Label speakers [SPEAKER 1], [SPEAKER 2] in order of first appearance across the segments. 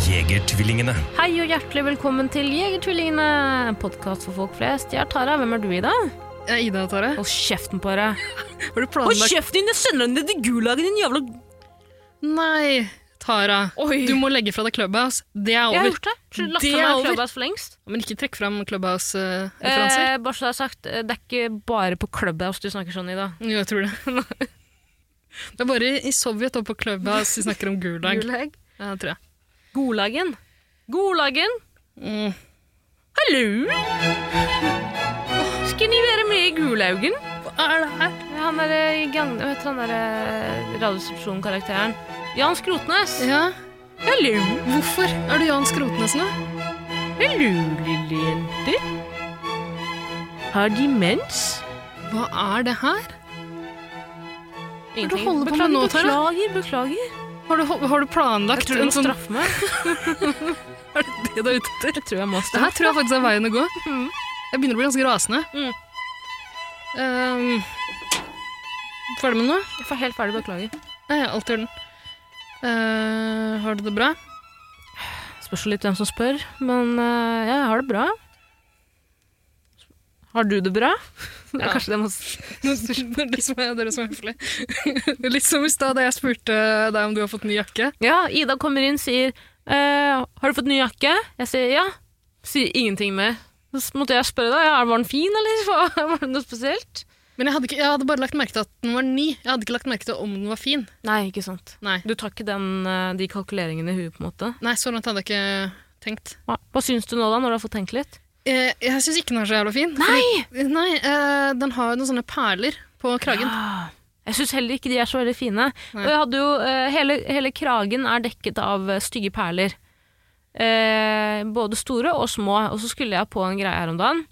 [SPEAKER 1] Jegertvillingene.
[SPEAKER 2] Hei og hjertelig velkommen til Jegertvillingene, en podkast for folk flest. Jeg er Tara, hvem er du, Ida?
[SPEAKER 3] Ja, Ida og Tara.
[SPEAKER 2] Hold kjeften på deg.
[SPEAKER 3] Har du planlagt
[SPEAKER 2] kjeften din, jeg sender deg ned i gulagen din, jævla
[SPEAKER 3] Nei, Tara.
[SPEAKER 2] Oi.
[SPEAKER 3] Du må legge fra deg Clubhouse. Det er
[SPEAKER 2] Jeg har
[SPEAKER 3] over.
[SPEAKER 2] gjort det. Skulle Lagt
[SPEAKER 3] Det
[SPEAKER 2] fra
[SPEAKER 3] er
[SPEAKER 2] meg
[SPEAKER 3] over.
[SPEAKER 2] Clubhouse for lengst.
[SPEAKER 3] Men ikke trekk fram Clubhouse-referanser.
[SPEAKER 2] Eh, bare så det er sagt, eh, det er ikke bare på Clubhouse du snakker sånn, Ida.
[SPEAKER 3] Jo, jeg tror det. det er bare i Sovjet og på Clubhouse vi snakker om gulag.
[SPEAKER 2] Gulag?
[SPEAKER 3] Ja, det tror jeg.
[SPEAKER 2] Gulagen. Gulagen.
[SPEAKER 3] Mm.
[SPEAKER 2] Hallo! Skal ni være med i Gulaugen?
[SPEAKER 3] Hva er det her?
[SPEAKER 2] Han derre Jan... Hva heter han derre Radioresepsjon-karakteren? Jan Skrotnes.
[SPEAKER 3] Ja.
[SPEAKER 2] Hallo!
[SPEAKER 3] Hvorfor er du Jan Skrotnes nå?
[SPEAKER 2] Hallo, lille jente. Har De mens?
[SPEAKER 3] Hva er det her?
[SPEAKER 2] Ingenting.
[SPEAKER 3] holder på med nå, Tara?
[SPEAKER 2] Beklager, beklager.
[SPEAKER 3] Har du, har du
[SPEAKER 2] Jeg
[SPEAKER 3] planlagt
[SPEAKER 2] tror du
[SPEAKER 3] en
[SPEAKER 2] må
[SPEAKER 3] sånn
[SPEAKER 2] straffe meg.
[SPEAKER 3] Er det det du er ute etter?
[SPEAKER 2] Jeg tror jeg må
[SPEAKER 3] Det her
[SPEAKER 2] straffe
[SPEAKER 3] tror jeg faktisk er veien å gå.
[SPEAKER 2] Mm.
[SPEAKER 3] Jeg begynner å bli ganske rasende.
[SPEAKER 2] Mm.
[SPEAKER 3] Ehm, ferdig med noe?
[SPEAKER 2] Jeg får helt ferdig beklager.
[SPEAKER 3] Nei, jeg er alltid i orden. Eh, har du det bra?
[SPEAKER 2] Spørs jo litt hvem som spør, men eh, jeg har det bra. Har du det bra? Ja.
[SPEAKER 3] Ja.
[SPEAKER 2] Kanskje det må...
[SPEAKER 3] Nå- Det er det som er, det er det som er høflig. Det er Litt som i stad da jeg spurte deg om du har fått ny jakke.
[SPEAKER 2] Ja, Ida kommer inn og sier eh, Har du fått ny jakke? Jeg sier ja. Sier ingenting mer. Så måtte jeg spørre deg, ja, var den fin, eller hva- var det noe spesielt?
[SPEAKER 3] Men jeg hadde, ikke, jeg hadde bare lagt merke til at den var ny. Jeg hadde ikke lagt merke til om den var fin.
[SPEAKER 2] Nei, ikke sant.
[SPEAKER 3] Nei,
[SPEAKER 2] Du tar ikke den, eh, de kalkuleringene i huet, på en måte?
[SPEAKER 3] Nei så langt hadde jeg ikke tenkt.
[SPEAKER 2] Hva, hva syns du nå, da, når du har fått tenkt litt?
[SPEAKER 3] Eh, jeg syns ikke den er så jævla fin.
[SPEAKER 2] Nei!
[SPEAKER 3] Fordi, nei eh, den har jo noen sånne perler på kragen.
[SPEAKER 2] Ah, Jeg syns heller ikke de er så veldig fine.
[SPEAKER 3] Nei.
[SPEAKER 2] Og jeg hadde jo, eh, hele, hele kragen er dekket av eh, stygge perler. Eh, både store og små. Og så skulle jeg på en greie her om dagen.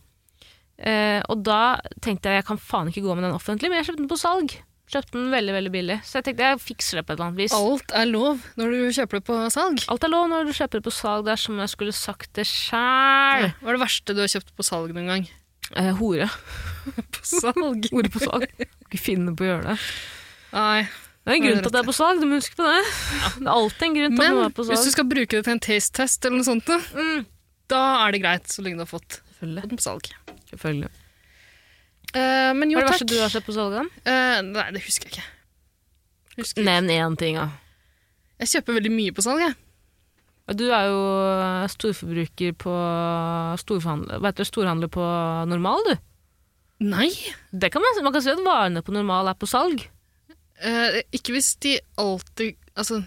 [SPEAKER 2] Eh, og da tenkte jeg jeg kan faen ikke gå med den offentlig, men jeg kjøpte den på salg. Kjøpte den veldig, veldig billig. Så jeg tenkte jeg fikser det på et eller annet vis.
[SPEAKER 3] Alt er lov når du kjøper det på salg.
[SPEAKER 2] Alt er lov når du kjøper det på salg. Det er som om jeg skulle sagt det sjæl.
[SPEAKER 3] Hva er det verste du har kjøpt på salg noen gang?
[SPEAKER 2] Eh, hore.
[SPEAKER 3] På salg?
[SPEAKER 2] Hore på salg. Ikke finne på å gjøre det.
[SPEAKER 3] Nei.
[SPEAKER 2] Det er en grunn til at det er på salg, du må huske på det. Det er alltid en grunn til at
[SPEAKER 3] Men
[SPEAKER 2] noe er på
[SPEAKER 3] hvis du
[SPEAKER 2] salg.
[SPEAKER 3] skal bruke det til en taste test eller noe sånt, da,
[SPEAKER 2] Mm.
[SPEAKER 3] da er det greit, så lenge du har fått
[SPEAKER 2] Selvfølgelig.
[SPEAKER 3] den på salg.
[SPEAKER 2] Selvfølgelig.
[SPEAKER 3] Eh, men jo,
[SPEAKER 2] Hva er det
[SPEAKER 3] takk.
[SPEAKER 2] verste du har sett på salgene?
[SPEAKER 3] Eh, nei, det husker jeg ikke. Husker jeg.
[SPEAKER 2] Nevn én ting, da.
[SPEAKER 3] ikke. jeg kjøper veldig mye på salg, jeg.
[SPEAKER 2] Du er jo eh, storforbruker på eh, storforhandler, vet du, storhandler på normal, du.
[SPEAKER 3] Nei.
[SPEAKER 2] Det kan man, si- man kan si at varene på normal er på salg.
[SPEAKER 3] Eh, ikke hvis de alltid Altså,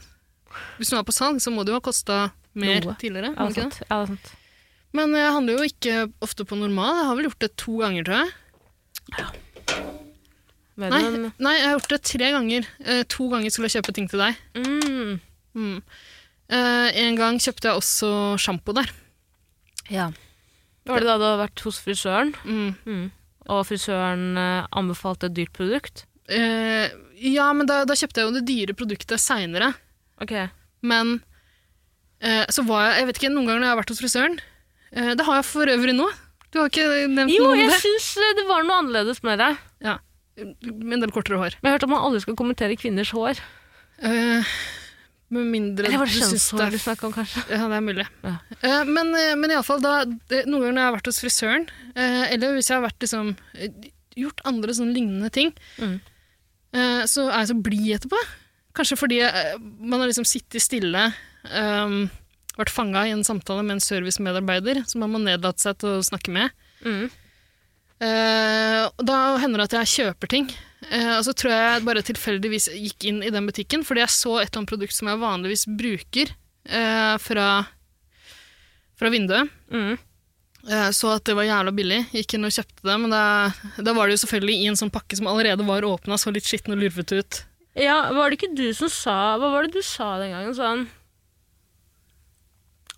[SPEAKER 3] hvis du er på salg, så må det jo ha kosta mer
[SPEAKER 2] Noe.
[SPEAKER 3] tidligere.
[SPEAKER 2] Ja,
[SPEAKER 3] må det
[SPEAKER 2] det er
[SPEAKER 3] ikke det?
[SPEAKER 2] sant. Ja, det er sant.
[SPEAKER 3] Men jeg handler jo ikke ofte på normal. Jeg har vel gjort det to ganger, tror jeg.
[SPEAKER 2] Men,
[SPEAKER 3] Nei, nei jeg har gjort det tre ganger. Eh, to ganger skulle jeg kjøpe ting til deg.
[SPEAKER 2] mm,
[SPEAKER 3] Mm. Eh, en gang kjøpte jeg også sjampo der.
[SPEAKER 2] ja. Var det da du hadde vært hos frisøren,
[SPEAKER 3] Mm.
[SPEAKER 2] og frisøren eh, anbefalte et dyrt produkt?
[SPEAKER 3] Eh, ja, men da, da kjøpte jeg jo det dyre produktet seinere.
[SPEAKER 2] Ok.
[SPEAKER 3] Men eh, så var jeg Jeg vet ikke, noen ganger når jeg har vært hos frisøren eh, Det har jeg for øvrig nå. Du har ikke nevnt
[SPEAKER 2] Jo,
[SPEAKER 3] noe om
[SPEAKER 2] jeg
[SPEAKER 3] det.
[SPEAKER 2] syns eh, det var noe annerledes med det.
[SPEAKER 3] Ja. Med en del kortere hår.
[SPEAKER 2] Men jeg har hørt at man aldri skal kommentere kvinners hår.
[SPEAKER 3] Eh, med mindre
[SPEAKER 2] Eller var det
[SPEAKER 3] du syns det
[SPEAKER 2] kjønnshår
[SPEAKER 3] er
[SPEAKER 2] du snakket om, kanskje?
[SPEAKER 3] Ja, det er mulig.
[SPEAKER 2] Ja.
[SPEAKER 3] Eh, men eh, men iallfall, noen ganger når jeg har vært hos frisøren, eh, eller hvis jeg har vært, liksom, eh, gjort andre sånne lignende ting,
[SPEAKER 2] Mm.
[SPEAKER 3] eh, så er jeg så blid etterpå. Kanskje fordi eh, man har liksom sittet stille, eh, vært fanga i en samtale med en servicemedarbeider som man må nedlate seg til å snakke med.
[SPEAKER 2] Mm.
[SPEAKER 3] Eh, og da hender det at jeg kjøper ting. Eh, og så tror jeg jeg bare tilfeldigvis gikk inn i den butikken, fordi jeg så et eller annet produkt som jeg vanligvis bruker eh, fra, fra vinduet.
[SPEAKER 2] Mm.
[SPEAKER 3] Eh, så at det var jævla billig. Gikk inn og kjøpte det, men da, da var det jo selvfølgelig i en sånn pakke som allerede var åpna, så litt skitten og lurvete ut.
[SPEAKER 2] Ja, var det ikke du som sa Hva var det du sa den gangen? Sånn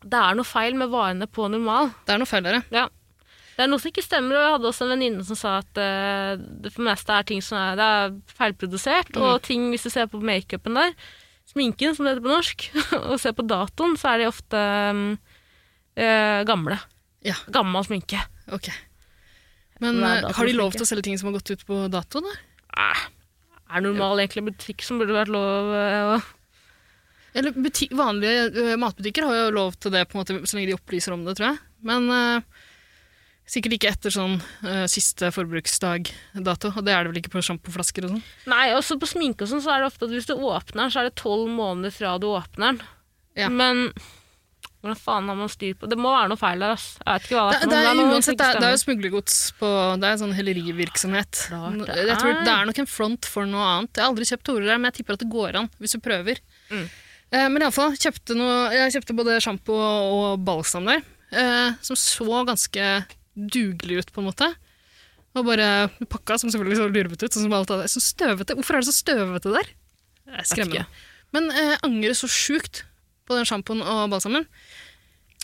[SPEAKER 2] Det er noe feil med varene på normal.
[SPEAKER 3] Det er noe feil der, ja.
[SPEAKER 2] Ja. Det er noe som ikke stemmer, og jeg hadde også en venninne som sa at eh, det for det meste er ting som er, det er feilprodusert, og ting, hvis du ser på makeupen der, sminken som det heter på norsk, og ser på datoen, så er de ofte mm, eh, gamle.
[SPEAKER 3] Ja.
[SPEAKER 2] Gammel sminke.
[SPEAKER 3] Ok. Men
[SPEAKER 2] Hva er
[SPEAKER 3] eh,
[SPEAKER 2] datoen
[SPEAKER 3] har de
[SPEAKER 2] for
[SPEAKER 3] lov
[SPEAKER 2] ikke?
[SPEAKER 3] til å selge ting som har gått ut på dato, da?
[SPEAKER 2] Eh, er normal egentlig butikk som burde vært lov eh, å
[SPEAKER 3] Eller buti vanlige eh, matbutikker har jo lov til det, på en måte, så lenge de opplyser om det, tror jeg. Men eh, sikkert ikke etter sånn eh, siste forbruksdag-dato. Og det er det vel ikke på sjampoflasker og sånn.
[SPEAKER 2] Nei, også på sminke og sånn, så er det ofte at hvis du åpner den, så er det tolv måneder fra du åpner den.
[SPEAKER 3] Ja.
[SPEAKER 2] Men hvordan faen har man styr på Det må være noe feil der, ass. Jeg vet ikke hva det
[SPEAKER 3] Det,
[SPEAKER 2] er. for noe, men
[SPEAKER 3] det er
[SPEAKER 2] noe som
[SPEAKER 3] uansett, det
[SPEAKER 2] ikke
[SPEAKER 3] er, det er jo
[SPEAKER 2] stemmer.
[SPEAKER 3] smuglergods på Det er en sånn hellerivirksomhet.
[SPEAKER 2] Klart det
[SPEAKER 3] Jeg tror
[SPEAKER 2] er.
[SPEAKER 3] det er nok en front for noe annet. Jeg har aldri kjøpt Tore der, men jeg tipper at det går an hvis du prøver.
[SPEAKER 2] Mm.
[SPEAKER 3] Eh, men iallfall, kjøpte noe, jeg kjøpte både sjampo og balsam der, eh, som så ganske dugelig ut, på en måte. Og bare pakka, som selvfølgelig så lurvete ut. Sånn som alt annet. Så støvete. Hvorfor er det så støvete der? Det er
[SPEAKER 2] ikke.
[SPEAKER 3] skremmende. Men eh, angrer så sjukt på den sjampoen og balsamen.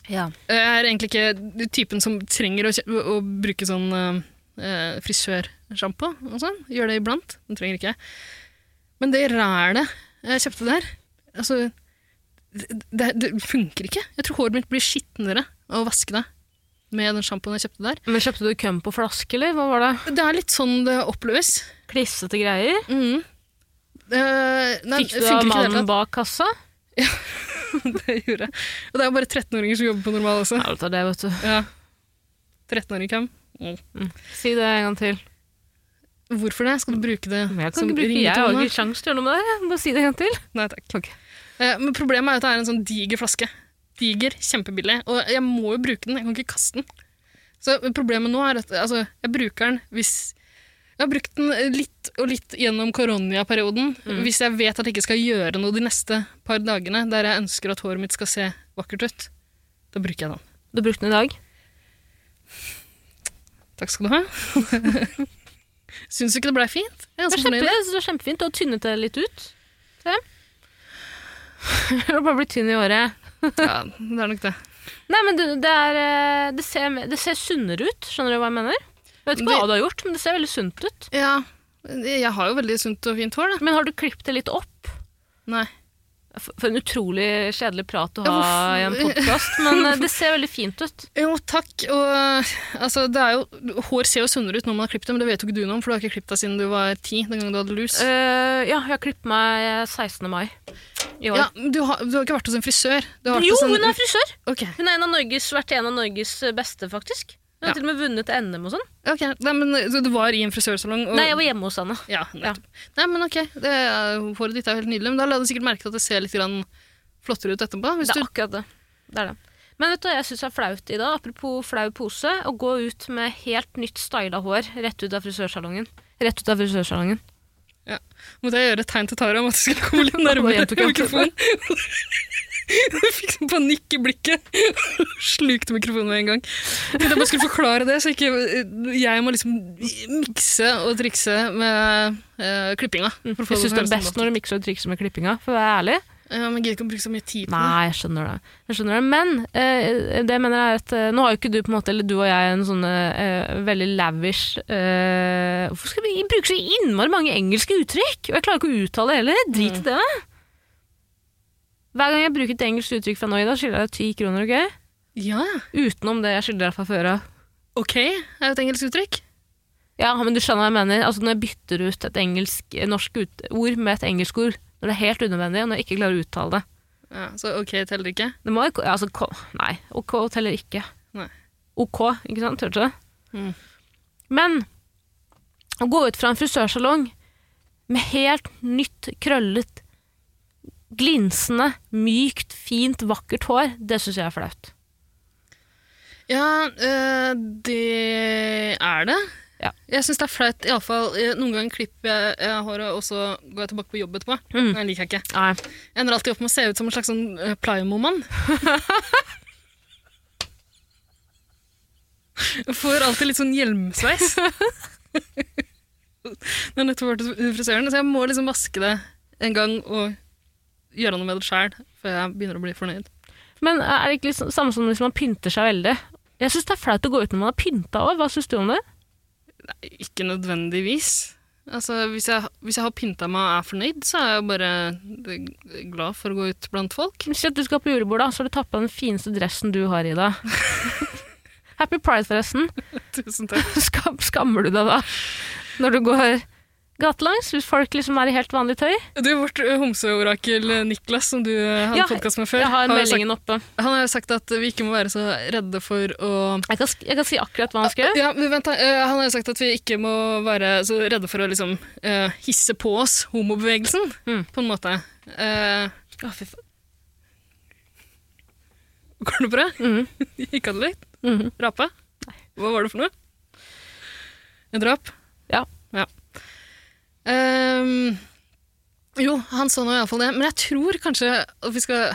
[SPEAKER 3] Eh, Jeg er egentlig ikke typen som trenger å, kjø- å bruke sånn eh, frisørsjampo og sånn. Gjør det iblant, men trenger ikke. Men det rælet jeg kjøpte der, altså det, det, det funker ikke. Jeg tror håret mitt blir skitnere av å vaske det med den sjampoen jeg kjøpte der.
[SPEAKER 2] Men kjøpte du køm på flaske, eller? Hva var det?
[SPEAKER 3] Det er litt sånn det oppleves.
[SPEAKER 2] Klissete greier?
[SPEAKER 3] Mhm. Eh, nei,
[SPEAKER 2] Fikk du av
[SPEAKER 3] funker ikke i det hele
[SPEAKER 2] mannen bak kassa?
[SPEAKER 3] tatt. Det gjorde jeg. Og det er jo bare 13-åringer som jobber på normal også.
[SPEAKER 2] Ja, vet du det, vet du.
[SPEAKER 3] Ja. 13-åringer kan.
[SPEAKER 2] Si det en gang til.
[SPEAKER 3] Hvorfor det? Skal du bruke det
[SPEAKER 2] Men jeg kan ikke bruke Jeg har ikke sjans til å gjøre noe med det. Bare si det en gang til.
[SPEAKER 3] Nei takk.
[SPEAKER 2] Ok.
[SPEAKER 3] Eh, men problemet er at det er en sånn diger flaske. Diger, kjempebillig. Og jeg må jo bruke den, jeg kan ikke kaste den. Så problemet nå er at altså, jeg bruker den hvis Jeg har brukt den litt og litt gjennom koronaperioden.
[SPEAKER 2] Mm.
[SPEAKER 3] Hvis jeg vet at jeg ikke skal gjøre noe de neste par dagene der jeg ønsker at håret mitt skal se vakkert ut, da bruker jeg den.
[SPEAKER 2] Du brukte den i dag.
[SPEAKER 3] Takk skal du ha. Syns du ikke det blei fint?
[SPEAKER 2] Det
[SPEAKER 3] Jeg er ganske
[SPEAKER 2] er
[SPEAKER 3] fornøyd.
[SPEAKER 2] kjempe, jeg synes det er kjempefint. Du har tynnet det litt ut. Se. Du har bare blitt tynn i håret.
[SPEAKER 3] Ja, det er nok det.
[SPEAKER 2] Nei, men det, det, er, eh, det, ser, det ser sunnere ut, skjønner du hva jeg mener? Jeg vet ikke
[SPEAKER 3] Det-
[SPEAKER 2] hva du har gjort, men det ser veldig sunt ut.
[SPEAKER 3] Ja, jeg har jo veldig sunt og fint hår, da.
[SPEAKER 2] Men har du klippet det litt opp?
[SPEAKER 3] Nei.
[SPEAKER 2] For for en utrolig kjedelig prat å
[SPEAKER 3] Ja,
[SPEAKER 2] ha
[SPEAKER 3] hvorfor-
[SPEAKER 2] i en podkast, men eh, det ser veldig fint ut.
[SPEAKER 3] Jo, takk. Og, altså, det er jo, hår ser jo sunnere ut når man har klippet det, men det vet jo ikke du noe om, for du har ikke klippet deg siden du var ti, den gangen du hadde lus.
[SPEAKER 2] Eh, ja, jeg har klippet meg eh, 16. mai i år.
[SPEAKER 3] ja, sånn men du, har, du har ikke vært hos en frisør? Du har vært
[SPEAKER 2] Jo,
[SPEAKER 3] hos en,
[SPEAKER 2] hun er frisør!
[SPEAKER 3] Ok,
[SPEAKER 2] Hun har en av Norges, vært en av Norges beste, faktisk. Hun har
[SPEAKER 3] Ja.
[SPEAKER 2] til og med vunnet NM og sånn.
[SPEAKER 3] ok. Nei, men så du var i en frisørsalong? Og,
[SPEAKER 2] Nei, jeg var hjemme hos henne.
[SPEAKER 3] ja, nettopp. Nei, men ok, det, er- håret ditt er jo helt nydelig, men da la du sikkert merke til at det ser litt grann flottere ut etterpå. Hvis
[SPEAKER 2] Det
[SPEAKER 3] du,
[SPEAKER 2] er akkurat det. det, er det. Men vet du hva jeg syns er flaut i dag? Apropos flau pose. Å gå ut med helt nytt styla hår rett ut av frisørsalongen. Rett ut av frisørsalongen.
[SPEAKER 3] måtte jeg gjøre et tegn til Tara om at du skulle komme litt
[SPEAKER 2] Og
[SPEAKER 3] nærmere
[SPEAKER 2] jeg tok ikke
[SPEAKER 3] mikrofonen. Du fikk sånn panikk i blikket. Slukte mikrofonen med en gang. Jeg tenkte jeg bare skulle forklare det, så ikke jeg må liksom mikse og trikse med eh, klippinga. for å
[SPEAKER 2] Mm. Jeg
[SPEAKER 3] få
[SPEAKER 2] syns det er
[SPEAKER 3] til å høres
[SPEAKER 2] best
[SPEAKER 3] sånn
[SPEAKER 2] når du mikser og trikser med klippinga, for å være ærlig.
[SPEAKER 3] ut. Ja, men jeg gidder ikke å bruke så mye tid på det.
[SPEAKER 2] Nei, jeg skjønner det. Jeg skjønner det. Men eh, det jeg mener er at eh, nå har jo ikke du på en måte, eller du og jeg, en sånn eh, veldig lavish eh, Hvorfor skal vi bruke så innmari mange engelske uttrykk? Og jeg klarer ikke å uttale det heller. Drit
[SPEAKER 3] Mm.
[SPEAKER 2] i det. Hver gang jeg bruker et engelsk uttrykk fra nå i dag, skylder jeg deg ti kroner, OK?
[SPEAKER 3] Ja,
[SPEAKER 2] Utenom det jeg skylder deg fra før av.
[SPEAKER 3] ok, er jo et engelsk uttrykk.
[SPEAKER 2] Ja, men du skjønner hva jeg mener. Altså, når jeg bytter ut et engelsk, eh, norsk ut, ord med et engelsk ord, når det er helt unødvendig, og når jeg ikke klarer å uttale det
[SPEAKER 3] Ja, så ok teller ikke.
[SPEAKER 2] Det må jo altså, ko- Nei, OK teller ikke.
[SPEAKER 3] Nei.
[SPEAKER 2] OK, ikke sant? Hørte du det?
[SPEAKER 3] Mm.
[SPEAKER 2] Men å gå ut fra en frisørsalong med helt nytt, krøllet, glinsende, mykt, fint, vakkert hår, det syns jeg er flaut.
[SPEAKER 3] Ja, eh, det er det.
[SPEAKER 2] Ja.
[SPEAKER 3] Jeg syns det er flaut. i alle fall, eh, Noen ganger klipper jeg eh, håret, og så går jeg tilbake på jobb etterpå.
[SPEAKER 2] Mm.
[SPEAKER 3] Det liker jeg ikke.
[SPEAKER 2] Nei.
[SPEAKER 3] Jeg ender alltid opp med å se ut som en slags sånn eh, Plymo-mann. Jeg Får alltid litt sånn hjelmsveis. Når jeg nettopp vært hos frisøren, så jeg må liksom vaske det en gang og gjøre noe med det sjæl før jeg begynner å bli fornøyd.
[SPEAKER 2] Men er det ikke litt sånn- samme som hvis man pynter seg veldig, Jeg syns det er flaut å gå ut når man har pynta òg. Hva syns du om det?
[SPEAKER 3] Ikke nødvendigvis. Altså, hvis jeg, hvis jeg har pynta meg og er fornøyd, så er jeg bare eh, glad for å gå ut blant folk.
[SPEAKER 2] Si at du skal på julebord, da, så har du tatt på den fineste dressen du har i deg. Happy pride, forresten.
[SPEAKER 3] Tusen takk.
[SPEAKER 2] Skam, skammer du deg da når du går gatelangs, hvis folk liksom er i helt vanlig tøy?
[SPEAKER 3] Du, vårt eh, homseorakel eh, Niklas, som du eh, hadde
[SPEAKER 2] Ja,
[SPEAKER 3] podkast med før,
[SPEAKER 2] Jeg har
[SPEAKER 3] jo
[SPEAKER 2] meldingen oppe.
[SPEAKER 3] sagt, han har jo sagt at vi ikke må være så redde for å
[SPEAKER 2] Jeg kan, sk- jeg kan si akkurat hva han skal gjøre.
[SPEAKER 3] ja, men vent, da, eh, Han har jo sagt at vi ikke må være så redde for å liksom eh, hisse på oss homobevegelsen,
[SPEAKER 2] Mm.
[SPEAKER 3] på en måte. Eh,
[SPEAKER 2] Å, fy faen.
[SPEAKER 3] går det bra?
[SPEAKER 2] Mhm,
[SPEAKER 3] Gikk han litt?
[SPEAKER 2] mhm.
[SPEAKER 3] Rape? Hva var det for noe? En drap?
[SPEAKER 2] Ja.
[SPEAKER 3] ja. Ehm, jo, han sa nå iallfall det, men jeg tror kanskje at vi skal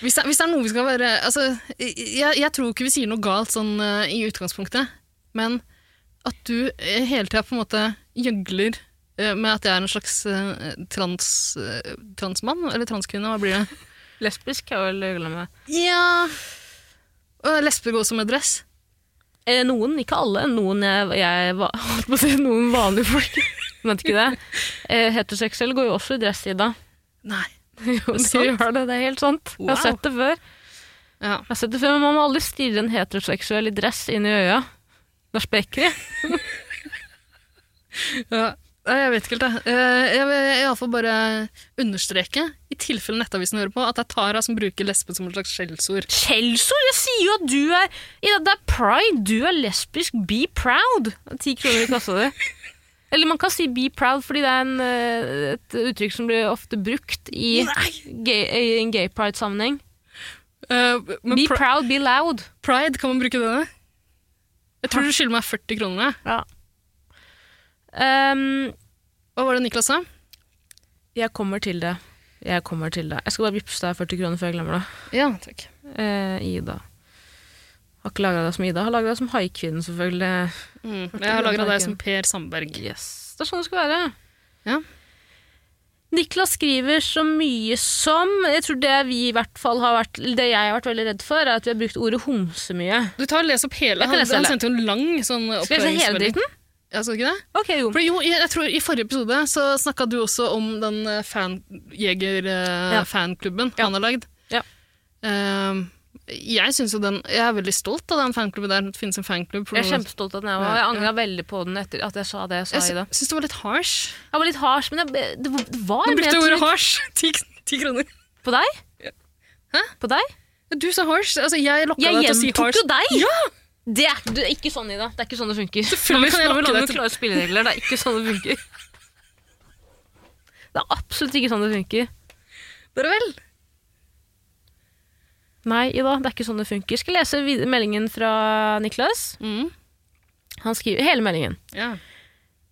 [SPEAKER 3] hvis det, hvis det er noe vi skal være altså, jeg, jeg tror ikke vi sier noe galt sånn eh, i utgangspunktet, men at du eh, hele tida på en måte gjøgler eh, med at jeg er en slags eh, trans, eh, transmann, eller transkvinne, hva blir det?
[SPEAKER 2] Lesbisk er vel glemme.
[SPEAKER 3] Ja Og lesber går også med dress.
[SPEAKER 2] Eh, Noen, ikke alle. Noen jeg, jeg va- holdt på å si noen vanlige folk. Mente ikke det. Eh, Heteroseksuelle går jo også i dress, Ida.
[SPEAKER 3] Nei.
[SPEAKER 2] Jo,
[SPEAKER 3] det
[SPEAKER 2] de
[SPEAKER 3] sant?
[SPEAKER 2] gjør det. Det er helt sant. Jeg
[SPEAKER 3] Wow.
[SPEAKER 2] har sett det før.
[SPEAKER 3] Ja.
[SPEAKER 2] Jeg har sett det før, men Man må aldri stirre en heteroseksuell i dress inn i øya. Da sprekker de.
[SPEAKER 3] Nei, jeg vet ikke helt, jeg. Eh, Jeg vil iallfall bare understreke, i tilfelle Nettavisen hører på, at det er Tara som bruker lesbe som et slags skjellsord.
[SPEAKER 2] Skjellsord! Jeg sier jo at du er Ida, Det er pride. Du er lesbisk. Be proud. Ti kroner i kassa di. Eller man kan si be proud, fordi det er en, eh, et uttrykk som blir ofte brukt i, gay, i en gay pride-sammenheng.
[SPEAKER 3] Eh, Men
[SPEAKER 2] Be
[SPEAKER 3] pri
[SPEAKER 2] proud, be loud.
[SPEAKER 3] pride, kan man bruke det? da? Jeg tror du skylder meg 40 kroner. jeg.
[SPEAKER 2] Ehm,
[SPEAKER 3] Hva var det Niklas sa?
[SPEAKER 2] jeg kommer til det. Jeg kommer til det. Jeg skal bare vippse deg 40 kroner før jeg glemmer det.
[SPEAKER 3] Ja, takk.
[SPEAKER 2] Eh, Ida. Har ikke lagra deg som Ida. Har lagra deg som haikvinnen, selvfølgelig.
[SPEAKER 3] Mm.
[SPEAKER 2] Hørte
[SPEAKER 3] Jeg har
[SPEAKER 2] du den
[SPEAKER 3] lagra deg
[SPEAKER 2] tanken?
[SPEAKER 3] som Per Sandberg.
[SPEAKER 2] Yes, det er sånn det skal være.
[SPEAKER 3] Ja.
[SPEAKER 2] Niklas skriver så mye som Jeg tror det vi i hvert fall har vært Det jeg har vært veldig redd for, er at vi har brukt ordet homse mye.
[SPEAKER 3] Du tar og les opp hele.
[SPEAKER 2] Jeg kan
[SPEAKER 3] Han,
[SPEAKER 2] lese
[SPEAKER 3] han
[SPEAKER 2] hele.
[SPEAKER 3] sendte jo en lang sånn
[SPEAKER 2] Skal jeg se hele
[SPEAKER 3] oppklaringsmelding.
[SPEAKER 2] dritten?
[SPEAKER 3] Ja, skal du ikke det?
[SPEAKER 2] Ok, jo.
[SPEAKER 3] For jo, jeg jeg tror I forrige episode så snakka du også om den eh,
[SPEAKER 2] Ja.
[SPEAKER 3] fanjeger-fanklubben
[SPEAKER 2] Ja.
[SPEAKER 3] han har lagd.
[SPEAKER 2] Ja.
[SPEAKER 3] Ehm, jeg, synes jo den, jeg er veldig stolt av den fanklubben der. Det finnes en fanklubb. for
[SPEAKER 2] Jeg er
[SPEAKER 3] noen-
[SPEAKER 2] kjempestolt av den. Jeg, var. jeg angra veldig på den etter at jeg sa det jeg sa,
[SPEAKER 3] jeg
[SPEAKER 2] Ida.
[SPEAKER 3] sy- syns det var litt harsh.
[SPEAKER 2] Jeg var litt harsh, men jeg, det var- det var
[SPEAKER 3] Du brukte
[SPEAKER 2] ment-
[SPEAKER 3] ordet harsh. Ti, ti kroner.
[SPEAKER 2] På deg?
[SPEAKER 3] Hæ?
[SPEAKER 2] På deg?
[SPEAKER 3] Ja, Du sa harsh. Altså, jeg lokka
[SPEAKER 2] Jeg
[SPEAKER 3] deg til å si
[SPEAKER 2] gjentok
[SPEAKER 3] harsh.
[SPEAKER 2] jo deg! Det er du, ikke sånn, Ida. Det er ikke sånn det funker.
[SPEAKER 3] Selvfølgelig
[SPEAKER 2] Nå kan jeg
[SPEAKER 3] snakker
[SPEAKER 2] lage
[SPEAKER 3] jeg
[SPEAKER 2] noen
[SPEAKER 3] til-
[SPEAKER 2] klare spilleregler. Det er ikke sånn det funker. Det er absolutt ikke sånn det funker.
[SPEAKER 3] Dere vel?
[SPEAKER 2] Nei, Ida, det er ikke sånn det funker. Skal jeg lese vid- meldingen fra Niklas.
[SPEAKER 3] Mm.
[SPEAKER 2] Han skriver hele meldingen.
[SPEAKER 3] Ja.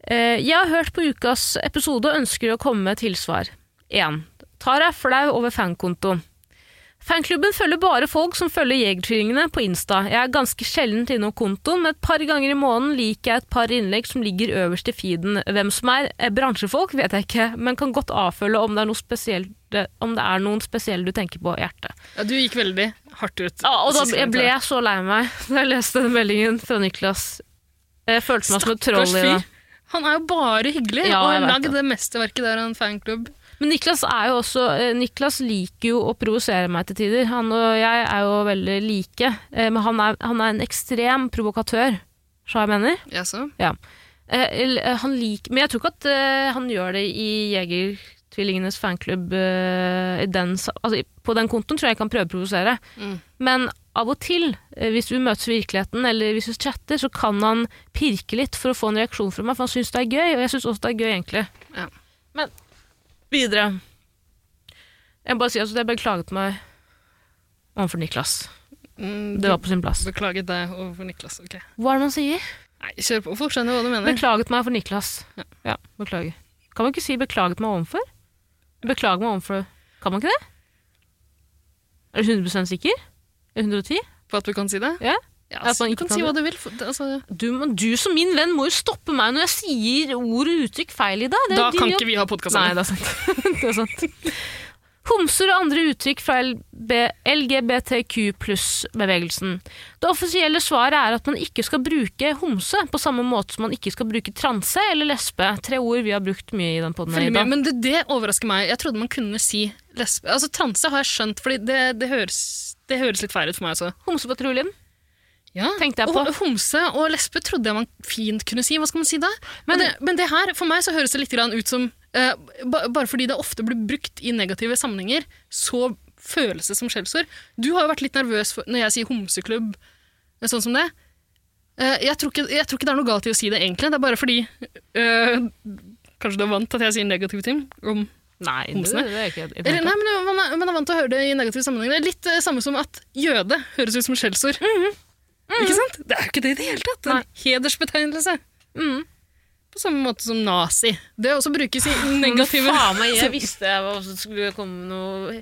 [SPEAKER 2] Eh, jeg har hørt på ukas episode og ønsker å komme med tilsvar. 1. Tara er flau over fankontoen. Fanklubben følger bare folk som følger Jegertvillingene på Insta. Jeg er ganske sjelden innom kontoen, men et par ganger i måneden liker jeg et par innlegg som ligger øverst i feeden. Hvem som er eh, bransjefolk, vet jeg ikke, men kan godt avfølge om det er, noe spesielt, om det er noen spesielle du tenker på, hjerte.
[SPEAKER 3] ja, du gikk veldig hardt ut.
[SPEAKER 2] Ja, og da
[SPEAKER 3] Siste
[SPEAKER 2] ble jeg
[SPEAKER 3] gang,
[SPEAKER 2] ble
[SPEAKER 3] Tara.
[SPEAKER 2] jeg så lei meg da jeg leste den meldingen fra Niklas. Jeg følte meg som et troll i det.
[SPEAKER 3] Stakkars fyr. Han er jo bare hyggelig,
[SPEAKER 2] Ja,
[SPEAKER 3] og
[SPEAKER 2] jeg
[SPEAKER 3] har
[SPEAKER 2] vet
[SPEAKER 3] lagd
[SPEAKER 2] det.
[SPEAKER 3] det mesterverket der av en fanklubb.
[SPEAKER 2] Men Niklas er jo også eh, Niklas liker jo å provosere meg til tider. Han og jeg er jo veldig like, eh, men han er, han er en ekstrem provokatør, så jeg mener.
[SPEAKER 3] Jaså?
[SPEAKER 2] Eh, el- eh, Han liker, men jeg tror ikke at eh, han gjør det i Jegertvillingenes fanklubb eh, i den, sa- altså, i- På den kontoen tror jeg jeg kan prøve å provosere.
[SPEAKER 3] Mm.
[SPEAKER 2] Men av og til, eh, hvis vi møtes i virkeligheten eller hvis vi chatter, så kan han pirke litt for å få en reaksjon fra meg, for han syns det er gøy, og jeg syns også det er gøy, egentlig.
[SPEAKER 3] Ja.
[SPEAKER 2] Men videre. Jeg må bare si altså, at jeg beklaget meg overfor Niklas.
[SPEAKER 3] Mm,
[SPEAKER 2] Det var på sin plass.
[SPEAKER 3] Beklaget deg overfor Niklas. ok.
[SPEAKER 2] Hva er det man sier?
[SPEAKER 3] Nei, kjør på. Folk skjønner hva du mener.
[SPEAKER 2] Beklaget meg for Niklas. Ja. beklager. Kan man ikke si 'beklaget meg overfor'? Beklager meg overfor Kan man ikke det? Er du 100 sikker? Er du 110?
[SPEAKER 3] På at du kan si det?
[SPEAKER 2] Ja.
[SPEAKER 3] Ja,
[SPEAKER 2] At
[SPEAKER 3] altså,
[SPEAKER 2] man
[SPEAKER 3] du
[SPEAKER 2] ikke
[SPEAKER 3] kan
[SPEAKER 2] kan
[SPEAKER 3] si
[SPEAKER 2] det.
[SPEAKER 3] hva du vil. for- det- Altså,
[SPEAKER 2] Du, må- du som min venn må jo stoppe meg når jeg sier ord og uttrykk feil i dag. Det er
[SPEAKER 3] da
[SPEAKER 2] din
[SPEAKER 3] kan
[SPEAKER 2] jobb.
[SPEAKER 3] ikke vi ha podkast
[SPEAKER 2] Nei, det er sant. det er sant. Homser og andre uttrykk fra LB LGBTQ pluss-bevegelsen. Det offisielle svaret er at man ikke skal bruke homse på samme måte som man ikke skal bruke transe eller lesbe. Tre ord vi har brukt mye i den podden her
[SPEAKER 3] Veldig
[SPEAKER 2] i
[SPEAKER 3] mye,
[SPEAKER 2] dag.
[SPEAKER 3] men det, det overrasker meg. Jeg trodde man kunne si lesbe. Altså, transe har jeg skjønt, fordi det, det, høres, det høres litt feil ut for meg. Altså.
[SPEAKER 2] Homsepatruljen.
[SPEAKER 3] Ja.
[SPEAKER 2] Tenkte jeg på.
[SPEAKER 3] Og homse og lesbe trodde jeg man fint kunne si. Hva skal man si da? Men det, men det her, for meg så høres det litt grann ut som eh, ba, Bare fordi det ofte blir brukt i negative sammenhenger, så føles det som skjellsord. Du har jo vært litt nervøs for, når jeg sier homseklubb, eh, sånn som det. Eh, jeg, tror ikke, jeg tror ikke det er noe galt i å si det, egentlig. Det er bare fordi eh, Kanskje du er vant til at jeg sier negative ting om
[SPEAKER 2] Nei, det,
[SPEAKER 3] Homsene.
[SPEAKER 2] det er ikke det.
[SPEAKER 3] eller, nei, men man er, man er vant til å høre det i negative sammenhenger. Det er litt eh, samme som at jøde høres ut som skjellsord. Ikke sant? Det er jo ikke det i det hele tatt. Det er En hedersbetegnelse.
[SPEAKER 2] Mhm.
[SPEAKER 3] På samme måte som nazi. Det også brukes i Ah, negative
[SPEAKER 2] Faen meg, jeg visste jeg var, så skulle det komme noe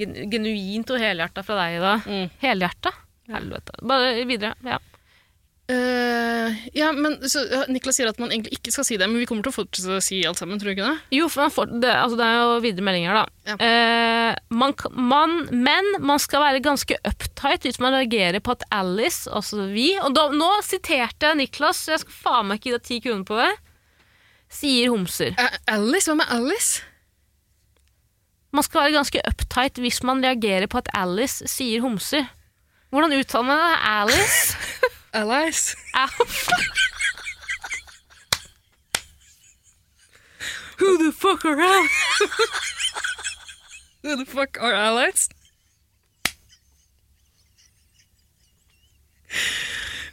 [SPEAKER 2] gen genuint og helhjerta fra deg i dag.
[SPEAKER 3] Mm.
[SPEAKER 2] Helhjerta? Helvete. Bare videre. Ja.
[SPEAKER 3] Eh, ja, men så, ja, Niklas sier at man egentlig ikke skal si det, men vi kommer til å fortsette å si alt sammen, tror du ikke det?
[SPEAKER 2] Jo, for man får, det, altså det er jo videre meldinger, da.
[SPEAKER 3] Ja.
[SPEAKER 2] Eh, man, kan- man, men man skal være ganske uptight hvis man reagerer på at Alice, altså vi Og da, nå siterte jeg Niklas, så jeg skal faen meg ikke gi deg ti kroner på det. Sier homser.
[SPEAKER 3] Eh, Alice? Hva med Alice?
[SPEAKER 2] Man skal være ganske uptight hvis man reagerer på at Alice sier homser. Hvordan uttaler man det? Alice?
[SPEAKER 3] Alice.
[SPEAKER 2] Au. Who the fuck are you?
[SPEAKER 3] Who the fuck are allies?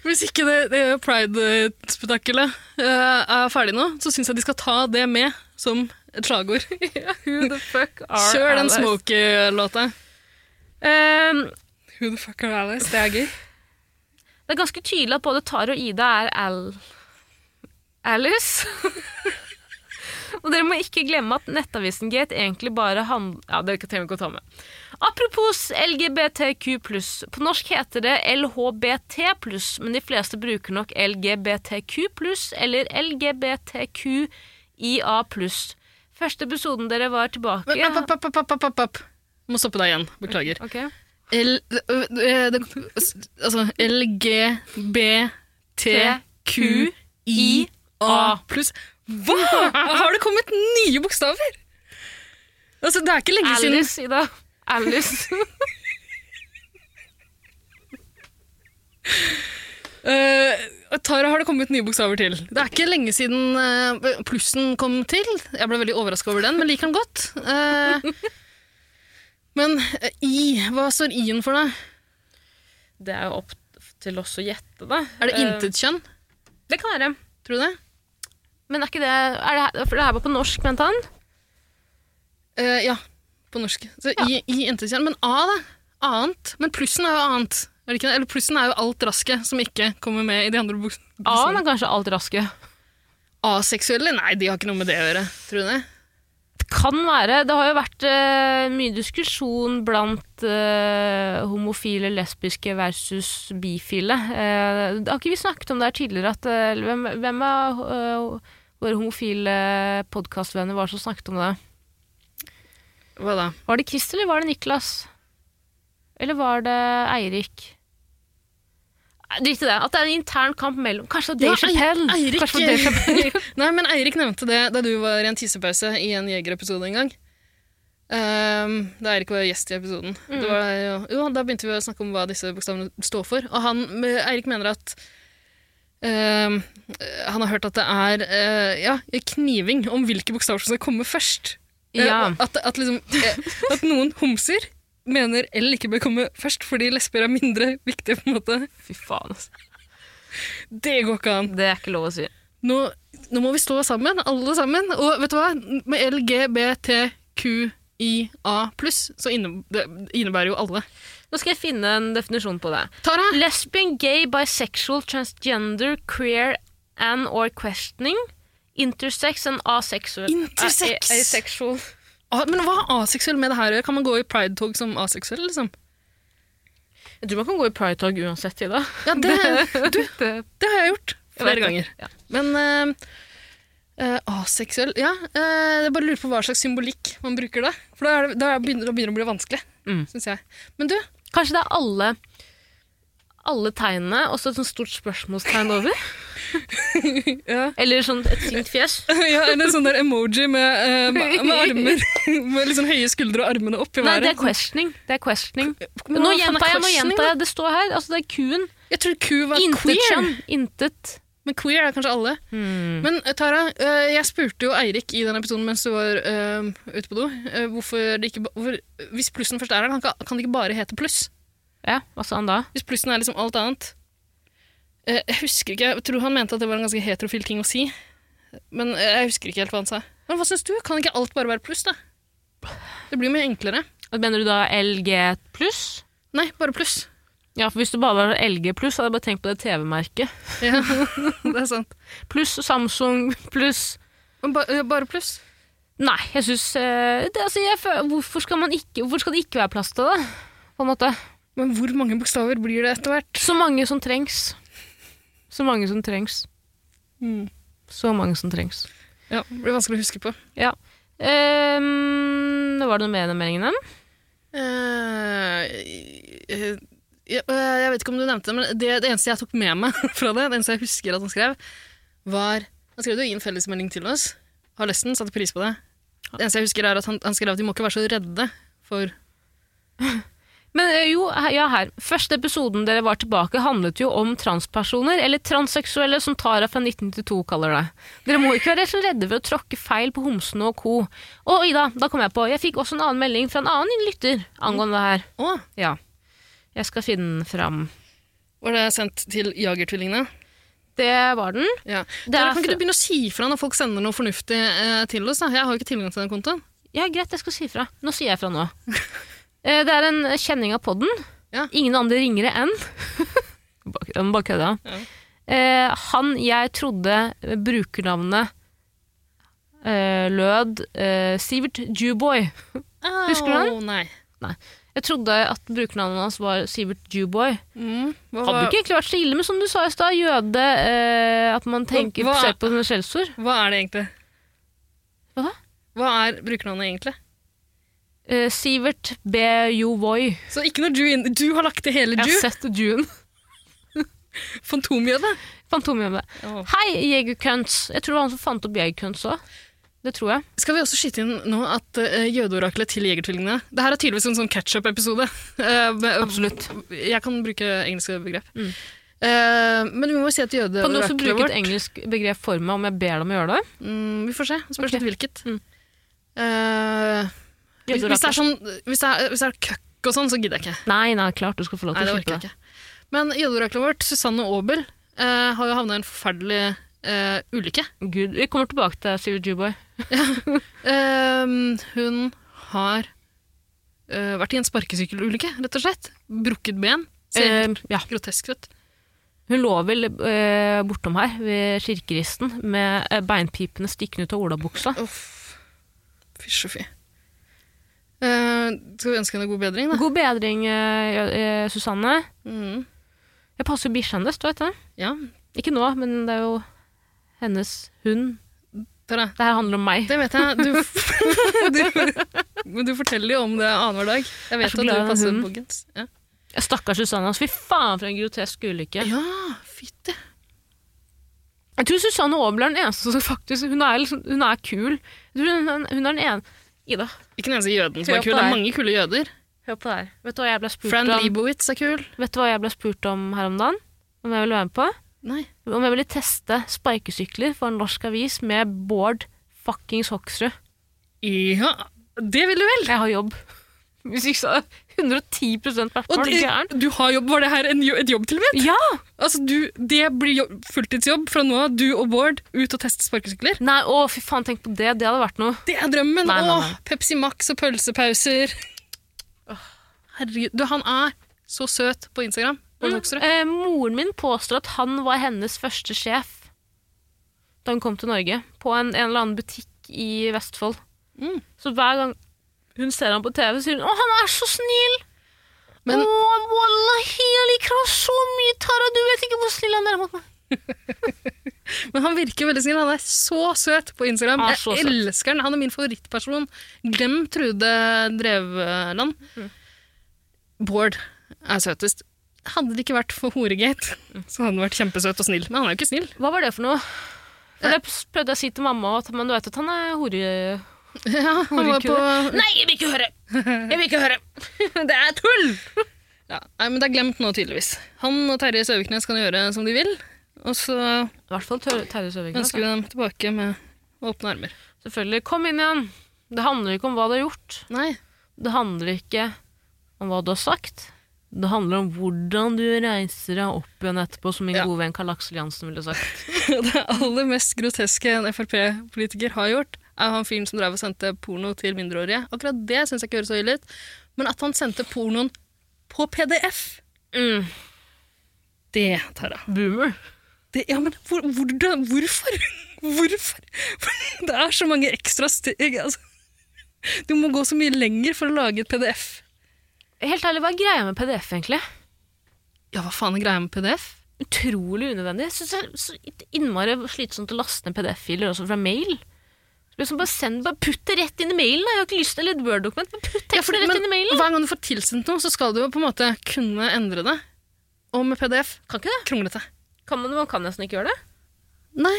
[SPEAKER 3] Hvis ikke det, det pride-spetakkelet eh, er ferdig nå, så syns jeg de skal ta det med som et slagord.
[SPEAKER 2] Who the fuck are
[SPEAKER 3] Kjør den
[SPEAKER 2] allies?
[SPEAKER 3] Smoke-låta.
[SPEAKER 2] Eh,
[SPEAKER 3] Who the fuck are allies? Det er gøy.
[SPEAKER 2] Det er ganske tydelig at både Tara og Ida er Al... Alice. og dere må ikke glemme at Nettavisen Gate egentlig bare handler Ja, det trenger vi ikke å ta med. Apropos LGBTQ På norsk heter det LHBT men de fleste bruker nok LGBTQ eller LGBTQIA Første episoden dere var tilbake
[SPEAKER 3] Men, opp, opp, opp, opp, opp, opp, opp. Må stoppe deg igjen. Beklager.
[SPEAKER 2] Ok.
[SPEAKER 3] L... øh, øh, det- Altså LGBTQIA pluss Hva?! Har det kommet nye bokstaver? Altså, det er ikke lenge siden
[SPEAKER 2] Alice, Ida. Alice.
[SPEAKER 3] Øh, Tara har det kommet nye bokstaver til. Det er ikke lenge siden øh, plussen kom til. Jeg ble veldig overraska over den, men liker den godt. Eh, men eh, I, hva står I-en for, da?
[SPEAKER 2] Det er jo opp til oss å gjette, da. Eh,
[SPEAKER 3] Er det intetkjønn?
[SPEAKER 2] Det kan være.
[SPEAKER 3] Tror du det?
[SPEAKER 2] Men er ikke det, er det her- For det her var på norsk, mente han?
[SPEAKER 3] Eh, ja, på norsk. Så I, i intetkjønn. Men A, da? Annet. Men plussen er jo annet. Er det ikke det? Eller plussen er jo alt raske som ikke kommer med i de andre bok-
[SPEAKER 2] A-en
[SPEAKER 3] bokstavene.
[SPEAKER 2] er kanskje alt raske.
[SPEAKER 3] Aseksuelle? Nei, de har ikke noe med det å gjøre. Tror du det?
[SPEAKER 2] Det kan være. Det har jo vært eh, mye diskusjon blant eh, homofile, lesbiske versus bifile. Eh, det har ikke vi snakket om det her tidligere, at eh, hvem, hvem av eh, våre homofile podkastvenner var det som snakket om det?
[SPEAKER 3] Hva da?
[SPEAKER 2] Var det Chris eller var det Niklas? Eller var det Eirik? Nei, Drit i det. At det er en intern kamp mellom Kanskje det
[SPEAKER 3] Ja,
[SPEAKER 2] var Dave Chappelle.
[SPEAKER 3] Ei- Eirik-
[SPEAKER 2] Kanskje det var Dave Chappelle.
[SPEAKER 3] Nei, men Eirik nevnte det da du var i en tissepause i en Jeger-episode en gang. Ehm, da Eirik var gjest i episoden. Det var, jo, jo, da begynte vi å snakke om hva disse bokstavene står for. Og han, Eirik mener at ehm, han har hørt at det er eh, ja, kniving om hvilke bokstaver som skal komme først. Eh,
[SPEAKER 2] Ja.
[SPEAKER 3] og At, at, liksom, eh, at noen homser mener L ikke bør komme først fordi lesber er mindre viktige. på en måte.
[SPEAKER 2] Fy faen, altså.
[SPEAKER 3] Det går ikke an.
[SPEAKER 2] Det er ikke lov å si.
[SPEAKER 3] nå, nå må vi stå sammen, alle sammen. Og vet du hva? Med LGBTQIA pluss, så inne, det innebærer jo alle.
[SPEAKER 2] Nå skal jeg finne en definisjon på det.
[SPEAKER 3] Tara!
[SPEAKER 2] Lesbian, gay, bisexual, transgender, queer and or questioning. Intersex and asexual.
[SPEAKER 3] Intersex?
[SPEAKER 2] A- a- asexual.
[SPEAKER 3] Ah, men hva har aseksuell med det her å gjøre? Kan man gå i pridetog som aseksuell, liksom?
[SPEAKER 2] Jeg tror man kan gå i pride-tog uansett, Ida.
[SPEAKER 3] Ja, det,
[SPEAKER 2] du, det
[SPEAKER 3] det har jeg gjort flere ganger.
[SPEAKER 2] Ja.
[SPEAKER 3] Men eh, Eh, aseksuell Ja, eh, jeg bare lurer på hva slags symbolikk man bruker da. For da, er det, da begynner det begynner det å bli vanskelig,
[SPEAKER 2] Mm.
[SPEAKER 3] syns jeg. Men du,
[SPEAKER 2] Kanskje det er alle, alle tegnene, og så et sånt stort spørsmålstegn over?
[SPEAKER 3] ja.
[SPEAKER 2] Eller sånn et sint fjes?
[SPEAKER 3] ja, eller en sånn der emoji med, eh, med, med armer Med liksom høye skuldre og armene opp i
[SPEAKER 2] Nei,
[SPEAKER 3] været.
[SPEAKER 2] det er questioning. Det er questioning. sånn-
[SPEAKER 3] Men
[SPEAKER 2] Nå
[SPEAKER 3] hva faen er
[SPEAKER 2] gjentar jeg, nå
[SPEAKER 3] questioning,
[SPEAKER 2] gjentar jeg. Det står her. Altså, det er kuen.
[SPEAKER 3] da? Jeg tror ku var
[SPEAKER 2] Intet
[SPEAKER 3] queer.
[SPEAKER 2] kjønn. Intet.
[SPEAKER 3] Men queer er kanskje alle.
[SPEAKER 2] Hmm.
[SPEAKER 3] Men eh, Tara, eh, jeg spurte jo Eirik i den episoden mens du var eh, ute på do, eh, hvorfor det ikke ba- hvorfor, Hvis plussen først er her, kan, kan det ikke bare hete pluss?
[SPEAKER 2] Ja, hva sa han da?
[SPEAKER 3] Hvis plussen er liksom alt annet. Eh, jeg husker ikke, jeg tror han mente at det var en ganske heterofil ting å si. Men eh, jeg husker ikke helt hva han sa. Men hva syns du? Kan ikke alt bare være pluss, da? Det blir mye enklere.
[SPEAKER 2] Mener du da LG pluss?
[SPEAKER 3] Nei, bare pluss.
[SPEAKER 2] Ja, for hvis det bare var LG pluss, hadde jeg bare tenkt på det TV-merket.
[SPEAKER 3] Ja, det er sant.
[SPEAKER 2] Pluss Samsung pluss
[SPEAKER 3] Men ba, eh, bare pluss.
[SPEAKER 2] Nei, jeg syns altså, jeg føler- hvorfor, skal man ikke- hvorfor skal det ikke være plass til det? På en måte.
[SPEAKER 3] Men hvor mange bokstaver blir det etter hvert?
[SPEAKER 2] Så mange som trengs. Så mange som trengs. Mm. Så mange som trengs.
[SPEAKER 3] Ja, det blir vanskelig å huske på.
[SPEAKER 2] Ja. Ehm, var det noe mer i den meldingen?
[SPEAKER 3] Eh, eh, ja, eh, jeg vet ikke om du nevnte det, men det, det eneste jeg tok med meg fra det, det eneste jeg husker at han skrev, var Han skrev jo i en fellesmelding til oss. Har lest den, satte pris på det. Det eneste jeg husker, er at han, han skrev at de må ikke være så redde for
[SPEAKER 2] Men eh, jo, he- ja her. Første episoden dere var tilbake handlet jo om transpersoner, eller transseksuelle som Tara fra 1992 kaller det. Dere må ikke være så redde ved å tråkke feil på homsene og co. Og Ida, da kom jeg på, jeg fikk også en annen melding fra en annen lytter angående det her.
[SPEAKER 3] Å,
[SPEAKER 2] Ja. Jeg skal finne den fram.
[SPEAKER 3] var det sendt til Jagertvillingene?
[SPEAKER 2] Det var den.
[SPEAKER 3] Ja.
[SPEAKER 2] Det
[SPEAKER 3] Tara,
[SPEAKER 2] er
[SPEAKER 3] kan
[SPEAKER 2] fra-
[SPEAKER 3] ikke du begynne å si ifra når folk sender noe fornuftig eh, til oss? Da? Jeg har jo ikke tilgang til den kontoen.
[SPEAKER 2] Ja, greit, jeg skal si fra. Nå sier jeg fra nå. Eh, Det er en kjenning av podden.
[SPEAKER 3] Ja.
[SPEAKER 2] Ingen andre ringere enn Bak- Han bare kødda.
[SPEAKER 3] Ja.
[SPEAKER 2] Eh, Han jeg trodde brukernavnet eh, lød eh, Sivert Jewboy. Husker du den?
[SPEAKER 3] Å, Nei.
[SPEAKER 2] Jeg trodde at brukernavnet hans var Sivert Jewboy.
[SPEAKER 3] Mm. Hva,
[SPEAKER 2] Hadde
[SPEAKER 3] var-
[SPEAKER 2] ikke egentlig vært så ille, men som du sa i stad, jøde eh, At man tenker
[SPEAKER 3] Hva-
[SPEAKER 2] ser på sånne skjellsord.
[SPEAKER 3] hva er det egentlig?
[SPEAKER 2] Hva da?
[SPEAKER 3] Hva er brukernavnet egentlig?
[SPEAKER 2] Eh, Sivert B. Jewboy.
[SPEAKER 3] Så ikke noe Jew inn. Du har lagt til hele
[SPEAKER 2] Jeg
[SPEAKER 3] Jew.
[SPEAKER 2] har sett Juen.
[SPEAKER 3] Fantomjøde.
[SPEAKER 2] Fantomhjemmet. Hei, jegerkunts! Jeg tror det var han som fant opp jegerkunts òg. Det tror jeg.
[SPEAKER 3] Skal vi også skyte inn nå at eh, jødeoraklet til Jegertvillingene Det her er tydeligvis en sånn catch-up-episode. Eh, men- eh,
[SPEAKER 2] Absolutt.
[SPEAKER 3] jeg kan bruke engelske begrep.
[SPEAKER 2] Mm.
[SPEAKER 3] Eh, men vi må jo si at
[SPEAKER 2] Kan du også
[SPEAKER 3] jødeoraklet
[SPEAKER 2] bruke
[SPEAKER 3] vårt
[SPEAKER 2] et engelsk begrep for meg om jeg ber deg om å gjøre det?
[SPEAKER 3] mm, Vi får se. Spørs
[SPEAKER 2] Ok.
[SPEAKER 3] litt hvilket.
[SPEAKER 2] Mm.
[SPEAKER 3] Eh, hvis, hvis det er sånn Hvis det er, hvis det er køkk og sånn, så gidder jeg ikke.
[SPEAKER 2] Nei, nei, klart du skal få lov til
[SPEAKER 3] Nei, det
[SPEAKER 2] å
[SPEAKER 3] orker
[SPEAKER 2] slippe
[SPEAKER 3] jeg
[SPEAKER 2] det.
[SPEAKER 3] ikke. Men jødeoraklet vårt, Susanne Aabel, eh, har jo havna i en forferdelig eh, ulykke.
[SPEAKER 2] Gud, vi kommer tilbake til Sivert Juboy.
[SPEAKER 3] Ehm, hun har eh, vært i en sparkesykkelulykke, rett og slett. Brukket ben. Ser
[SPEAKER 2] Eh, ja.
[SPEAKER 3] grotesk ut.
[SPEAKER 2] Hun lå vel eh, bortom her, ved kirkeristen, med eh, beinpipene stikkende ut av olabuksa.
[SPEAKER 3] Uff. Fysj og fy. Eh, skal vi ønske henne god bedring, da?
[SPEAKER 2] God bedring, eh, ja, eh, Susanne.
[SPEAKER 3] Mm.
[SPEAKER 2] Jeg passer jo bikkja hennes, du vet det?
[SPEAKER 3] Ja,
[SPEAKER 2] Ikke nå, men det er jo hennes hund.
[SPEAKER 3] Tara.
[SPEAKER 2] Det her handler om meg.
[SPEAKER 3] Det vet jeg. Du, du, men du forteller jo om det annenhver dag. Jeg
[SPEAKER 2] Jeg er
[SPEAKER 3] vet
[SPEAKER 2] så
[SPEAKER 3] at
[SPEAKER 2] glad i den
[SPEAKER 3] du passer
[SPEAKER 2] hunden.
[SPEAKER 3] på Gens. Ja.
[SPEAKER 2] Stakkars Susanne. altså, Fy faen, for en grotesk ulykke.
[SPEAKER 3] ja, fytti.
[SPEAKER 2] Jeg tror Susanne Aabel er den eneste som faktisk Hun er, liksom, hun er kul. Jeg tror hun, hun hun er den ene Ida,
[SPEAKER 3] Ikke den eneste jøden som
[SPEAKER 2] Hør
[SPEAKER 3] er
[SPEAKER 2] på
[SPEAKER 3] kul. Det
[SPEAKER 2] deg.
[SPEAKER 3] er mange kule jøder.
[SPEAKER 2] hør på det her. Vet du hva jeg ble spurt
[SPEAKER 3] Fran
[SPEAKER 2] om
[SPEAKER 3] Lebowitz er kul.
[SPEAKER 2] Vet du hva jeg ble spurt om her om dagen? Om jeg ville være med på?
[SPEAKER 3] Nei.
[SPEAKER 2] Om jeg ville teste sparkesykler for en norsk avis med Bård fuckings Hoksrud.
[SPEAKER 3] Ja, det vil du vel?
[SPEAKER 2] Jeg har jobb. Hvis ikke så 110
[SPEAKER 3] Og
[SPEAKER 2] spørsmål. Er du gæren?
[SPEAKER 3] det, du har jobb, var det her en, jo- et jobbtilbud?
[SPEAKER 2] Ja!
[SPEAKER 3] Altså, du, det blir jo, fulltidsjobb fra nå av. Du og Bård ut og teste sparkesykler.
[SPEAKER 2] Nei, å fy faen, tenk på det. Det hadde vært noe.
[SPEAKER 3] Det er drømmen!
[SPEAKER 2] Nei, nei, nei.
[SPEAKER 3] Åh, Pepsi Max og pølsepauser. Herregud. Du, han er så søt på Instagram. Bård Hoksrud.
[SPEAKER 2] Eh, moren min påstår at han var hennes første sjef da hun kom til Norge, på en, en eller annen butikk i Vestfold.
[SPEAKER 3] Mm.
[SPEAKER 2] Så hver gang hun ser ham på TV, sier hun 'Å, han er så snill!'
[SPEAKER 3] Men-
[SPEAKER 2] Men, 'Å, wallahi, jeg liker han så mye, Tara, du vet ikke hvor snill han er mot meg.'
[SPEAKER 3] Men han virker veldig snill. Han er så søt på Instagram.
[SPEAKER 2] Han er
[SPEAKER 3] Jeg
[SPEAKER 2] så søt.
[SPEAKER 3] elsker han. Han er min favorittperson. Glem Trude Drevland.
[SPEAKER 2] Mm.
[SPEAKER 3] Bård er søtest. Hadde det ikke vært for horegate,
[SPEAKER 2] Mm.
[SPEAKER 3] så hadde han vært kjempesøt og snill. Men han er jo ikke snill.
[SPEAKER 2] Hva var det for noe? For det prøvde jeg å si til mamma, at- men du vet at han er hore...
[SPEAKER 3] Ja, han var på
[SPEAKER 2] Nei, jeg vil ikke høre! Jeg vil ikke høre! Det er tull!
[SPEAKER 3] ja, Nei, men det er glemt nå, tydeligvis. Han og Terje Søviknes kan gjøre som de vil. Og så
[SPEAKER 2] I hvert fall Tør- Terje Søviknes.
[SPEAKER 3] ønsker vi dem tilbake med åpne armer.
[SPEAKER 2] da. Selvfølgelig. Kom inn igjen. Det handler ikke om hva du har gjort.
[SPEAKER 3] Nei.
[SPEAKER 2] Det handler ikke om hva du har sagt. Det handler om hvordan du reiser deg opp igjen etterpå, som min
[SPEAKER 3] Ja.
[SPEAKER 2] gode venn Karl Aksel Jansen ville sagt.
[SPEAKER 3] Det aller mest groteske en Frp-politiker har gjort, er han fyren som drev og sendte porno til mindreårige. Akkurat det syns jeg ikke høres så ille ut. Men at han sendte pornoen på PDF,
[SPEAKER 2] Mm.
[SPEAKER 3] det, Tara
[SPEAKER 2] Boomer.
[SPEAKER 3] det, Ja, men hvor, hvordan- hvorfor? Hvorfor? Det er så mange ekstra steg. Altså. Du må gå så mye lenger for å lage et PDF.
[SPEAKER 2] Helt ærlig, hva er greia med PDF, egentlig?
[SPEAKER 3] Ja, hva faen er greia med PDF?
[SPEAKER 2] Utrolig unødvendig. Jeg synes det er så innmari slitsomt å laste ned PDF-filer også fra mail. Liksom bare, send, bare putt det rett inn i mailen. da. Jeg har ikke lyst til eller et Word-dokument, men putt
[SPEAKER 3] Ja, for-
[SPEAKER 2] teksten rett inn i mailen.
[SPEAKER 3] Hver gang du får tilsendt noe, så skal du jo på en måte kunne endre det. Og med PDF
[SPEAKER 2] Kan ikke det?
[SPEAKER 3] kronglete.
[SPEAKER 2] Kan man, man kan nesten ikke gjøre det.
[SPEAKER 3] Nei.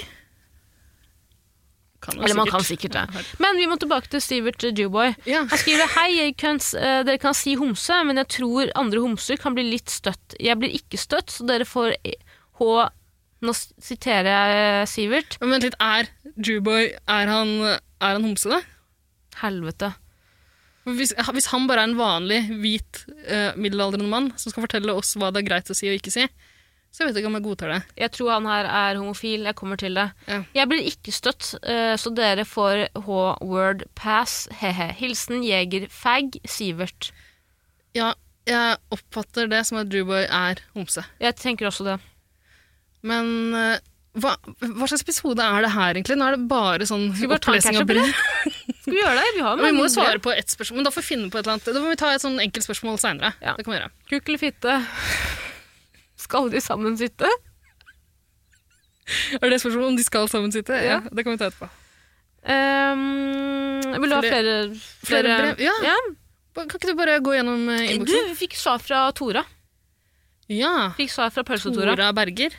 [SPEAKER 3] Kan jo
[SPEAKER 2] Eller man
[SPEAKER 3] sikkert.
[SPEAKER 2] kan sikkert det. Men vi må tilbake til Sivert Jewboy.
[SPEAKER 3] Ja.
[SPEAKER 2] Han skriver Hei, jeg kan, s- eh, dere kan si homse, men jeg tror andre homser kan bli litt støtt. Jeg blir ikke støtt, så dere får e- H Nå s- siterer jeg eh, Sivert.
[SPEAKER 3] Men vent litt, er Jewboy er han, er han homse, da?
[SPEAKER 2] Helvete.
[SPEAKER 3] Hvis, hvis han bare er en vanlig, hvit, eh, middelaldrende mann som skal fortelle oss hva det er greit å si og ikke si, så jeg vet ikke om jeg godtar det.
[SPEAKER 2] Jeg tror han her er homofil. Jeg kommer til det.
[SPEAKER 3] Ja.
[SPEAKER 2] Jeg blir ikke støtt, eh, så dere får H-word pass. He-he. Hilsen jegerfag Sivert.
[SPEAKER 3] Ja, jeg oppfatter det som at Jewboy er homse.
[SPEAKER 2] Jeg tenker også det.
[SPEAKER 3] Men eh, hva, hva slags episode er det her, egentlig? Nå er det bare sånn
[SPEAKER 2] Skal vi bare ta en
[SPEAKER 3] opplesning av
[SPEAKER 2] catch-up, eller?
[SPEAKER 3] brev.
[SPEAKER 2] Skal vi gjøre det? Vi har
[SPEAKER 3] Men Vi må
[SPEAKER 2] mange
[SPEAKER 3] jo svare på ett spørsmål, men da får vi finne på et eller annet. Da må vi ta et sånn enkelt spørsmål seinere.
[SPEAKER 2] Ja.
[SPEAKER 3] Det kan vi gjøre.
[SPEAKER 2] Kukk eller fitte? Skal de sammen sitte?
[SPEAKER 3] Er det spørsmål om de skal sammen sitte? Ja, det kan vi ta etterpå.
[SPEAKER 2] Ehm, vil du ha
[SPEAKER 3] Flere-
[SPEAKER 2] flere,
[SPEAKER 3] flere brev? Ja.
[SPEAKER 2] ja.
[SPEAKER 3] Kan ikke du bare gå gjennom eh,
[SPEAKER 2] Du
[SPEAKER 3] innboksen?
[SPEAKER 2] vi fikk svar fra Tora.
[SPEAKER 3] Ja.
[SPEAKER 2] Fikk svar fra Pølse-Tora.
[SPEAKER 3] Tora Berger.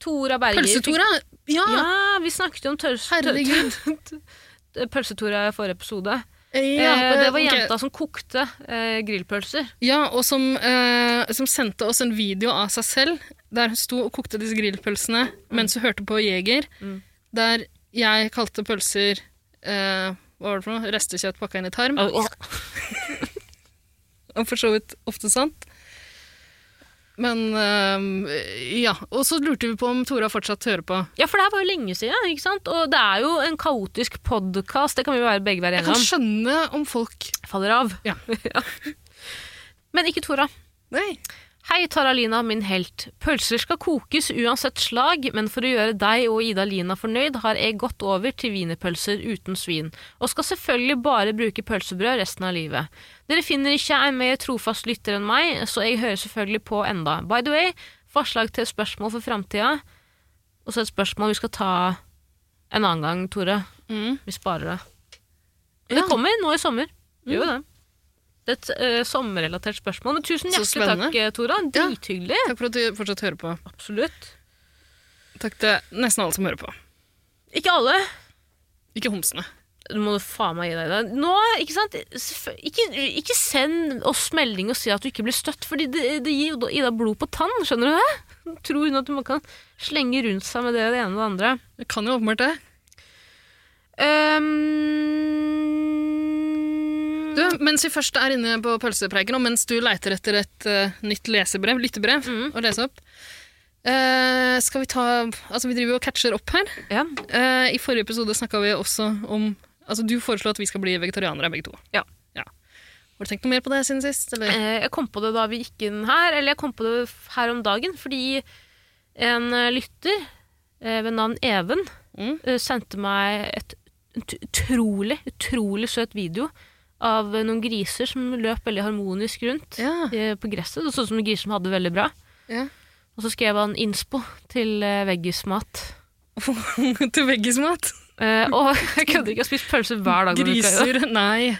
[SPEAKER 2] Tora Berger. fikk-
[SPEAKER 3] Pølse-Tora! Ja,
[SPEAKER 2] Ja, vi snakket jo om tørs-
[SPEAKER 3] Herregud.
[SPEAKER 2] tø- Pølse-Tora i forrige episode.
[SPEAKER 3] Ja,
[SPEAKER 2] eh, det var
[SPEAKER 3] ok.
[SPEAKER 2] jenta som kokte eh, grillpølser.
[SPEAKER 3] Ja, og som, eh, som sendte oss en video av seg selv, der hun sto og kokte disse grillpølsene mens hun hørte på Jeger,
[SPEAKER 2] Mm.
[SPEAKER 3] der jeg kalte pølser eh, Hva var det for noe? Restekjøtt pakka inn i tarm. Og for så vidt ofte sant. Men eh, Ja. Og så lurte vi på om Tora fortsatt hører på.
[SPEAKER 2] Ja, for det her var jo lenge siden, ikke sant? Og det er jo en kaotisk podkast, det kan vi jo være begge være
[SPEAKER 3] Jeg
[SPEAKER 2] enige
[SPEAKER 3] kan
[SPEAKER 2] om.
[SPEAKER 3] skjønne om folk
[SPEAKER 2] Faller av.
[SPEAKER 3] Ja.
[SPEAKER 2] Ja. Men ikke Tora.
[SPEAKER 3] Nei.
[SPEAKER 2] Hei, Taralina, min helt. Pølser skal kokes uansett slag, men for å gjøre deg og Ida-Lina fornøyd, har jeg gått over til wienerpølser uten svin, og skal selvfølgelig bare bruke pølsebrød resten av livet. Dere finner ikke en mer trofast lytter enn meg, så jeg hører selvfølgelig på enda. By the way, forslag til spørsmål for framtida, og så et spørsmål vi skal ta en annen gang, Tore.
[SPEAKER 3] Mm.
[SPEAKER 2] Vi sparer det.
[SPEAKER 3] Ja. Mm.
[SPEAKER 2] Det kommer nå i sommer. Gjør jo det. Det er et eh, sommerrelatert spørsmål. Men tusen
[SPEAKER 3] Så
[SPEAKER 2] hjertelig
[SPEAKER 3] spennende.
[SPEAKER 2] takk, eh, Tora.
[SPEAKER 3] Ja.
[SPEAKER 2] Drithyggelig.
[SPEAKER 3] Takk for at du fortsatt hører på.
[SPEAKER 2] Absolutt.
[SPEAKER 3] Takk til nesten alle som hører på.
[SPEAKER 2] Ikke alle.
[SPEAKER 3] Ikke homsene.
[SPEAKER 2] Du må faen meg gi deg det. Nå, ikke sant? Selvfø- Ikke, ikke send oss melding og si at du ikke blir støtt, fordi det, det gir jo da- Ida blod på tann, skjønner du det? Tror hun at man kan slenge rundt seg med det og det ene og det andre.
[SPEAKER 3] Jeg kan jo åpenbart det.
[SPEAKER 2] Ehm,
[SPEAKER 3] Du, mens vi først er inne på pølsepreiken, og mens du leiter etter et eh, nytt lesebrev, lyttebrev,
[SPEAKER 2] Mm.
[SPEAKER 3] å lese opp eh, Skal vi ta Altså, vi driver jo og catcher opp her.
[SPEAKER 2] Ja.
[SPEAKER 3] Eh, I forrige episode snakka vi også om Altså, du foreslo at vi skal bli vegetarianere, begge to.
[SPEAKER 2] Ja.
[SPEAKER 3] Har du tenkt noe mer på det siden sist, eller?
[SPEAKER 2] Eh, Jeg kom på det da vi gikk inn her, eller jeg kom på det f- her om dagen, fordi en eh, lytter eh, ved navn Even
[SPEAKER 3] Mm.
[SPEAKER 2] eh, sendte meg et ut- utrolig, utrolig søt video av eh, noen griser som løp veldig harmonisk rundt
[SPEAKER 3] Ja.
[SPEAKER 2] eh, på gresset. Det så ut som griser som hadde det veldig bra.
[SPEAKER 3] ja.
[SPEAKER 2] Og så skrev han innspo til eh, veggismat.
[SPEAKER 3] til veggismat.
[SPEAKER 2] Eh, og jeg kødder ikke, jeg har spist pølse hver dag. denne uka.
[SPEAKER 3] Griser Nei.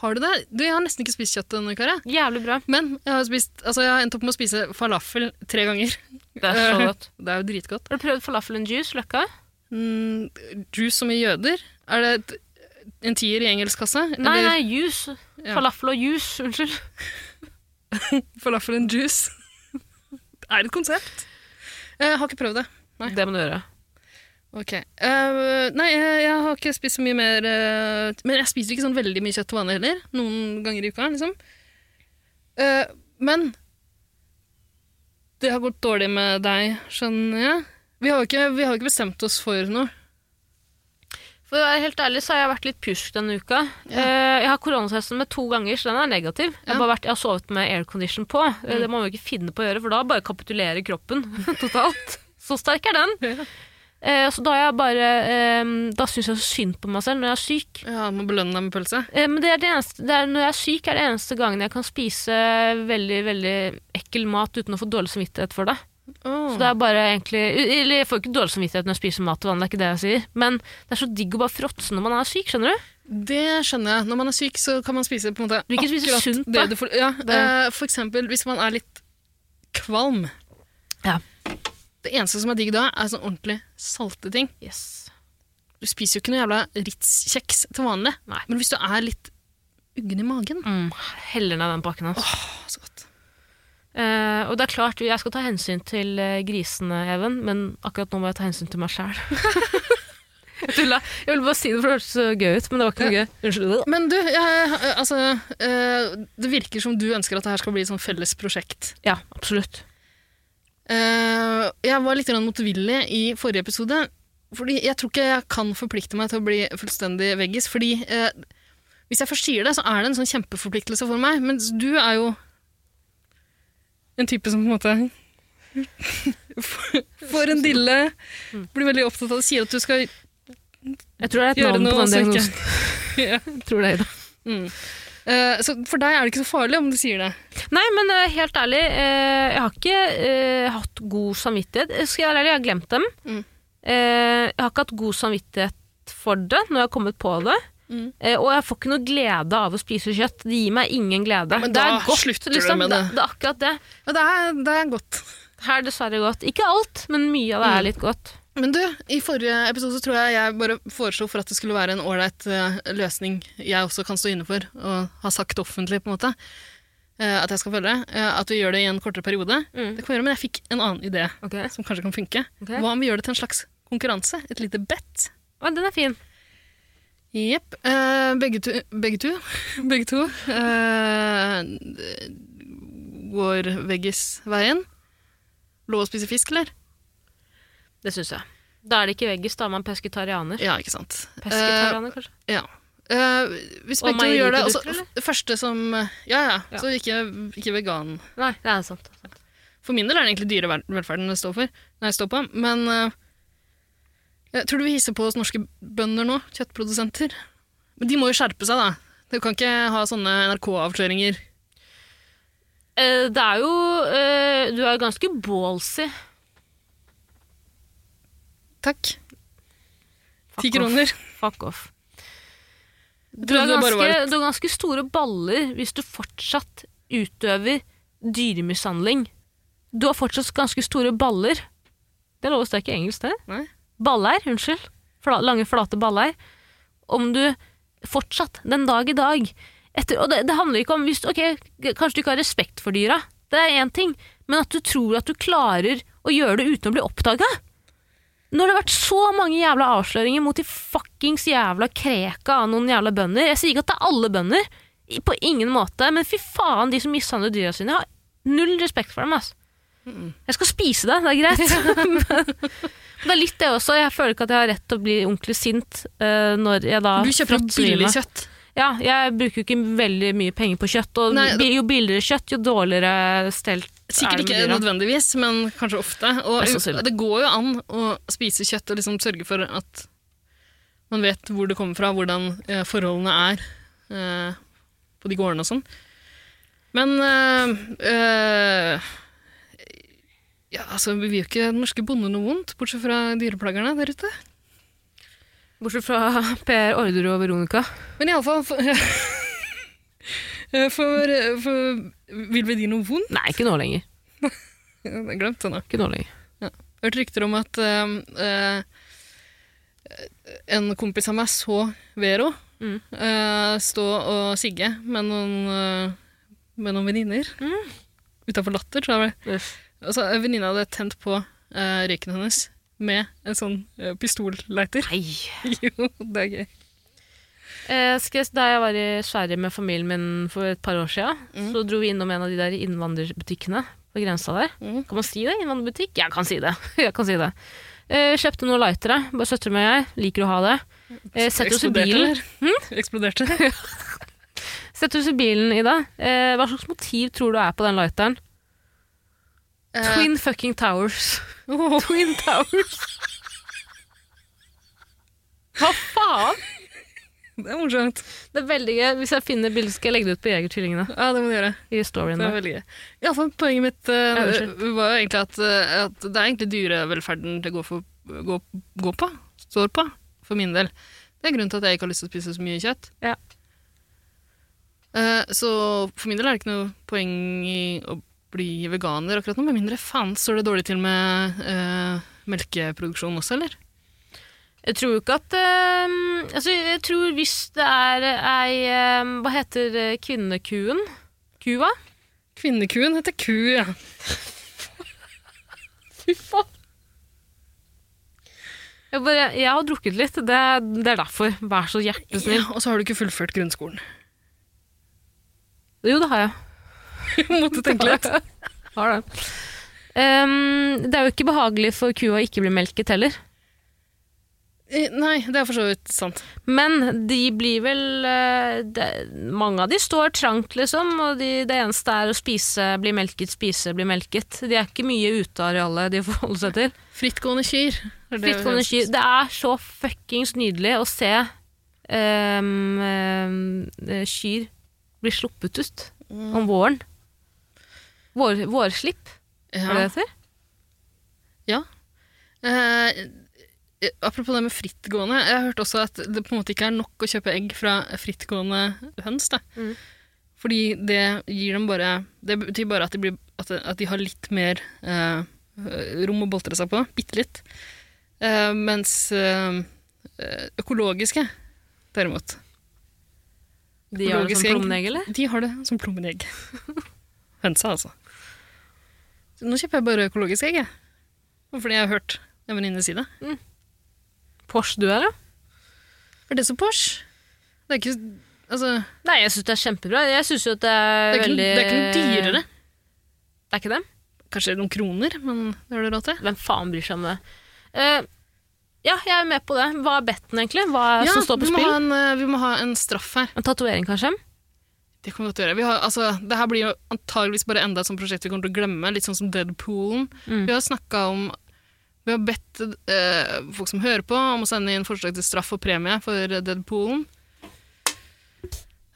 [SPEAKER 3] Har du det? Du, jeg har nesten ikke spist kjøtt denne uka. jeg.
[SPEAKER 2] Jævlig bra.
[SPEAKER 3] Men jeg har, spist, altså jeg har endt opp med å spise falafel tre ganger.
[SPEAKER 2] Det er så godt.
[SPEAKER 3] Det er jo dritgodt.
[SPEAKER 2] Har du prøvd falafel and juice, Løkka?
[SPEAKER 3] Mm, juice som i jøder? Er det et, en tier i engelskkasse?
[SPEAKER 2] Nei, nei, juice.
[SPEAKER 3] Ja.
[SPEAKER 2] Falafel og juice, unnskyld.
[SPEAKER 3] Falafel and juice. det er et konsept. Eh, Jeg har ikke prøvd det. Nei.
[SPEAKER 2] Det må du gjøre.
[SPEAKER 3] Ok. Eh, nei, jeg, jeg har ikke spist så mye mer eh, Men jeg spiser ikke sånn veldig mye kjøtt til vanlig heller. Noen ganger i uka, liksom. Eh, men det har gått dårlig med deg, skjønner jeg. Vi har jo ikke, vi har jo ikke bestemt oss for noe.
[SPEAKER 2] For å være helt ærlig så har jeg vært litt pjusk denne uka. Eh, Jeg har koronatesten med to ganger, så den er negativ. Jeg, har
[SPEAKER 3] Ja.
[SPEAKER 2] bare vært, jeg har sovet med aircondition på. Eh, Det må man jo ikke finne på å gjøre, for da bare kapitulerer kroppen totalt. Så sterk er den. Eh, Så da har jeg bare eh, Da syns jeg så synd på meg selv når jeg er syk.
[SPEAKER 3] Ja, Må belønne deg med pølse.
[SPEAKER 2] Eh, Men det er det eneste, det er, når jeg er syk, er det eneste gangen jeg kan spise veldig veldig ekkel mat uten å få dårlig samvittighet for det. Så det er bare egentlig Eller jeg får ikke dårlig samvittighet når jeg spiser mat til vanlig, det er ikke det jeg sier. Men det er så digg å bare fråtse når man er syk, skjønner du?
[SPEAKER 3] Det skjønner jeg. Når man er syk, så kan man spise på en måte
[SPEAKER 2] Du kan spise
[SPEAKER 3] akkurat
[SPEAKER 2] sunt, da.
[SPEAKER 3] det du får. Ja, eh, for eksempel hvis man er litt kvalm.
[SPEAKER 2] Ja.
[SPEAKER 3] Det eneste som er digg da, er sånn ordentlig salte ting.
[SPEAKER 2] Yes.
[SPEAKER 3] Du spiser jo ikke noe jævla Ritz-kjeks til vanlig.
[SPEAKER 2] Nei.
[SPEAKER 3] Men hvis du er litt uggen i magen
[SPEAKER 2] Mm, heller ned den pakken hans.
[SPEAKER 3] Å, så godt.
[SPEAKER 2] Eh, og det er klart, jeg skal ta hensyn til eh, grisene, Even, men akkurat nå må jeg ta hensyn til meg sjæl. jeg tulla. Jeg ville bare si det, for det hørtes så gøy ut, men det var ikke noe gøy. Unnskyld.
[SPEAKER 3] Men du, jeg, altså, eh, det virker som du ønsker at det her skal bli et sånn felles prosjekt.
[SPEAKER 2] Ja, absolutt.
[SPEAKER 3] Eh, jeg var litt grann motvillig i forrige episode, fordi jeg tror ikke jeg kan forplikte meg til å bli fullstendig veggis, fordi eh, hvis jeg først sier det, så er det en sånn kjempeforpliktelse for meg, mens du er jo en type som på en måte får en dille, blir veldig opptatt av det, sier at du skal
[SPEAKER 2] Jeg tror det er et
[SPEAKER 3] Gjøre
[SPEAKER 2] navn
[SPEAKER 3] noe
[SPEAKER 2] på den
[SPEAKER 3] som ikke-
[SPEAKER 2] diagnosen.
[SPEAKER 3] Ja.
[SPEAKER 2] Tror det, Ida.
[SPEAKER 3] Mm. Eh, så for deg er det ikke så farlig om du sier det.
[SPEAKER 2] Nei, men eh, helt ærlig, eh, jeg har ikke eh, hatt god samvittighet. Eh, Skal jeg være ærlig, jeg har glemt dem.
[SPEAKER 3] Mm.
[SPEAKER 2] Eh, jeg har ikke hatt god samvittighet for det når jeg har kommet på det.
[SPEAKER 3] Mm.
[SPEAKER 2] Eh, og jeg får ikke noe glede av å spise kjøtt. Det gir meg ingen glede.
[SPEAKER 3] Men
[SPEAKER 2] det
[SPEAKER 3] da
[SPEAKER 2] er godt,
[SPEAKER 3] slutter du
[SPEAKER 2] liksom.
[SPEAKER 3] med det.
[SPEAKER 2] Det er akkurat det.
[SPEAKER 3] Ja, det er, det er godt.
[SPEAKER 2] Her er dessverre godt. Ikke alt, men mye av det
[SPEAKER 3] Mm.
[SPEAKER 2] er litt godt.
[SPEAKER 3] Men du, i forrige episode så tror jeg jeg bare foreslo for at det skulle være en ålreit eh, løsning jeg også kan stå inne for, og har sagt offentlig, på en måte, eh, at jeg skal følge. eh, At vi gjør det i en kortere periode.
[SPEAKER 2] Mm.
[SPEAKER 3] Det kan vi gjøre, Men jeg fikk en annen idé
[SPEAKER 2] Ok.
[SPEAKER 3] som kanskje kan funke.
[SPEAKER 2] Ok.
[SPEAKER 3] Hva om vi gjør det til en slags konkurranse? Et lite bet?
[SPEAKER 2] Å, den er fin.
[SPEAKER 3] Jepp. Eh, begge to, begge to, begge to eh, går veggisveien. Lov å spise fisk, eller?
[SPEAKER 2] Det syns jeg. Da er det ikke veggis, da er man pesketarianer.
[SPEAKER 3] Ja, ikke sant.
[SPEAKER 2] Pesketarianer, kanskje.
[SPEAKER 3] Eh, ja. Eh, hvis
[SPEAKER 2] Og
[SPEAKER 3] begge to gjør det altså,
[SPEAKER 2] meieriprodukter, eller?
[SPEAKER 3] f- Første som Ja, ja.
[SPEAKER 2] Ja.
[SPEAKER 3] Så ikke, ikke vegan.
[SPEAKER 2] Nei, det er sant.
[SPEAKER 3] For min del er det egentlig dyrevelferden det står, for, nei, står på. Men eh, jeg tror du vi hisser på oss norske bønder nå? Kjøttprodusenter. Men de må jo skjerpe seg, da. Du kan ikke ha sånne NRK-avsløringer.
[SPEAKER 2] Eh, det er jo eh, Du er ganske ballsy.
[SPEAKER 3] Takk.
[SPEAKER 2] Fuck
[SPEAKER 3] Ti
[SPEAKER 2] off.
[SPEAKER 3] kroner.
[SPEAKER 2] Fuck off. Du
[SPEAKER 3] trodde
[SPEAKER 2] har,
[SPEAKER 3] det bare
[SPEAKER 2] ganske,
[SPEAKER 3] var
[SPEAKER 2] du har ganske store baller hvis du fortsatt utøver dyremishandling. Du har fortsatt ganske store baller. Det er lov å snakke engelsk, det.
[SPEAKER 3] Nei.
[SPEAKER 2] Baller, unnskyld. Fla, lange, flate baller. Om du fortsatt, den dag i dag etter, Og det, det handler ikke om hvis, Ok, kanskje du ikke har respekt for dyra. Det er én ting. Men at du tror at du klarer å gjøre det uten å bli oppdaga. Når det har vært så mange jævla avsløringer mot de fuckings jævla kreka av noen jævla bønder Jeg sier ikke at det er alle bønder, i- på ingen måte, men fy faen, de som mishandler dyra sine. Jeg har null respekt for dem, ass. Jeg skal spise det, det er greit. Men det er litt det også. Jeg føler ikke at jeg har rett til å bli ordentlig sint eh, når jeg da
[SPEAKER 3] Du kjøper opp
[SPEAKER 2] fråtser i
[SPEAKER 3] billig
[SPEAKER 2] meg.
[SPEAKER 3] kjøtt.
[SPEAKER 2] Ja, jeg bruker jo ikke veldig mye penger på kjøtt, og
[SPEAKER 3] Nei,
[SPEAKER 2] bi- jo billigere kjøtt, jo dårligere stelt
[SPEAKER 3] Sikkert
[SPEAKER 2] er det
[SPEAKER 3] ikke
[SPEAKER 2] med dyra.
[SPEAKER 3] nødvendigvis, men kanskje ofte.
[SPEAKER 2] Mest
[SPEAKER 3] Og
[SPEAKER 2] sannsynlig.
[SPEAKER 3] det går jo an å spise kjøtt og liksom sørge for at man vet hvor det kommer fra, hvordan eh, forholdene er eh, på de gårdene og sånn. Men eh, eh, Ja, altså, Vi vil jo ikke den norske bonden noe vondt, bortsett fra dyreplagerne der ute.
[SPEAKER 2] Bortsett fra Per Orderud og Veronica.
[SPEAKER 3] Men iallfall for, eh, for, for Vil vi de noe vondt?
[SPEAKER 2] Nei, ikke nå lenger.
[SPEAKER 3] Jeg glemte det nå.
[SPEAKER 2] Ikke nå lenger.
[SPEAKER 3] Jeg har hørt rykter om at eh, eh, en kompis av meg så Vero
[SPEAKER 2] Mm.
[SPEAKER 3] eh, stå og sigge med noen, uh, noen venninner
[SPEAKER 2] Mm.
[SPEAKER 3] utenfor Latter. Tror jeg. det var.
[SPEAKER 2] Uff.
[SPEAKER 3] Altså, en venninne hadde tent på eh, røyken hennes med en sånn eh, pistolleiter.
[SPEAKER 2] Nei.
[SPEAKER 3] jo, det er gøy.
[SPEAKER 2] Eh, skal jeg, da jeg var i Sverige med familien min for et par år siden,
[SPEAKER 3] Mm.
[SPEAKER 2] så dro vi innom en av de der innvandrerbutikkene på grensa der.
[SPEAKER 3] Mm.
[SPEAKER 2] Kan man si det? Innvandrerbutikk? Jeg kan si det. jeg kan si det. Eh, kjøpte noen lightere. Bare søster med jeg. Liker å ha det. Eh, setter oss i
[SPEAKER 3] Eksploderte,
[SPEAKER 2] bilen.
[SPEAKER 3] Mm.
[SPEAKER 2] Mm.
[SPEAKER 3] eller? Eksploderte.
[SPEAKER 2] Setter oss i bilen, Ida. Eh, hva slags motiv tror du er på den lighteren?
[SPEAKER 3] Eh,
[SPEAKER 2] Twin fucking towers.
[SPEAKER 3] åh,
[SPEAKER 2] Twin towers. Hva faen?
[SPEAKER 3] det er morsomt.
[SPEAKER 2] Det er veldig gøy. Hvis jeg finner bildet, skal jeg legge det ut på Jegertvillingene.
[SPEAKER 3] Ja, det må du gjøre.
[SPEAKER 2] I storyen
[SPEAKER 3] Det er
[SPEAKER 2] der.
[SPEAKER 3] veldig gøy. I alle fall, poenget mitt eh,
[SPEAKER 2] Ja, unnskyld.
[SPEAKER 3] var jo egentlig at, eh, at det er egentlig dyrevelferden det går, for, går, går på, står på, for min del. Det er grunnen til at jeg ikke har lyst til å spise så mye kjøtt.
[SPEAKER 2] Ja.
[SPEAKER 3] Eh, så for min del er det ikke noe poeng i å bli veganer akkurat nå, med mindre faen står det dårlig til med eh, melkeproduksjon også, eller?
[SPEAKER 2] Jeg tror jo ikke at ehm, Altså, jeg tror hvis det er ei ehm, Hva heter eh, kvinnekuen? Kua?
[SPEAKER 3] Kvinnekuen heter ku, ja.
[SPEAKER 2] Fy faen! Jeg, bare, jeg har drukket litt. Det, det er derfor. Vær så hjertelig snill.
[SPEAKER 3] Og så har du ikke fullført grunnskolen.
[SPEAKER 2] Jo, det har jeg.
[SPEAKER 3] Måtte tenke litt.
[SPEAKER 2] Har det. Ehm, det er jo ikke behagelig for kua å ikke bli melket heller.
[SPEAKER 3] Eh, Nei, det er for så vidt sant.
[SPEAKER 2] Men de blir vel eh, det- Mange av de står trangt, liksom, og de, det eneste er å spise, bli melket, spise, bli melket. De er ikke mye ute av arealet de forholder seg til.
[SPEAKER 3] Frittgående kyr. er det vi
[SPEAKER 2] Frittgående
[SPEAKER 3] hører.
[SPEAKER 2] kyr. Det er så fuckings nydelig å se ehm, ehm, eh, kyr bli sluppet ut
[SPEAKER 3] Mm.
[SPEAKER 2] om våren. Vår, vårslipp, er det
[SPEAKER 3] Ja.
[SPEAKER 2] det heter?
[SPEAKER 3] Eh, eh, apropos det med frittgående. Jeg har hørt også at det på en måte ikke er nok å kjøpe egg fra frittgående høns. Da.
[SPEAKER 2] Mm.
[SPEAKER 3] Fordi det gir dem bare Det betyr bare at de, blir, at, at de har litt mer eh, rom å boltre seg på. Bitte litt. Eh, mens eh, eh, økologiske, derimot,
[SPEAKER 2] De har det
[SPEAKER 3] Økologisk
[SPEAKER 2] som
[SPEAKER 3] egg.
[SPEAKER 2] plommeegg, eller?
[SPEAKER 3] de har det som plommenegg. Hønsa, altså. Så Nå kjøper jeg bare økologiske egg, jeg. Fordi jeg har hørt en venninne si det.
[SPEAKER 2] Porsche du er, ja?
[SPEAKER 3] Er det så Porsche? Det er ikke Altså, det
[SPEAKER 2] Nei, jeg syns det er kjempebra. Jeg synes jo at det er,
[SPEAKER 3] er ikke,
[SPEAKER 2] veldig
[SPEAKER 3] det er ikke noe dyrere.
[SPEAKER 2] Det er ikke det?
[SPEAKER 3] Kanskje noen kroner, men det har du råd til.
[SPEAKER 2] Hvem faen bryr seg om det? Eh, ja, jeg er med på det. Hva er betten, egentlig? Hva er, som står på
[SPEAKER 3] vi, må
[SPEAKER 2] spill?
[SPEAKER 3] ha en, eh, vi må ha en straff her.
[SPEAKER 2] En tatovering, kanskje?
[SPEAKER 3] Det kan vi godt gjøre. Vi har, altså, det her blir jo antageligvis bare enda et sånt prosjekt vi kommer til å glemme, litt sånn som Deadpoolen.
[SPEAKER 2] Mm.
[SPEAKER 3] Vi har snakka om Vi har bedt eh, folk som hører på, om å sende inn forslag til straff og premie for Deadpoolen.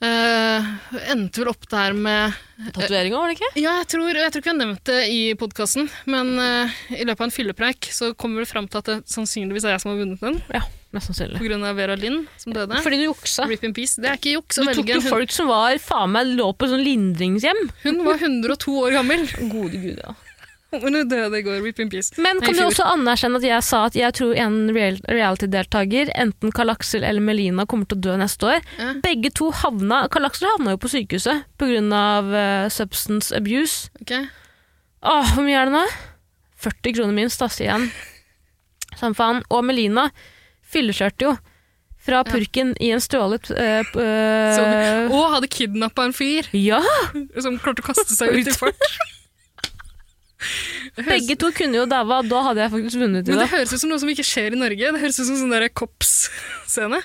[SPEAKER 3] Eh, endte vel opp der med
[SPEAKER 2] Tatoveringa, var det ikke?
[SPEAKER 3] Ja, jeg tror, jeg tror ikke vi har nevnt det i podkasten, men eh, i løpet av en fyllepreik så kommer vi fram til at det sannsynligvis er jeg som har vunnet den,
[SPEAKER 2] Ja, mest sannsynlig.
[SPEAKER 3] pga. Vera Lind, som døde.
[SPEAKER 2] Fordi du juksa.
[SPEAKER 3] Rip in peace. Det er ikke juks
[SPEAKER 2] Du
[SPEAKER 3] å
[SPEAKER 2] tok
[SPEAKER 3] velge.
[SPEAKER 2] jo
[SPEAKER 3] en hund.
[SPEAKER 2] folk som var faen meg lå på sånn lindringshjem.
[SPEAKER 3] Hun var 102 år gammel,
[SPEAKER 2] Gode gud, ja.
[SPEAKER 3] men hun døde i går. Rip in peace.
[SPEAKER 2] Men
[SPEAKER 3] Nei,
[SPEAKER 2] kan
[SPEAKER 3] i
[SPEAKER 2] du
[SPEAKER 3] fjor.
[SPEAKER 2] også anerkjenne at jeg sa at jeg tror en real reality-deltaker, enten Karl Aksel eller Melina, kommer til å dø neste år?
[SPEAKER 3] Ja.
[SPEAKER 2] Begge to havna Karl Aksel havna jo på sykehuset pga. Uh, substance abuse.
[SPEAKER 3] Ok.
[SPEAKER 2] Åh, hvor mye er det nå? 40 kroner minst, da, sier han. Som faen. Og Melina fyllekjørte jo fra purken i en stjålet eh, p- eh,
[SPEAKER 3] Som- Og hadde kidnappa en fyr
[SPEAKER 2] Ja!
[SPEAKER 3] som klarte å kaste seg ut i fart. Det høres-
[SPEAKER 2] Begge to kunne jo daua, da hadde jeg faktisk vunnet i
[SPEAKER 3] Men
[SPEAKER 2] det.
[SPEAKER 3] det høres ut som noe som ikke skjer i Norge. Det høres ut som sånn der kops-scene.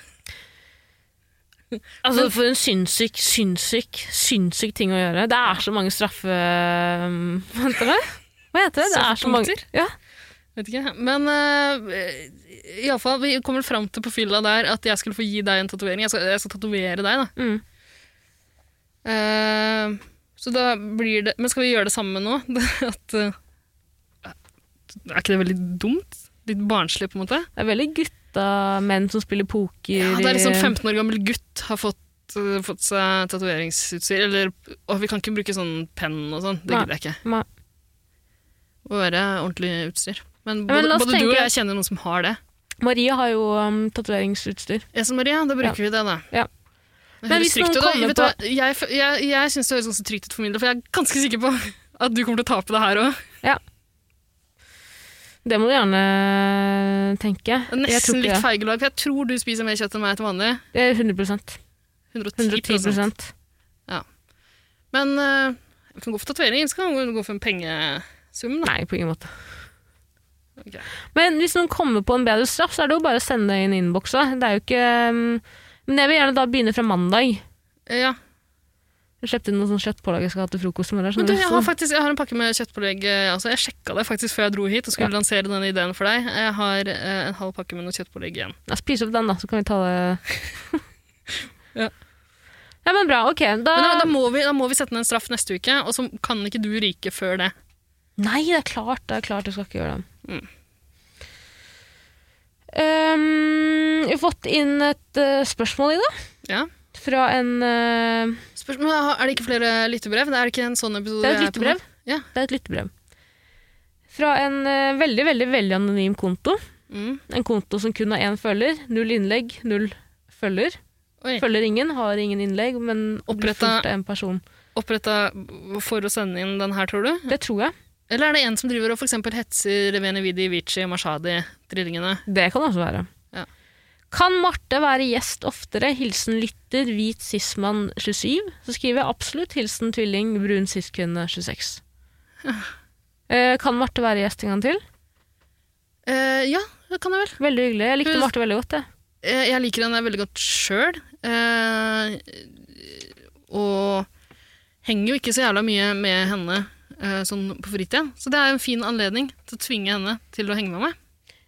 [SPEAKER 2] Altså, For en sinnssyk, sinnssyk, sinnssyk ting å gjøre. Det er så mange straffe... um, Hva heter det? Hva heter det? det er så mange...
[SPEAKER 3] Straffepunkter?
[SPEAKER 2] Ja.
[SPEAKER 3] Vet ikke. Men uh, iallfall, vi kommer fram til på fylla der at jeg skulle få gi deg en tatovering. Jeg skal, jeg skal tatovere deg, da.
[SPEAKER 2] Mm.
[SPEAKER 3] Eh, så da blir det Men skal vi gjøre det samme nå? At eh, Er ikke det veldig dumt? Litt barnslig, på en måte.
[SPEAKER 2] Det er veldig gutta menn som spiller poker.
[SPEAKER 3] Ja, det er liksom 15 år gammel gutt har fått, øh, fått seg tatoveringsutstyr. Eller å, vi kan ikke bruke sånn penn og sånn. Det
[SPEAKER 2] Nei.
[SPEAKER 3] gidder jeg ikke.
[SPEAKER 2] Nei.
[SPEAKER 3] Må være ordentlig utstyr. Men
[SPEAKER 2] Ja,
[SPEAKER 3] både,
[SPEAKER 2] men la oss
[SPEAKER 3] både du og
[SPEAKER 2] tenke-
[SPEAKER 3] jeg kjenner noen som har det.
[SPEAKER 2] Maria har jo um, tatoveringsutstyr.
[SPEAKER 3] Esen Maria, da bruker vi det, da.
[SPEAKER 2] Ja.
[SPEAKER 3] Det
[SPEAKER 2] Men
[SPEAKER 3] høres
[SPEAKER 2] hvis
[SPEAKER 3] trygt
[SPEAKER 2] noen
[SPEAKER 3] ut, da.
[SPEAKER 2] kommer
[SPEAKER 3] Vet du hva? Jeg, f- jeg, jeg syns det høres ganske trygt ut for min del, for jeg er ganske sikker på at du kommer til å tape det her òg.
[SPEAKER 2] Det må du gjerne tenke. Jeg tror
[SPEAKER 3] Nesten
[SPEAKER 2] ikke
[SPEAKER 3] litt
[SPEAKER 2] det.
[SPEAKER 3] feigelag. for Jeg tror du spiser mer kjøtt enn meg til vanlig.
[SPEAKER 2] Det er 100
[SPEAKER 3] 110
[SPEAKER 2] 110
[SPEAKER 3] Men eh, jeg kan gå for tatovering, så kan jeg gå for en pengesum. Da.
[SPEAKER 2] Nei, på ingen måte.
[SPEAKER 3] Ok.
[SPEAKER 2] Men hvis noen kommer på en bedre straff, så er det jo bare å sende det i en innboks. da. Det er jo ikke um, Men jeg vil gjerne da begynne fra mandag.
[SPEAKER 3] Eh, Ja.
[SPEAKER 2] Jeg kjøpte inn noe sånn kjøttpålegg jeg skal ha til frokost i morgen.
[SPEAKER 3] Men
[SPEAKER 2] så
[SPEAKER 3] du,
[SPEAKER 2] det
[SPEAKER 3] jeg
[SPEAKER 2] står-
[SPEAKER 3] har faktisk jeg har en pakke med kjøttpålegg. eh, Altså, jeg sjekka det faktisk før jeg dro hit og skulle lansere denne ideen for deg. Jeg har eh, en halv pakke med noe kjøttpålegg igjen.
[SPEAKER 2] Ja, spis opp den, da, så kan vi ta det
[SPEAKER 3] Ja.
[SPEAKER 2] Ja, men bra. Ok, da,
[SPEAKER 3] Men da, da, må vi, da må vi sette ned en straff neste uke, og så kan ikke du ryke før det.
[SPEAKER 2] Nei, det er klart. Det er klart jeg skal ikke gjøre det.
[SPEAKER 3] Mm.
[SPEAKER 2] Ehm, vi har fått inn et eh, spørsmål i det,
[SPEAKER 3] Ja.
[SPEAKER 2] fra en eh,
[SPEAKER 3] Spørsmål, er det ikke flere lyttebrev? Det er ikke en sånn episode
[SPEAKER 2] Det er et
[SPEAKER 3] jeg på nå.
[SPEAKER 2] lyttebrev.
[SPEAKER 3] Ja.
[SPEAKER 2] Det er et lyttebrev. Fra en eh, veldig, veldig, veldig anonym konto.
[SPEAKER 3] Mm.
[SPEAKER 2] En konto som kun har én følger. Null innlegg, null følger.
[SPEAKER 3] Oi.
[SPEAKER 2] Følger ingen, har ingen innlegg, men blir
[SPEAKER 3] Oppretta-
[SPEAKER 2] fulgt av en person.
[SPEAKER 3] Oppretta for å sende inn den her, tror du?
[SPEAKER 2] Det tror jeg.
[SPEAKER 3] Eller er det en som driver og for eksempel hetser Venevidi, Vici, Mashadi-drillingene?
[SPEAKER 2] Det kan det også være.
[SPEAKER 3] Ja.
[SPEAKER 2] Kan Marte være gjest oftere? Hilsen lytter, hvit sismann 27. Så skriver jeg absolutt hilsen tvilling, brun siskvinne 26. Eh, kan Marte være gjest en gang til?
[SPEAKER 3] Eh, ja, det kan jeg vel.
[SPEAKER 2] Veldig hyggelig. Jeg likte
[SPEAKER 3] Hun-
[SPEAKER 2] Marte veldig godt. Jeg.
[SPEAKER 3] Eh, jeg liker henne veldig godt sjøl. og henger jo ikke så jævla mye med henne eh, sånn på fritiden. Så det er en fin anledning til å tvinge henne til å henge med meg.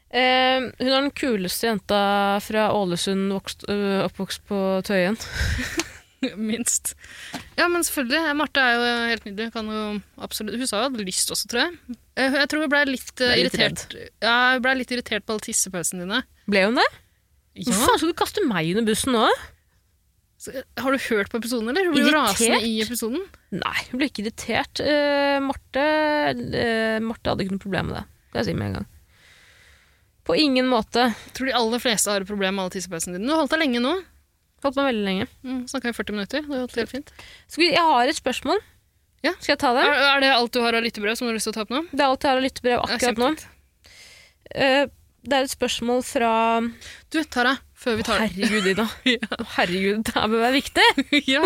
[SPEAKER 2] Eh, hun er den kuleste jenta fra Ålesund, vokst, øh, oppvokst på Tøyen.
[SPEAKER 3] Minst. Ja, men selvfølgelig. eh, Marte er jo helt nydelig. Kan jo absolutt. Hun sa jo hadde lyst også, tror jeg. Eh, jeg tror hun ble litt, eh,
[SPEAKER 2] Ble litt
[SPEAKER 3] irritert. ja, hun ble litt irritert på alle tissepausene dine.
[SPEAKER 2] Ble hun det? Hvorfor
[SPEAKER 3] Ja.
[SPEAKER 2] faen skal du kaste meg under bussen nå?
[SPEAKER 3] Så, eh, Har du hørt på episoden, eller? Hun ble jo
[SPEAKER 2] Irritert?
[SPEAKER 3] rasende i episoden.
[SPEAKER 2] Nei, hun ble ikke irritert. Eh, Marte, eh, Marte hadde ikke noe problem med det. Kan jeg si med en gang. På ingen måte.
[SPEAKER 3] Jeg tror de aller fleste har et problem med alle tissepausene dine. Du har holdt deg lenge nå.
[SPEAKER 2] Holdt meg veldig lenge.
[SPEAKER 3] Mm, Snakka i 40 minutter. Det har gått helt fint.
[SPEAKER 2] Skal vi, jeg har et spørsmål.
[SPEAKER 3] Ja.
[SPEAKER 2] Skal jeg ta det?
[SPEAKER 3] Er, er det alt du har av lyttebrev som du har lyst til å ta opp nå?
[SPEAKER 2] Det er alt jeg har av lyttebrev
[SPEAKER 3] Ja,
[SPEAKER 2] akkurat nå.
[SPEAKER 3] kjempefint.
[SPEAKER 2] Eh, det er et spørsmål fra
[SPEAKER 3] Du, Tara, før vi tar
[SPEAKER 2] Herregud, Ida.
[SPEAKER 3] Ja.
[SPEAKER 2] Å, Herregud, det her bør være viktig.
[SPEAKER 3] ja.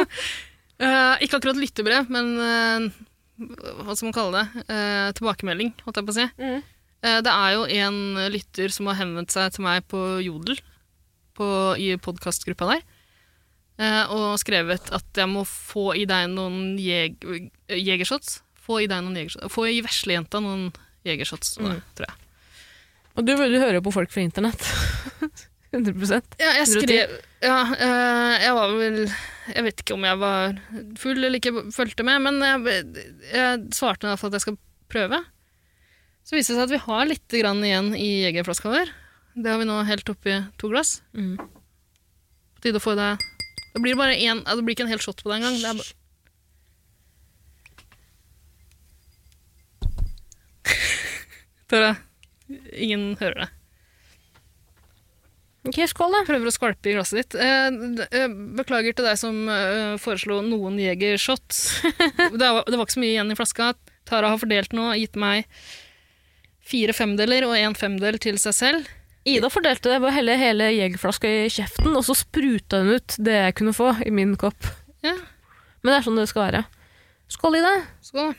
[SPEAKER 3] Eh, ikke akkurat lyttebrev, men eh, hva skal man kalle det? Eh, tilbakemelding, holdt jeg på å si.
[SPEAKER 2] Mm.
[SPEAKER 3] Eh, det er jo en lytter som har henvendt seg til meg på Jodel, på, i podkastgruppa der, eh, og skrevet at jeg må få i deg noen jeg, jegershots. Få i deg noen jegershots. Få i veslejenta noen jegershots, var det, tror jeg.
[SPEAKER 2] Og du, du hører jo på folk fra internett. 100
[SPEAKER 3] Ja, jeg
[SPEAKER 2] 110.
[SPEAKER 3] skrev ja, eh, Jeg var vel Jeg vet ikke om jeg var full eller ikke fulgte med, men jeg, jeg svarte i hvert fall at jeg skal prøve. Så viste det seg at vi har litt grann igjen i jegerflaska vår. Det har vi nå helt oppi to glass.
[SPEAKER 2] Mm.
[SPEAKER 3] På tide å få i deg Det blir bare én ja, Det blir ikke en hel shot på deg engang. Det er bare- Tara, ingen hører det.
[SPEAKER 2] Ok, skål da.
[SPEAKER 3] Jeg prøver å skvalpe i glasset ditt. Eh, d- eh, Beklager til deg som eh, foreslo noen jegershots. Det var det var ikke så mye igjen i flaska. Tara har fordelt nå og gitt meg fire femdeler og en femdel til seg selv.
[SPEAKER 2] Ida fordelte det bare hele, hele jegerflaska i kjeften, og så spruta hun ut det jeg kunne få i min kopp.
[SPEAKER 3] Ja.
[SPEAKER 2] Men det er sånn det skal være. Skål, Ida.
[SPEAKER 3] Skål.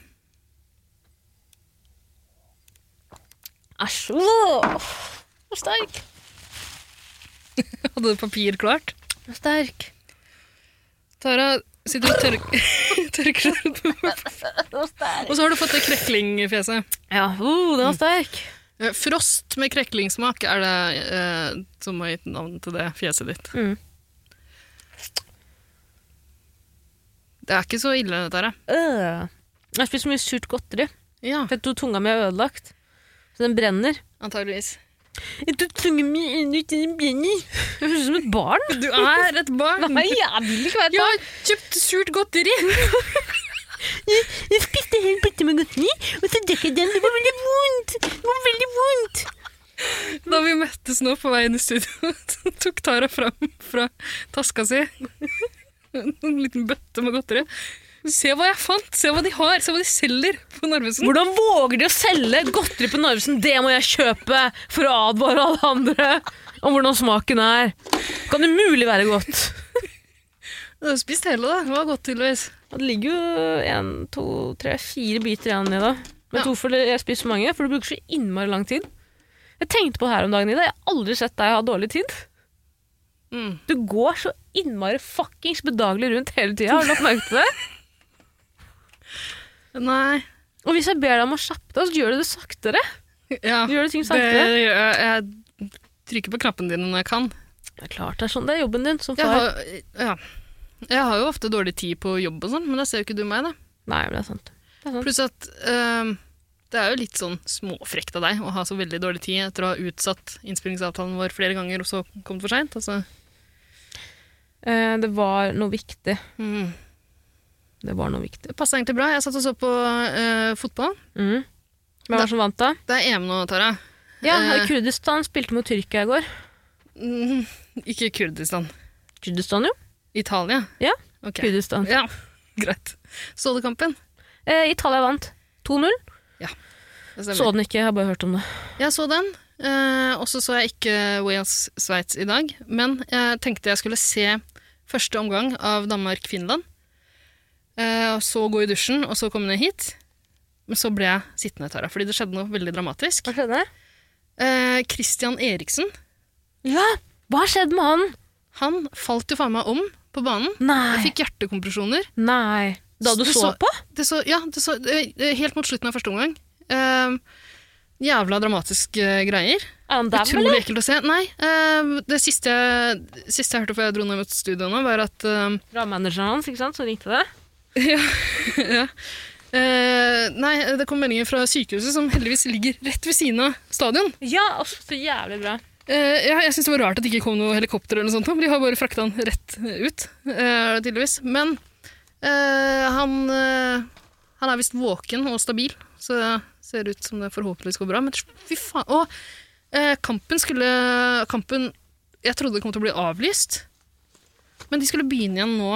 [SPEAKER 2] Æsj. Wow. Så sterk.
[SPEAKER 3] Hadde du papir klart?
[SPEAKER 2] Så sterk.
[SPEAKER 3] Tara sitter og tørk tørker seg ut.
[SPEAKER 2] Så sterk.
[SPEAKER 3] Og så har du fått det kreklingfjeset.
[SPEAKER 2] Ja, oh, den var sterk.
[SPEAKER 3] Eh, Frost med kreklingsmak er det eh, som har gitt navn til det fjeset ditt.
[SPEAKER 2] Mm.
[SPEAKER 3] Det er ikke så ille, dette her.
[SPEAKER 2] Øh. Jeg har spist så mye surt godteri.
[SPEAKER 3] Ja.
[SPEAKER 2] Jeg vet du, tunga mi er ødelagt. Så den brenner.
[SPEAKER 3] Antageligvis.
[SPEAKER 2] Du trenger meg inn ut i den brenner. Jeg høres ut som et barn.
[SPEAKER 3] Du er et barn.
[SPEAKER 2] Nei, jeg vil ikke være et
[SPEAKER 3] Jeg
[SPEAKER 2] barn.
[SPEAKER 3] har kjøpt surt godteri.
[SPEAKER 2] Jeg spiste en bøtte med godteri, og så drakk jeg den. Det var veldig vondt. Det var veldig vondt.
[SPEAKER 3] Da vi møttes nå på vei inn i studio, så tok Tara fram fra taska si en liten bøtte med godteri. Se hva jeg fant! Se hva de har! Se hva de selger på Narvesen!
[SPEAKER 2] Hvordan våger de å selge godteri på Narvesen? Det må jeg kjøpe for å advare alle andre om hvordan smaken er. Kan det mulig være godt?
[SPEAKER 3] Du har spist hele, da. Det var godt, tydeligvis.
[SPEAKER 2] Det ligger jo en, to, tre, fire biter igjen i det. Men
[SPEAKER 3] Ja.
[SPEAKER 2] hvorfor jeg spiser så mange? For det bruker så innmari lang tid. Jeg tenkte på det her om dagen, Ida. Jeg har aldri sett deg ha dårlig tid.
[SPEAKER 3] Mm.
[SPEAKER 2] Du går så innmari fuckings bedagelig rundt hele tida. Har du lagt merke til det?
[SPEAKER 3] Nei
[SPEAKER 2] Og hvis jeg ber deg om å kjappe deg, så gjør du det saktere.
[SPEAKER 3] Ja,
[SPEAKER 2] Du gjør det ting
[SPEAKER 3] det
[SPEAKER 2] saktere.
[SPEAKER 3] gjør jeg. Jeg trykker på knappene dine når jeg kan.
[SPEAKER 2] Det er klart det er sånn. Det er jobben din som
[SPEAKER 3] Jeg
[SPEAKER 2] far.
[SPEAKER 3] har, ja. jeg har jo ofte dårlig tid på jobb og sånn, men da ser jo ikke du meg, da.
[SPEAKER 2] Nei, men det er sant. Det er sant.
[SPEAKER 3] Pluss at øhm, det er jo litt sånn småfrekt av deg å ha så veldig dårlig tid etter å ha utsatt innspillingsavtalen vår flere ganger og så kommet for seint. Altså.
[SPEAKER 2] Eh, det var noe viktig.
[SPEAKER 3] Mm.
[SPEAKER 2] Det var noe viktig.
[SPEAKER 3] Det passa egentlig bra. Jeg satt og så på øh, fotball.
[SPEAKER 2] Mm. Hvem var det som vant, da?
[SPEAKER 3] Det er EM nå, Tara.
[SPEAKER 2] Ja,
[SPEAKER 3] Eh.
[SPEAKER 2] Kurdistan spilte mot Tyrkia i går.
[SPEAKER 3] Mm, ikke Kurdistan.
[SPEAKER 2] Kurdistan, jo.
[SPEAKER 3] Italia.
[SPEAKER 2] Ja,
[SPEAKER 3] Ok.
[SPEAKER 2] Kurdistan.
[SPEAKER 3] Ja, greit. Så du kampen?
[SPEAKER 2] Eh, Italia vant 2-0.
[SPEAKER 3] Det stemmer.
[SPEAKER 2] Så den ikke, jeg har bare hørt om det.
[SPEAKER 3] Jeg så den, eh, og så så jeg ikke Wales-Sveits i dag. Men jeg tenkte jeg skulle se første omgang av Danmark-Finland. eh, og så gå i dusjen, og så komme ned hit. Men så ble jeg sittende, Tara, fordi det skjedde noe veldig dramatisk.
[SPEAKER 2] Hva skjedde?
[SPEAKER 3] Eh, Christian Eriksen
[SPEAKER 2] Ja, hva skjedde med han?
[SPEAKER 3] han falt jo faen meg om på banen.
[SPEAKER 2] Nei.
[SPEAKER 3] Fikk hjertekompresjoner.
[SPEAKER 2] Nei. Da du,
[SPEAKER 3] Du
[SPEAKER 2] så,
[SPEAKER 3] så-
[SPEAKER 2] på?
[SPEAKER 3] Det så, ja, det så, det- helt mot slutten av første omgang. Eh, jævla dramatiske greier.
[SPEAKER 2] Er han der,
[SPEAKER 3] Utrolig
[SPEAKER 2] eller?
[SPEAKER 3] ekkelt å se. Nei, eh, det siste, jeg- siste jeg hørte før jeg dro ned mot studio nå, var at eh,
[SPEAKER 2] Fra manageren hans, ikke sant, som ringte det?
[SPEAKER 3] ja, eh, Nei, det kom meldinger fra sykehuset, som heldigvis ligger rett ved siden av stadion.
[SPEAKER 2] Ja, altså, så jævlig bra.
[SPEAKER 3] Eh, ja, jeg syns det var rart at det ikke kom noe helikopter, eller noe sånt, men de har bare frakta han rett ut, eh, tydeligvis. Men eh, han, eh, han er visst våken og stabil, så det ser ut som det forhåpentligvis går bra. Men fy faen Og eh, kampen skulle Kampen Jeg trodde det kom til å bli avlyst, men de skulle begynne igjen nå.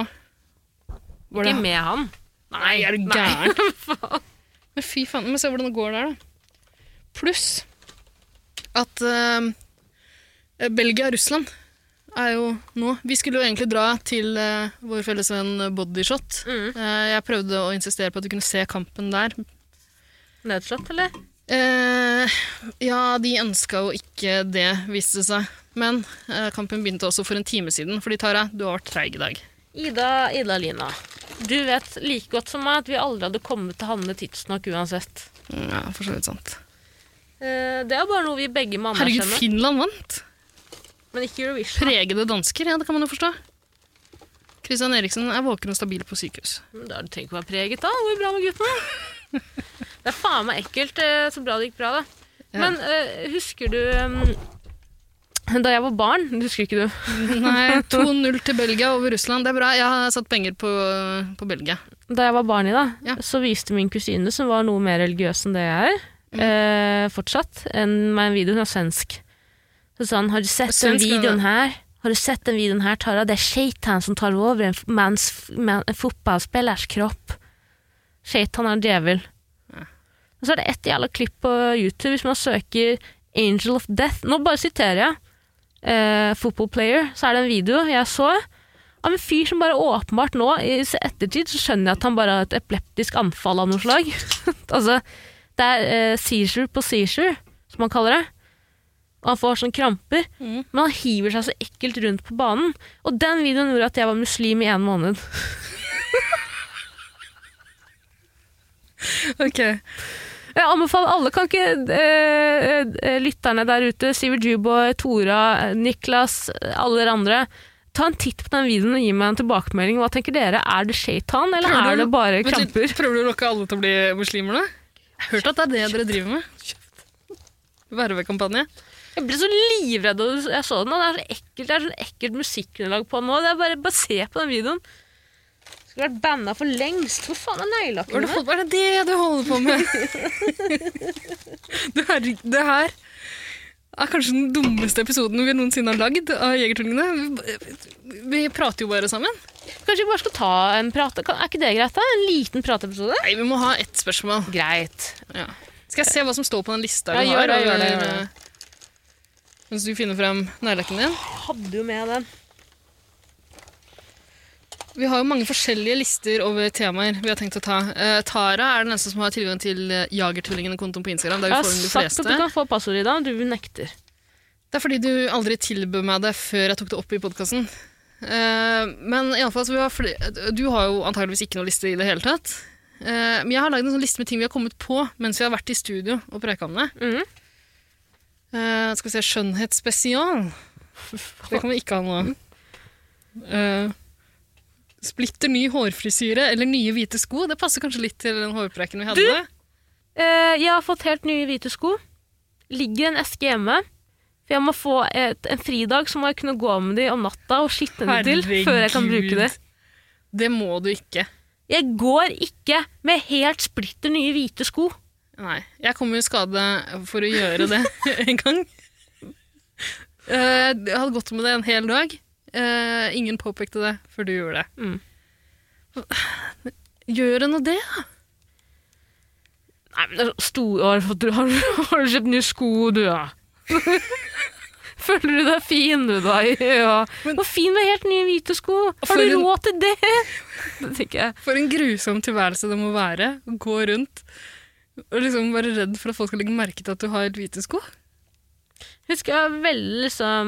[SPEAKER 3] Var det-
[SPEAKER 2] Ikke med han.
[SPEAKER 3] Nei, er du
[SPEAKER 2] Nei.
[SPEAKER 3] gæren? men fy faen, men se hvordan det går der, da. Pluss at eh, Belgia og Russland er jo nå Vi skulle jo egentlig dra til eh, vår felles venn Bodyshot.
[SPEAKER 2] Mm.
[SPEAKER 3] Eh, jeg prøvde å insistere på at du kunne se kampen der.
[SPEAKER 2] Nødslått, eller?
[SPEAKER 3] Eh, ja, de ønska jo ikke det, viste det seg. Men eh, kampen begynte også for en time siden. Fordi Tara, du har vært treig i dag.
[SPEAKER 2] Ida, Ida Lina. Du vet like godt som meg at vi aldri hadde kommet til Hanne tidsnok uansett.
[SPEAKER 3] Ja, for så vidt sant.
[SPEAKER 2] Eh, Det er bare noe vi begge må
[SPEAKER 3] Herregud,
[SPEAKER 2] anerkjenne.
[SPEAKER 3] Finland vant!
[SPEAKER 2] Men ikke Eurovision.
[SPEAKER 3] Pregede dansker, ja, det kan man jo forstå. Christian Eriksen er våken og stabil på sykehus.
[SPEAKER 2] Da har du tenkt å være preget, da. Det går jo bra med gutten. Det er faen meg ekkelt. eh, Så bra det gikk bra, da.
[SPEAKER 3] Ja.
[SPEAKER 2] Men eh, husker du eh, da jeg var barn Det husker ikke du.
[SPEAKER 3] Nei, 2-0 til Belgia over Russland. Det er bra. Jeg har satt penger på, på Belgia.
[SPEAKER 2] Da jeg var barn, Ida,
[SPEAKER 3] Ja.
[SPEAKER 2] så viste min kusine, som var noe mer religiøs enn det jeg er,
[SPEAKER 3] Mm.
[SPEAKER 2] eh, fortsatt, en, meg en video. Hun er svensk. Så sa han 'Har du sett den
[SPEAKER 3] Svensk, ja.
[SPEAKER 2] videoen her?' Har du sett den videoen her, Tara? Det er Shaitan som tar over en, f- mans, f- man, en fotballspillers kropp. Shaitan er en djevel. Og så er det ett jævla klipp på YouTube hvis man søker 'Angel of Death'. Nå bare siterer jeg. Eh, football player. Så er det en video jeg så av en fyr som bare åpenbart nå, i ettertid, så skjønner jeg at han bare har et epileptisk anfall av noe slag. altså, det er eh, seizure på seizure, som han kaller det. Og han får sånne kramper.
[SPEAKER 3] Mm.
[SPEAKER 2] Men han hiver seg så ekkelt rundt på banen. Og den videoen gjorde at jeg var muslim i en måned.
[SPEAKER 3] Ok.
[SPEAKER 2] Jeg anbefaler alle, kan ikke eh, eh, lytterne der ute, Sivert Juboy, Tora, eh, Niklas, eh, alle dere andre, ta en titt på den videoen og gi meg en tilbakemelding. Hva tenker dere? Er det shaitan, eller
[SPEAKER 3] Prøver
[SPEAKER 2] er
[SPEAKER 3] du-
[SPEAKER 2] det bare
[SPEAKER 3] Vent litt,
[SPEAKER 2] kramper?
[SPEAKER 3] Prøver du å lokke alle til å bli muslimer, da? Jeg har hørt at det er det dere driver med. Vervekampanje.
[SPEAKER 2] Jeg ble så livredd da jeg så den. og Det er så ekkelt, det er sånn ekkelt musikkunderlag på den nå. Det er bare, bare se på den videoen. Skulle vært banna for lengst. Hvor faen er
[SPEAKER 3] Hva er
[SPEAKER 2] neglelakken
[SPEAKER 3] det,
[SPEAKER 2] min?
[SPEAKER 3] hva er det det du holder på med? det, her, det her er kanskje den dummeste episoden vi noensinne har lagd av Jegertvillingene. Vi, vi prater jo bare sammen.
[SPEAKER 2] Kanskje vi bare skal ta en prat? Kan- Er ikke det greit, da? En liten prateepisode?
[SPEAKER 3] Nei, vi må ha ett spørsmål.
[SPEAKER 2] Greit.
[SPEAKER 3] Ja. Skal jeg se hva som står på den lista
[SPEAKER 2] Ja,
[SPEAKER 3] vi
[SPEAKER 2] gjør
[SPEAKER 3] har?
[SPEAKER 2] det, gjør det,
[SPEAKER 3] over-
[SPEAKER 2] gjør
[SPEAKER 3] Mens du finner frem neglelakken din.
[SPEAKER 2] Hadde jo med den.
[SPEAKER 3] Vi har jo mange forskjellige lister over temaer vi har tenkt å ta. Eh, Tara er den eneste som har tilgang til eh, Jagertvillingene-kontoen på Instagram. Der
[SPEAKER 2] Jeg
[SPEAKER 3] vi
[SPEAKER 2] har
[SPEAKER 3] får de
[SPEAKER 2] sagt at du
[SPEAKER 3] fleste.
[SPEAKER 2] kan få passordet i dag, du nekter.
[SPEAKER 3] Det er fordi du aldri tilbød meg det før jeg tok det opp i podkasten. men i alle fall, så vi har fl- du har jo antageligvis ikke noen liste i det hele tatt. Eh, men jeg har lagd en sånn liste med ting vi har kommet på mens vi har vært i studio og preka om det.
[SPEAKER 2] Mhm.
[SPEAKER 3] Eh, skal vi se Skjønnhetsspesial. Det kan vi ikke ha nå. Eh, splitter ny hårfrisyre eller nye hvite sko. Det passer kanskje litt til den hårpreken vi hadde.
[SPEAKER 2] Du, Eh, jeg har fått helt nye hvite sko. Ligger i en eske hjemme. For jeg må få et, en fridag, så må jeg kunne gå med de om natta og skitne de til før jeg kan bruke det.
[SPEAKER 3] Herregud. Det må du ikke.
[SPEAKER 2] Jeg går ikke med helt splitter nye hvite sko.
[SPEAKER 3] Nei, jeg kom jo i skade for å gjøre det en gang. Eh, Jeg hadde gått med det en hel dag. Eh, Ingen påpekte det før du gjorde det.
[SPEAKER 2] Mm.
[SPEAKER 3] Gjør det nå det? da?
[SPEAKER 2] Nei, men det er så stor, har, du fått- har, du- har du kjøpt nye sko, du, da? Føler du deg fin, du, da? Ja.
[SPEAKER 3] Men-
[SPEAKER 2] Og fin med helt nye hvite sko! Har
[SPEAKER 3] For
[SPEAKER 2] du
[SPEAKER 3] en-
[SPEAKER 2] råd til det? Det tenker jeg.
[SPEAKER 3] For en grusom tilværelse det må være å gå rundt og liksom være redd for at folk skal legge merke til at du har hvite sko.
[SPEAKER 2] Husker jeg var veldig liksom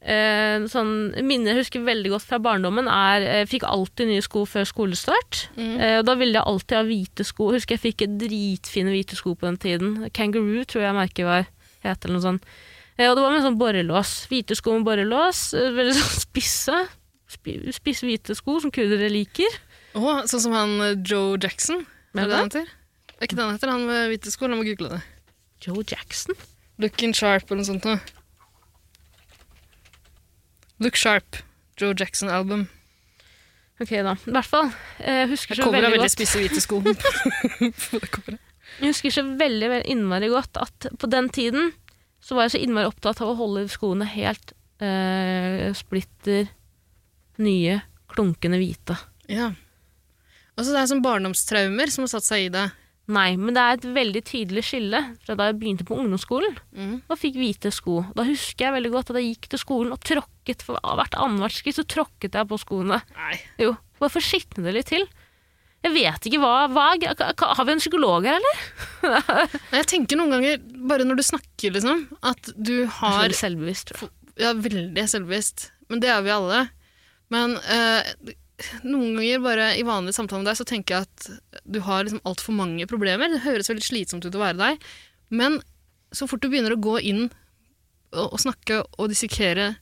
[SPEAKER 2] eh, sånn, Minner jeg husker veldig godt fra barndommen, er eh, jeg fikk alltid nye sko før skolestart. Eh, og da ville jeg alltid ha hvite sko. Husker jeg fikk dritfine hvite sko på den tiden. Kangaroo tror jeg merket var het, eller noe sånt. Eh, og det var med sånn borrelås. Hvite sko med borrelås. Eh, veldig sånn spisse. Spi, spisse hvite sko som kurdere liker.
[SPEAKER 3] Å, sånn som han eh, Joe Jackson. Er
[SPEAKER 2] Hvem
[SPEAKER 3] det det han heter? Er ikke det han heter, han med hvite sko? La meg google det.
[SPEAKER 2] Joe Jackson.
[SPEAKER 3] Looking Sharp eller noe sånt noe. Look Sharp, Joe Jackson-album.
[SPEAKER 2] Ok, da. I hvert fall. Eh, husker så
[SPEAKER 3] Cover av
[SPEAKER 2] veldig
[SPEAKER 3] veldig
[SPEAKER 2] godt.
[SPEAKER 3] spisse hvite sko. På det coveret.
[SPEAKER 2] Jeg husker så veldig, veldig innmari godt at på den tiden så var jeg så innmari opptatt av å holde skoene helt eh, splitter nye, klunkende hvite.
[SPEAKER 3] ja. Og så det er sånn barndomstraumer som har satt seg i deg.
[SPEAKER 2] Nei, men det er et veldig tydelig skille fra da jeg begynte på ungdomsskolen og fikk hvite sko. Da husker jeg veldig godt at jeg gikk til skolen og tråkket for hvert annethvert skritt, så tråkket jeg på skoene.
[SPEAKER 3] Nei.
[SPEAKER 2] Jo, bare for å skitne det litt til. Jeg vet ikke hva, hva er gre- Har vi en psykolog her, eller?
[SPEAKER 3] Nei, Jeg tenker noen ganger, bare når du snakker, liksom, at du
[SPEAKER 2] Jeg er
[SPEAKER 3] har
[SPEAKER 2] så selvbevisst, tror jeg.
[SPEAKER 3] Ja, veldig selvbevisst. Men det er vi alle. Men eh, noen ganger bare i vanlig samtale med deg, så tenker jeg at du har liksom altfor mange problemer. Det høres veldig slitsomt ut å være deg. Men så fort du begynner å gå inn og, og snakke og dissekere,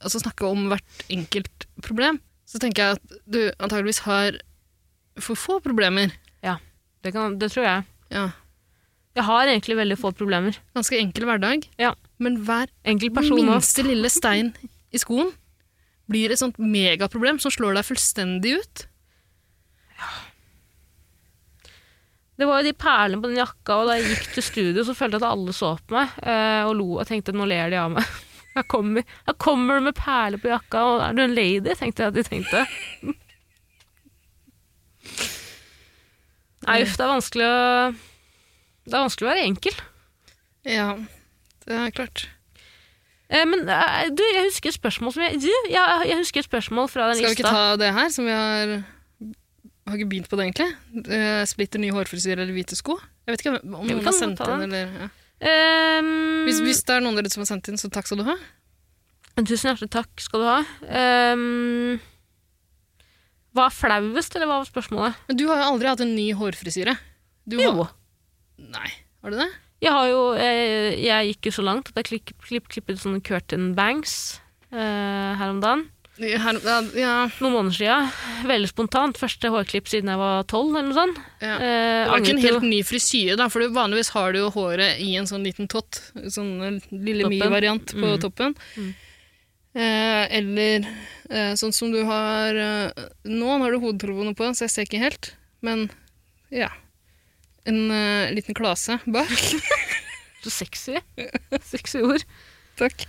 [SPEAKER 3] altså snakke om hvert enkelt problem, så tenker jeg at du antageligvis har for få problemer.
[SPEAKER 2] Det, kan, det tror jeg.
[SPEAKER 3] Ja,
[SPEAKER 2] Jeg har egentlig veldig få problemer.
[SPEAKER 3] ganske enkel hverdag.
[SPEAKER 2] Ja.
[SPEAKER 3] Men hver
[SPEAKER 2] Enkel person
[SPEAKER 3] Den
[SPEAKER 2] også.
[SPEAKER 3] minste lille stein i skoen blir et sånt megaproblem som slår deg fullstendig ut.
[SPEAKER 2] Det var jo de perlene på den jakka, og da jeg gikk til studio, så følte jeg at alle så på meg eh, og lo og tenkte nå ler de av meg. Her kommer, her kommer du med perler på jakka, og er du en lady? tenkte jeg at de tenkte. Nei, uff, det er vanskelig å Det er vanskelig å være enkel.
[SPEAKER 3] Ja, det er klart.
[SPEAKER 2] Eh, men eh, du, jeg husker et spørsmål som jeg Du, jeg, jeg husker et spørsmål fra den
[SPEAKER 3] Skal vi ikke
[SPEAKER 2] lista.
[SPEAKER 3] ta det her, som vi har Har ikke begynt på det, egentlig? Eh, Splitter ny hårfrisyre eller hvite sko? Jeg vet ikke om
[SPEAKER 2] vi
[SPEAKER 3] noen
[SPEAKER 2] kan
[SPEAKER 3] har sendt
[SPEAKER 2] ta
[SPEAKER 3] inn,
[SPEAKER 2] den.
[SPEAKER 3] eller ja.
[SPEAKER 2] Ehm,
[SPEAKER 3] hvis, hvis det er noen av dere som har sendt inn, så takk skal du ha.
[SPEAKER 2] Tusen hjertelig takk skal du ha. Ehm, hva er flauest, eller hva var spørsmålet?
[SPEAKER 3] Men du har jo aldri hatt en ny hårfrisyre. Du
[SPEAKER 2] Jo.
[SPEAKER 3] Har, nei, har du det?
[SPEAKER 2] Jeg har jo Jeg, jeg gikk jo så langt at jeg klipp, klipp, klippet sånne curtain bangs eh, her om dagen.
[SPEAKER 3] Her, ja, ja,
[SPEAKER 2] noen måneder siden. Veldig spontant. Første hårklipp siden jeg var tolv, eller noe sånt.
[SPEAKER 3] ja.
[SPEAKER 2] Eh,
[SPEAKER 3] Det var ikke en
[SPEAKER 2] angret jo-
[SPEAKER 3] helt ny frisyre, da, for du, vanligvis har du jo håret i en sånn liten tott. Sånn lille
[SPEAKER 2] Toppen.
[SPEAKER 3] my-variant på
[SPEAKER 2] Mm.
[SPEAKER 3] toppen. Eh, eller eh, sånn som du har eh, Nå har du hodetelefoner på, så jeg ser ikke helt, men ja. En eh, liten klase bak.
[SPEAKER 2] Så sexy. Sexy ord.
[SPEAKER 3] Takk.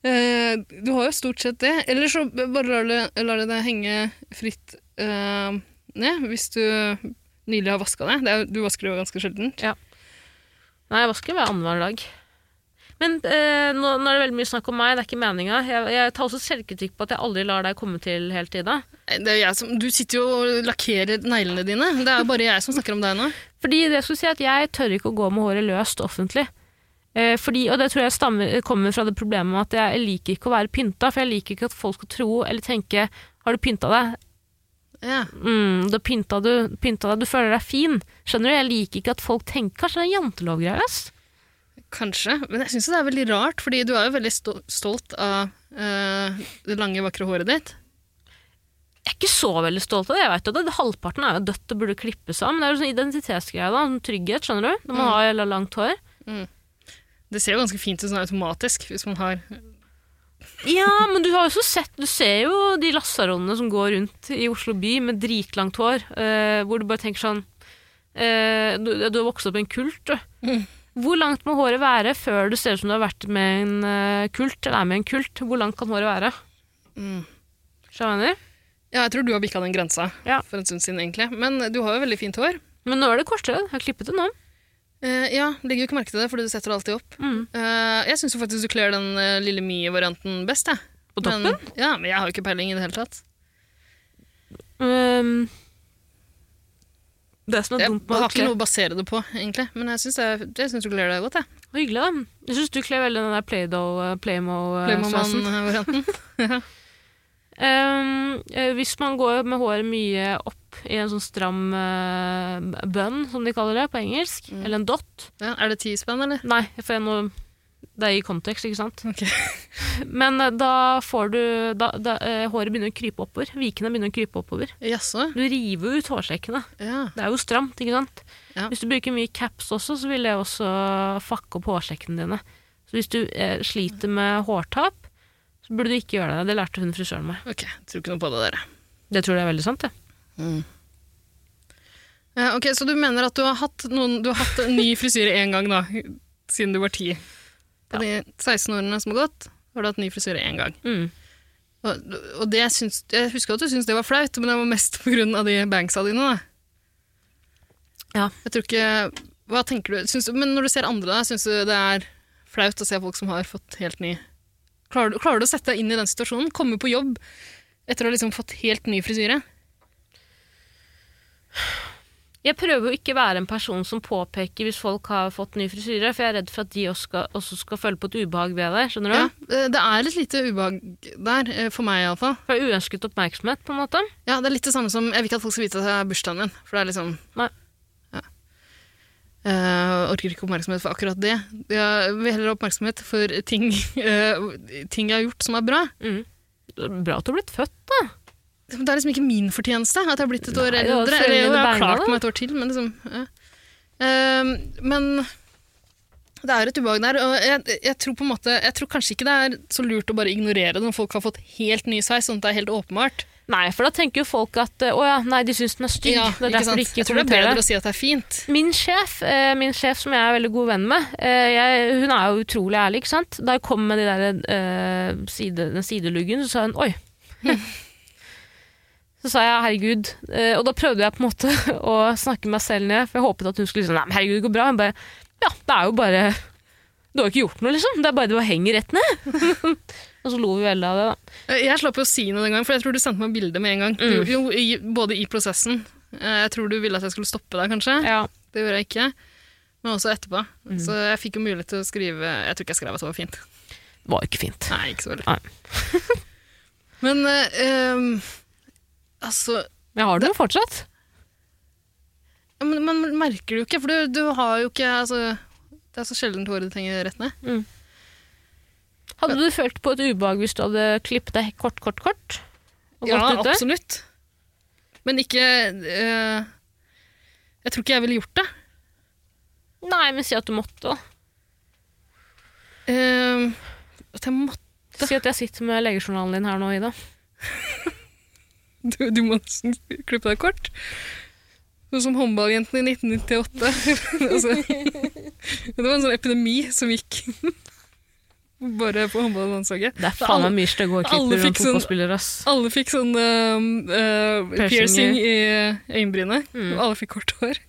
[SPEAKER 3] Eh, du har jo stort sett det. Eller så bare lar det, lar det deg henge fritt eh, ned hvis du nylig har vaska deg. Det er, jo- du vasker det jo ganske sjelden.
[SPEAKER 2] Nei, jeg vasker hver annenhver dag. Men eh, nå, nå er det veldig mye snakk om meg, det er ikke meninga. Jeg, jeg tar også selvkritikk på at jeg aldri lar deg komme til hele tida.
[SPEAKER 3] Det er jo jeg som, du sitter jo og lakkerer neglene dine. Det er jo bare jeg som snakker om deg nå.
[SPEAKER 2] Fordi det jeg skulle si er at jeg tør ikke å gå med håret løst offentlig. Eh, fordi, og det tror jeg stammer, kommer fra det problemet med at jeg liker ikke å være pynta, for jeg liker ikke at folk skal tro eller tenke har du pynta deg?
[SPEAKER 3] Ja.
[SPEAKER 2] Mm, da pynta du, pynta deg, du føler deg fin. Skjønner du? Jeg liker ikke at folk tenker Kanskje det er jantelovgreier? ass?
[SPEAKER 3] Kanskje. Men jeg syns det er veldig rart, fordi du er jo veldig stol- stolt av eh, det lange, vakre håret ditt.
[SPEAKER 2] Jeg er ikke så veldig stolt av det. jeg vet jo det. Halvparten er jo dødt og burde klippes av. Men det er jo sånn identitetsgreie, da. Sånn trygghet, skjønner du. Når man har jævla langt hår.
[SPEAKER 3] Det ser jo ganske fint ut sånn automatisk hvis man har
[SPEAKER 2] Ja, men du har jo også sett Du ser jo de lasaronene som går rundt i Oslo by med dritlangt hår, eh, hvor du bare tenker sånn eh, du, du har vokst opp i en kult, du. Hvor langt må håret være før du ser ut som du har vært med en eh, kult, eller er med en kult? Hvor langt kan håret være?
[SPEAKER 3] Mm.
[SPEAKER 2] Skjønner du? hva jeg mener?
[SPEAKER 3] Ja, jeg tror du har bikka den grensa
[SPEAKER 2] Ja.
[SPEAKER 3] for en stund siden, egentlig. Men du har jo veldig fint hår.
[SPEAKER 2] Men nå er det kortere. Jeg har klippet det nå.
[SPEAKER 3] Eh, ja, legger jo ikke merke til det, fordi du setter det alltid opp.
[SPEAKER 2] Mm.
[SPEAKER 3] Eh, jeg syns faktisk du kler den eh, lille mye-varianten best, jeg.
[SPEAKER 2] På toppen?
[SPEAKER 3] Men, ja, men jeg har jo ikke peiling i det hele tatt.
[SPEAKER 2] Um, det som er sånn
[SPEAKER 3] Jeg
[SPEAKER 2] dumt med
[SPEAKER 3] har
[SPEAKER 2] å
[SPEAKER 3] ikke
[SPEAKER 2] kle
[SPEAKER 3] noe å basere det på, egentlig. Men jeg syns jeg- jeg syns du kler deg godt, jeg.
[SPEAKER 2] Hyggelig, da. Jeg syns du kler veldig den der Play-Doh, eh, Playmo-sveisen.
[SPEAKER 3] Playmoman-varianten.
[SPEAKER 2] Um, eh, hvis man går med håret mye opp i en sånn stram uh, bønn, som de kaller det på engelsk, eller en dott
[SPEAKER 3] Ja, er det ti spenn, eller?
[SPEAKER 2] Nei, for jeg nå, det er i kontekst, ikke sant?
[SPEAKER 3] Ok.
[SPEAKER 2] Men eh, da får du da, da, eh, Håret begynner å krype oppover. Vikene begynner å krype oppover.
[SPEAKER 3] Jaså?
[SPEAKER 2] Du river ut hårsekkene.
[SPEAKER 3] Ja.
[SPEAKER 2] Det er jo stramt, ikke sant?
[SPEAKER 3] Ja.
[SPEAKER 2] Hvis du bruker mye caps også, så vil det også fucke opp hårsekkene dine. Så hvis du eh, sliter med hårtap, så burde du ikke gjøre det. Det lærte hun frisøren meg.
[SPEAKER 3] Ok, tror ikke noe på det, dere.
[SPEAKER 2] Det tror jeg er veldig sant, det. Mm.
[SPEAKER 3] Eh, ok, Så du mener at du har hatt, noen, du har hatt en ny frisyre én gang, da? Siden du var ti. På de 16 årene som har gått, har du hatt ny frisyre én gang.
[SPEAKER 2] Mm.
[SPEAKER 3] Og, og det syns, jeg husker at du syntes det var flaut, men det var mest på grunn av de banksa dine. Da.
[SPEAKER 2] Ja.
[SPEAKER 3] Jeg tror ikke, hva tenker du? Syns du men når du ser andre, da, syns du det er flaut å se folk som har fått helt ny Klarer du, klarer du å sette deg inn i den situasjonen? Komme på jobb etter å ha liksom fått helt ny frisyre?
[SPEAKER 2] Jeg prøver jo ikke være en person som påpeker hvis folk har fått ny frisyre, for jeg er redd for at de også skal, også skal føle på et ubehag ved det. skjønner du?
[SPEAKER 3] Ja, eh, det er et lite ubehag der, eh, for meg iallfall.
[SPEAKER 2] For det er uønsket oppmerksomhet, på en måte.
[SPEAKER 3] Ja, det er litt det samme som Jeg vil ikke at folk skal vite at det er bursdagen min, for det er liksom
[SPEAKER 2] Nei.
[SPEAKER 3] Ja. Eh, orker ikke oppmerksomhet for akkurat det. Jeg vil heller ha oppmerksomhet for ting, eh, ting jeg har gjort som er bra.
[SPEAKER 2] Mm. Det er Bra at du har blitt født, da.
[SPEAKER 3] Det er liksom ikke min fortjeneste at jeg har blitt et år
[SPEAKER 2] Nei, det var
[SPEAKER 3] eldre. Eller
[SPEAKER 2] foreldrene
[SPEAKER 3] jeg har
[SPEAKER 2] beina,
[SPEAKER 3] klart
[SPEAKER 2] da.
[SPEAKER 3] meg et år til, men liksom ja. Eh, Men det er et ubehag der, og jeg, jeg tror på en måte Jeg tror kanskje ikke det er så lurt å bare ignorere det når folk har fått helt ny sveis, sånn at det er helt åpenbart.
[SPEAKER 2] Nei, for da tenker jo folk at eh, å ja, nei, de syns den er stygg. det er
[SPEAKER 3] ikke
[SPEAKER 2] derfor
[SPEAKER 3] sant?
[SPEAKER 2] de ikke
[SPEAKER 3] jeg tror det er
[SPEAKER 2] kommenterer.
[SPEAKER 3] bedre å si at det er fint.
[SPEAKER 2] Min sjef, eh, min sjef som jeg er veldig god venn med, eh, jeg, hun er jo utrolig ærlig, ikke sant? Da jeg kom med de der, eh, side, den sideluggen, så sa hun oi. så sa jeg herregud, eh, og da prøvde jeg på en måte å snakke meg selv ned, for jeg håpet at hun skulle si nei, men herregud, det går bra. Hun bare ja, det er jo bare Du har jo ikke gjort noe, liksom. Det er bare det å henge rett ned. og så lo vi veldig av det, da.
[SPEAKER 3] Eh, Jeg slapp jo å si noe den gangen, for jeg tror du sendte meg bilde med en gang.
[SPEAKER 2] Mm.
[SPEAKER 3] Jo, jo, i, både i prosessen. Eh, Jeg tror du ville at jeg skulle stoppe deg, kanskje.
[SPEAKER 2] Ja. Mm.
[SPEAKER 3] Det gjorde jeg ikke. Men også etterpå. Så jeg fikk jo mulighet til å skrive Jeg tror ikke jeg skrev at det var fint.
[SPEAKER 2] Det var jo ikke fint.
[SPEAKER 3] Nei, ikke så veldig.
[SPEAKER 2] Nei.
[SPEAKER 3] Men eh, ehm, altså
[SPEAKER 2] Men jeg har det jo fortsatt.
[SPEAKER 3] ja, men, Man merker det jo ikke, for du, du har jo ikke altså, Det er så sjeldent håret ditt henger rett ned.
[SPEAKER 2] Mm. Hadde du følt på et ubehag hvis du hadde klippet deg kort, kort, kort? Og
[SPEAKER 3] Ja,
[SPEAKER 2] gått ute?
[SPEAKER 3] absolutt. Men ikke eh, Jeg tror ikke jeg ville gjort det.
[SPEAKER 2] Nei, men si at du måtte. da.
[SPEAKER 3] Eh, at jeg måtte
[SPEAKER 2] Si at jeg sitter med legejournalen din her nå, Ida.
[SPEAKER 3] Du, du må nesten klippe deg kort. Sånn som håndballjentene i 1998. altså, det var en sånn epidemi som gikk bare på håndballandslaget.
[SPEAKER 2] Det er
[SPEAKER 3] Så
[SPEAKER 2] faen
[SPEAKER 3] alle-
[SPEAKER 2] meg mye stygge
[SPEAKER 3] alle
[SPEAKER 2] hårklipper
[SPEAKER 3] fikk
[SPEAKER 2] rundt
[SPEAKER 3] sånn-
[SPEAKER 2] fotballspillere, ass.
[SPEAKER 3] Alle fikk sånn eh, eh,
[SPEAKER 2] Piercinger.
[SPEAKER 3] piercing i øyenbrynet.
[SPEAKER 2] Mm.
[SPEAKER 3] Og alle fikk kort hår.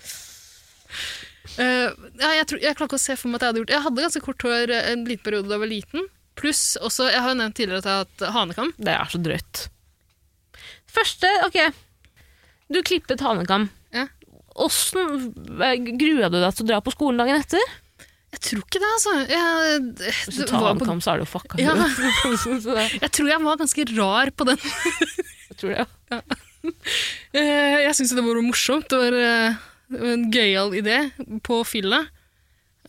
[SPEAKER 3] Eh, ja, jeg, tror, jeg klarer ikke å se for meg at jeg hadde gjort det. Jeg hadde ganske kort hår eh, en liten periode da jeg var liten. Pluss også, jeg har jo nevnt tidligere at jeg har hatt hanekam.
[SPEAKER 2] Det er så drøyt. Første, ok. Du klippet hanekam.
[SPEAKER 3] Ja.
[SPEAKER 2] Åssen grua du deg til å dra på skolen dagen etter?
[SPEAKER 3] Jeg tror ikke det, altså. Jeg,
[SPEAKER 2] Hvis
[SPEAKER 3] det
[SPEAKER 2] du tar
[SPEAKER 3] var på,
[SPEAKER 2] hanekam, så er du fucka.
[SPEAKER 3] Ja.
[SPEAKER 2] Så det-
[SPEAKER 3] jeg tror jeg var ganske rar på den
[SPEAKER 2] jeg tror det.
[SPEAKER 3] Eh, Jeg syns det var morsomt. Det var eh, det var en gøyal idé på fylla.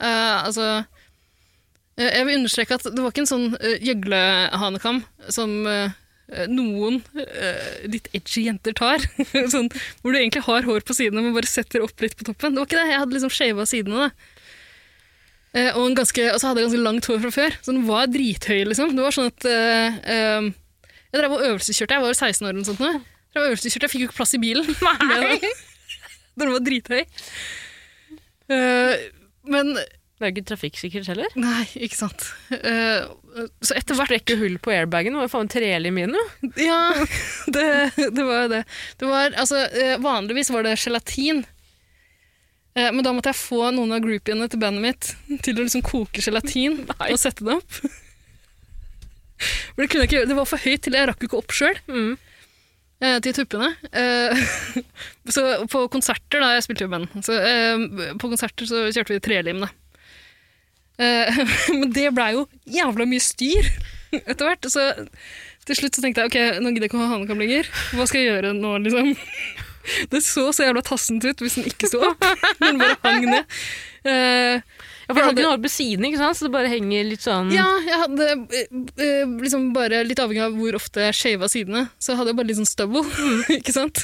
[SPEAKER 3] Eh, altså eh, Jeg vil understreke at det var ikke en sånn uh, gjøglehanekam som eh, eh, noen eh, litt edgy jenter tar. sånn, hvor du egentlig har hår på sidene, men bare setter opp litt på toppen. Det var ikke det. Jeg hadde liksom shava sidene. da. Eh, og, en ganske, og så hadde jeg ganske langt hår fra før, så den var drithøy, liksom. Det var sånn at eh, eh, Jeg drev og øvelseskjørte, jeg var jo 16 år eller noe sånt. nå. Jeg drev og øvelseskjørte, jeg fikk jo ikke plass i bilen. Med den. den var drithøy. Eh, men
[SPEAKER 2] Det er jo ikke trafikksikkert heller.
[SPEAKER 3] Nei, ikke sant. Eh, så etter hvert
[SPEAKER 2] Brekke hull på airbagen var jo faen treelig min, jo.
[SPEAKER 3] Ja, det, det var jo det. det var, altså, eh, vanligvis var det gelatin. Eh, Men da måtte jeg få noen av groupiene til bandet mitt til å liksom koke gelatin og sette det opp. For det, kunne jeg ikke, gjøre. det var for høyt til jeg rakk jo ikke opp sjøl
[SPEAKER 2] Mm.
[SPEAKER 3] eh, til tuppene. Eh, så på konserter, da jeg spilte jo i band, så eh, på konserter så kjørte vi trelim, da. Eh, men det blei jo jævla mye styr etter hvert. Så til slutt så tenkte jeg ok, nå gidder jeg ikke å ha hanekam lenger. Hva skal jeg gjøre nå, liksom? Det så så jævla tassent ut hvis den ikke sto opp, men bare hang ned. Eh,
[SPEAKER 2] Ja, for du hadde ikke noe hår på siden, ikke sant? så det bare henger litt sånn
[SPEAKER 3] ja, jeg hadde eh, eh, liksom bare litt avhengig av hvor ofte jeg shava sidene, så hadde jeg bare litt sånn stubble, ikke sant?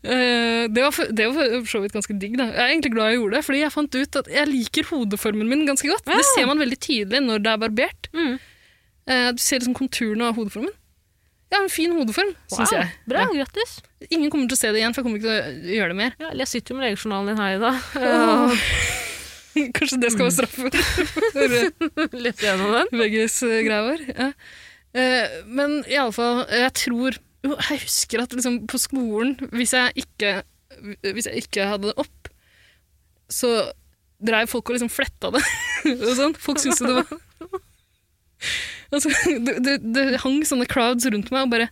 [SPEAKER 3] Eh, det var, for, det var for så vidt ganske digg. da. Jeg er egentlig glad jeg gjorde det, fordi jeg fant ut at jeg liker hodeformen min ganske godt. Det ser man veldig tydelig når det er barbert.
[SPEAKER 2] Mm.
[SPEAKER 3] Eh, du ser liksom konturene av hodeformen. Jeg har en fin hodeform, syns
[SPEAKER 2] Wow,
[SPEAKER 3] jeg.
[SPEAKER 2] Bra, grattis.
[SPEAKER 3] Ingen kommer til å se det igjen, for jeg kommer ikke til å gjøre det mer.
[SPEAKER 2] Ja, eller jeg sitter jo med legejournalen din her i dag.
[SPEAKER 3] Kanskje det skal være straffen for
[SPEAKER 2] Litt gjennom den.
[SPEAKER 3] VGs-greia vår. Ja. Eh, Men iallfall, jeg tror jo, Jeg husker at liksom på skolen, hvis jeg ikke, hvis jeg ikke hadde det opp, så dreiv folk og liksom fletta det. og sånn. Folk syntes jo det var altså, det, det, det hang sånne crowds rundt meg og bare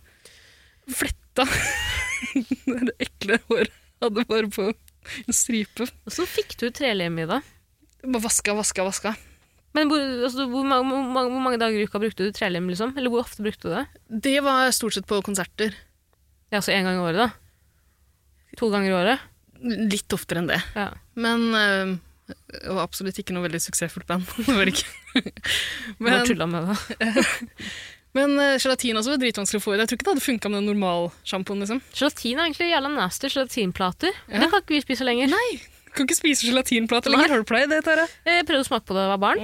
[SPEAKER 3] fletta det ekle håret. jeg Hadde bare på en stripe.
[SPEAKER 2] Åssen fikk du ut trelem i dag?
[SPEAKER 3] Bare vaska, vaska, vaska.
[SPEAKER 2] Men hvor, altså, hvor, mange, hvor, mange, hvor mange dager i uka brukte du trelem, liksom? Eller hvor ofte brukte du det?
[SPEAKER 3] Det var stort sett på konserter.
[SPEAKER 2] Ja, så en gang i året, da? To ganger i året?
[SPEAKER 3] Litt oftere enn det.
[SPEAKER 2] Ja.
[SPEAKER 3] Men øh, det var absolutt ikke noe veldig suksessfullt band. Det var det ikke.
[SPEAKER 2] Men, bare
[SPEAKER 3] Men,
[SPEAKER 2] tulla med det.
[SPEAKER 3] men øh, gelatin også var dritvanskelig å få i. Jeg tror ikke det hadde funka med den normalsjampoen. Liksom.
[SPEAKER 2] Gelatin er egentlig jævla nasty. Gelatinplater.
[SPEAKER 3] Ja.
[SPEAKER 2] Det kan ikke vi spise lenger.
[SPEAKER 3] Du kan ikke spise gelatinplate lenger. Har du pleid det, Tara?
[SPEAKER 2] Eh, Jeg prøvde å smake på det da jeg var barn.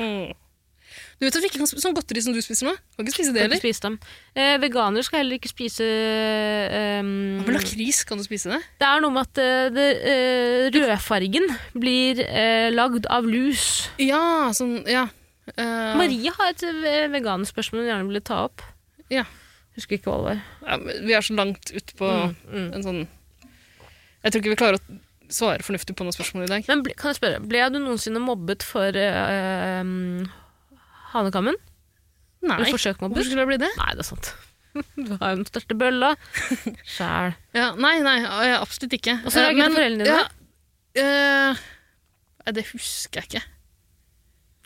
[SPEAKER 3] Du vet at vi ikke kan spise sånn godteri som du spiser nå? Kan ikke spise det
[SPEAKER 2] Kan ikke
[SPEAKER 3] heller.
[SPEAKER 2] spise dem. Eh, veganere skal heller ikke spise ehm,
[SPEAKER 3] Men lakris, kan du spise det?
[SPEAKER 2] Det er noe med at eh, det, eh, rødfargen blir eh, lagd av lus.
[SPEAKER 3] Ja, sånn Ja. Eh,
[SPEAKER 2] Marie har et eh, veganspørsmål hun gjerne ville ta opp.
[SPEAKER 3] Ja.
[SPEAKER 2] Husker ikke hva det var.
[SPEAKER 3] ja, men vi er så langt ute på
[SPEAKER 2] Mm.
[SPEAKER 3] en sånn Jeg tror ikke vi klarer å svare fornuftig på noen spørsmål i dag.
[SPEAKER 2] Men ble, kan jeg spørre, ble du noensinne mobbet for eh, um, hanekammen? Ble
[SPEAKER 3] Nei.
[SPEAKER 2] du forsøkt
[SPEAKER 3] Hvorfor
[SPEAKER 2] mobbet?
[SPEAKER 3] skulle jeg bli det?
[SPEAKER 2] Nei, det er sant. Du har jo den største bølla. Sjæl.
[SPEAKER 3] Ja, nei, nei, ja, absolutt ikke.
[SPEAKER 2] Og så
[SPEAKER 3] Eh,
[SPEAKER 2] reagerte
[SPEAKER 3] men-
[SPEAKER 2] foreldrene dine?
[SPEAKER 3] Ja, eh, nei, det husker jeg ikke.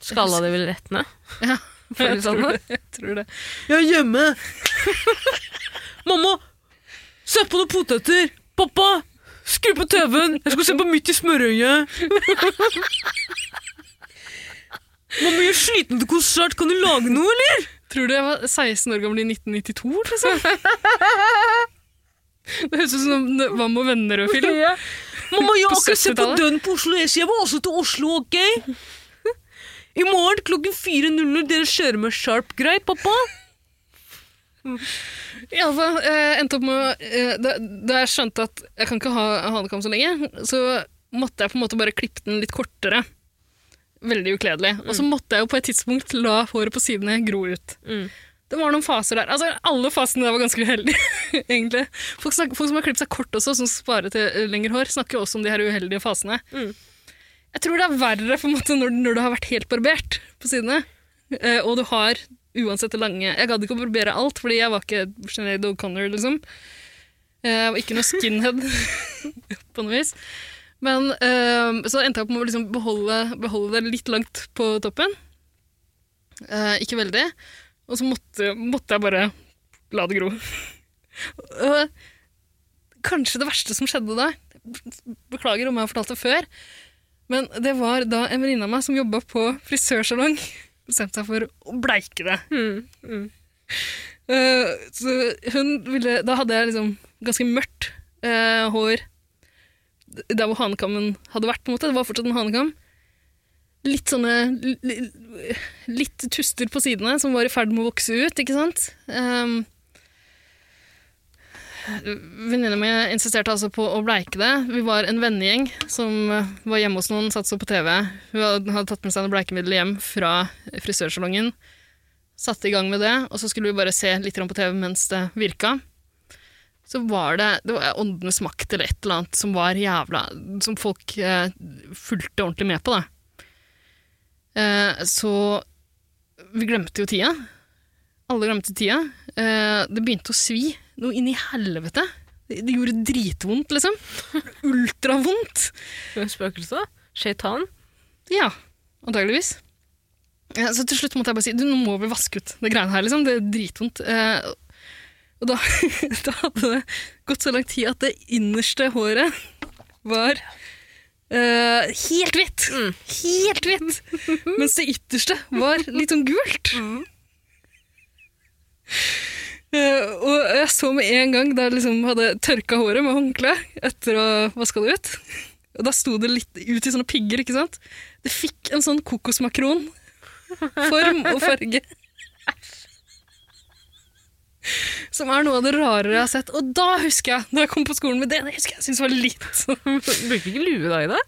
[SPEAKER 2] Skalla de vel rett ned?
[SPEAKER 3] Ja,
[SPEAKER 2] For å si sånn.
[SPEAKER 3] jeg tror det.
[SPEAKER 2] Jeg er hjemme! Mamma! Se på noen poteter! Pappa! Skru på TV-en! Jeg skal se på Midt i smørøyet! Mamma, gjør sliten til konsert, kan du lage noe, eller?
[SPEAKER 3] Tror du jeg var 16 år gammel i 1992, liksom? Det høres ut som en Hva med venner-film.
[SPEAKER 2] Mamma, jeg
[SPEAKER 3] På
[SPEAKER 2] har ikke sett på
[SPEAKER 3] 70-tallet.
[SPEAKER 2] Dønn på Oslo S, jeg må også til Oslo, ok? I morgen klokken 4.00, dere kjører med Sharp, greit, pappa?
[SPEAKER 3] I alle fall, eh, endte opp med, å- eh, da, da jeg skjønte at jeg kan ikke ha hanekam så lenge, så måtte jeg på en måte bare klippe den litt kortere. Veldig ukledelig. Og så måtte jeg jo på et tidspunkt la håret på sidene gro ut.
[SPEAKER 2] Mm.
[SPEAKER 3] Det var noen faser der. Altså, alle fasene der var ganske uheldige, egentlig. Folk, snak, folk som har klippet seg kort også, som sparer til eh, lengre hår, snakker jo også om de her uheldige fasene.
[SPEAKER 2] Mm.
[SPEAKER 3] Jeg tror det er verre på en måte når, når du har vært helt barbert på sidene, eh, og du har uansett det lange Jeg gadd ikke å barbere alt, fordi jeg var ikke Sinead O'Connor, liksom. Eh, Jeg var ikke noe skinhead på noe vis. Men eh, så endte jeg opp med å liksom beholde, beholde det litt langt på toppen. Eh, ikke veldig. Og så måtte, måtte jeg bare la det gro. Og kanskje det verste som skjedde da Beklager om jeg har fortalt det før, men det var da en venninne av meg som jobba på frisørsalong, bestemte seg for å bleike det. Eh, så hun ville Da hadde jeg liksom ganske mørkt eh, hår der hvor hanekammen hadde vært, på en måte. Det var fortsatt en hanekam. Litt sånne li- li- Litt tuster på sidene som var i ferd med å vokse ut, ikke sant? Um, Venninna mi insisterte altså på å bleike det. Vi var en vennegjeng som eh, var hjemme hos noen, satt så på TV. Hun hadde hadde tatt med seg noe bleikemiddel hjem fra frisørsalongen. Satte i gang med det, og så skulle vi bare se litt grann på TV mens det virka. Så var det, det var åndenes makt eller et eller annet som var jævla Som folk eh, fulgte ordentlig med på, da. Eh, så vi glemte jo tida. Alle glemte tida. Eh, det begynte å svi noe inn i helvete. Det, det gjorde dritvondt, liksom. Ultravondt.
[SPEAKER 2] Spøkelse? Shaitan?
[SPEAKER 3] Ja, antageligvis. Ja, så til slutt måtte jeg bare si du, nå må vi vaske ut det greiene her, liksom. Det er dritvondt. Eh, og da, da hadde det gått så lang tid at det innerste håret var eh, helt hvitt.
[SPEAKER 2] Mm.
[SPEAKER 3] Helt hvitt! Mens det ytterste var litt sånn gult. Eh, og jeg så med en gang da jeg liksom hadde tørka håret med håndkle etter å ha vaska det ut. Og da sto det litt ut i sånne pigger, ikke sant? Det fikk en sånn kokosmakron-form og farge. Som er noe av det rarere jeg har sett. Og da husker jeg, når jeg kom på skolen med det, det husker jeg jeg syntes var litt sånn
[SPEAKER 2] Brukte ikke lue da i det?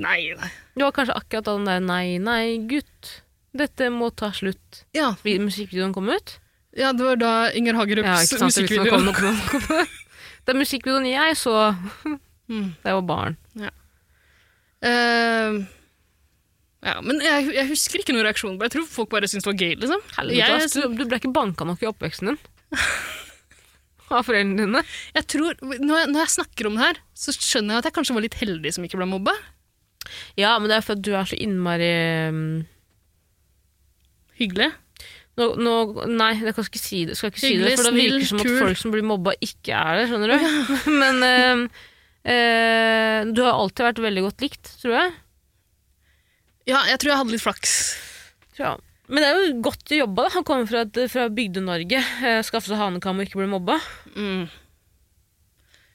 [SPEAKER 3] Nei, nei.
[SPEAKER 2] Det var kanskje akkurat da den der 'nei, nei, gutt, dette må ta slutt'
[SPEAKER 3] Ja,
[SPEAKER 2] Vi- musikkvideoen kom ut.
[SPEAKER 3] ja, det var da Inger
[SPEAKER 2] Ja,
[SPEAKER 3] Hagerups
[SPEAKER 2] ikke sant? Det, liksom
[SPEAKER 3] musikkvideo.
[SPEAKER 2] kom, kom, kom, kom. det er musikkvideoen jeg så
[SPEAKER 3] Mm.
[SPEAKER 2] da jeg var barn.
[SPEAKER 3] Eh, ja, men jeg, jeg husker ikke noen reaksjon. Jeg tror folk bare syntes det var gøy, liksom.
[SPEAKER 2] Helvete,
[SPEAKER 3] Jeg-
[SPEAKER 2] ass, du, du ble ikke banka nok i oppveksten din av foreldrene dine.
[SPEAKER 3] jeg tror, når, jeg, når jeg snakker om det her, så skjønner jeg at jeg kanskje var litt heldig som ikke ble mobba.
[SPEAKER 2] Ja, men det er fordi du er så innmari mm,
[SPEAKER 3] Hyggelig.
[SPEAKER 2] nå, nå, Nei, jeg kan ikke si det, skal ikke si det
[SPEAKER 3] Hyggelig,
[SPEAKER 2] for det virker
[SPEAKER 3] snill,
[SPEAKER 2] som at
[SPEAKER 3] kul.
[SPEAKER 2] folk som blir mobba, ikke er det, skjønner du. Men eh, eh, du har alltid vært veldig godt likt, tror jeg.
[SPEAKER 3] Ja, jeg tror jeg hadde litt flaks.
[SPEAKER 2] Tror jeg. Men det er jo godt jobba. da. Han kommer fra, et- fra Bygde-Norge. eh, Skaffe seg hanekam og ikke bli mobba.
[SPEAKER 3] Mm.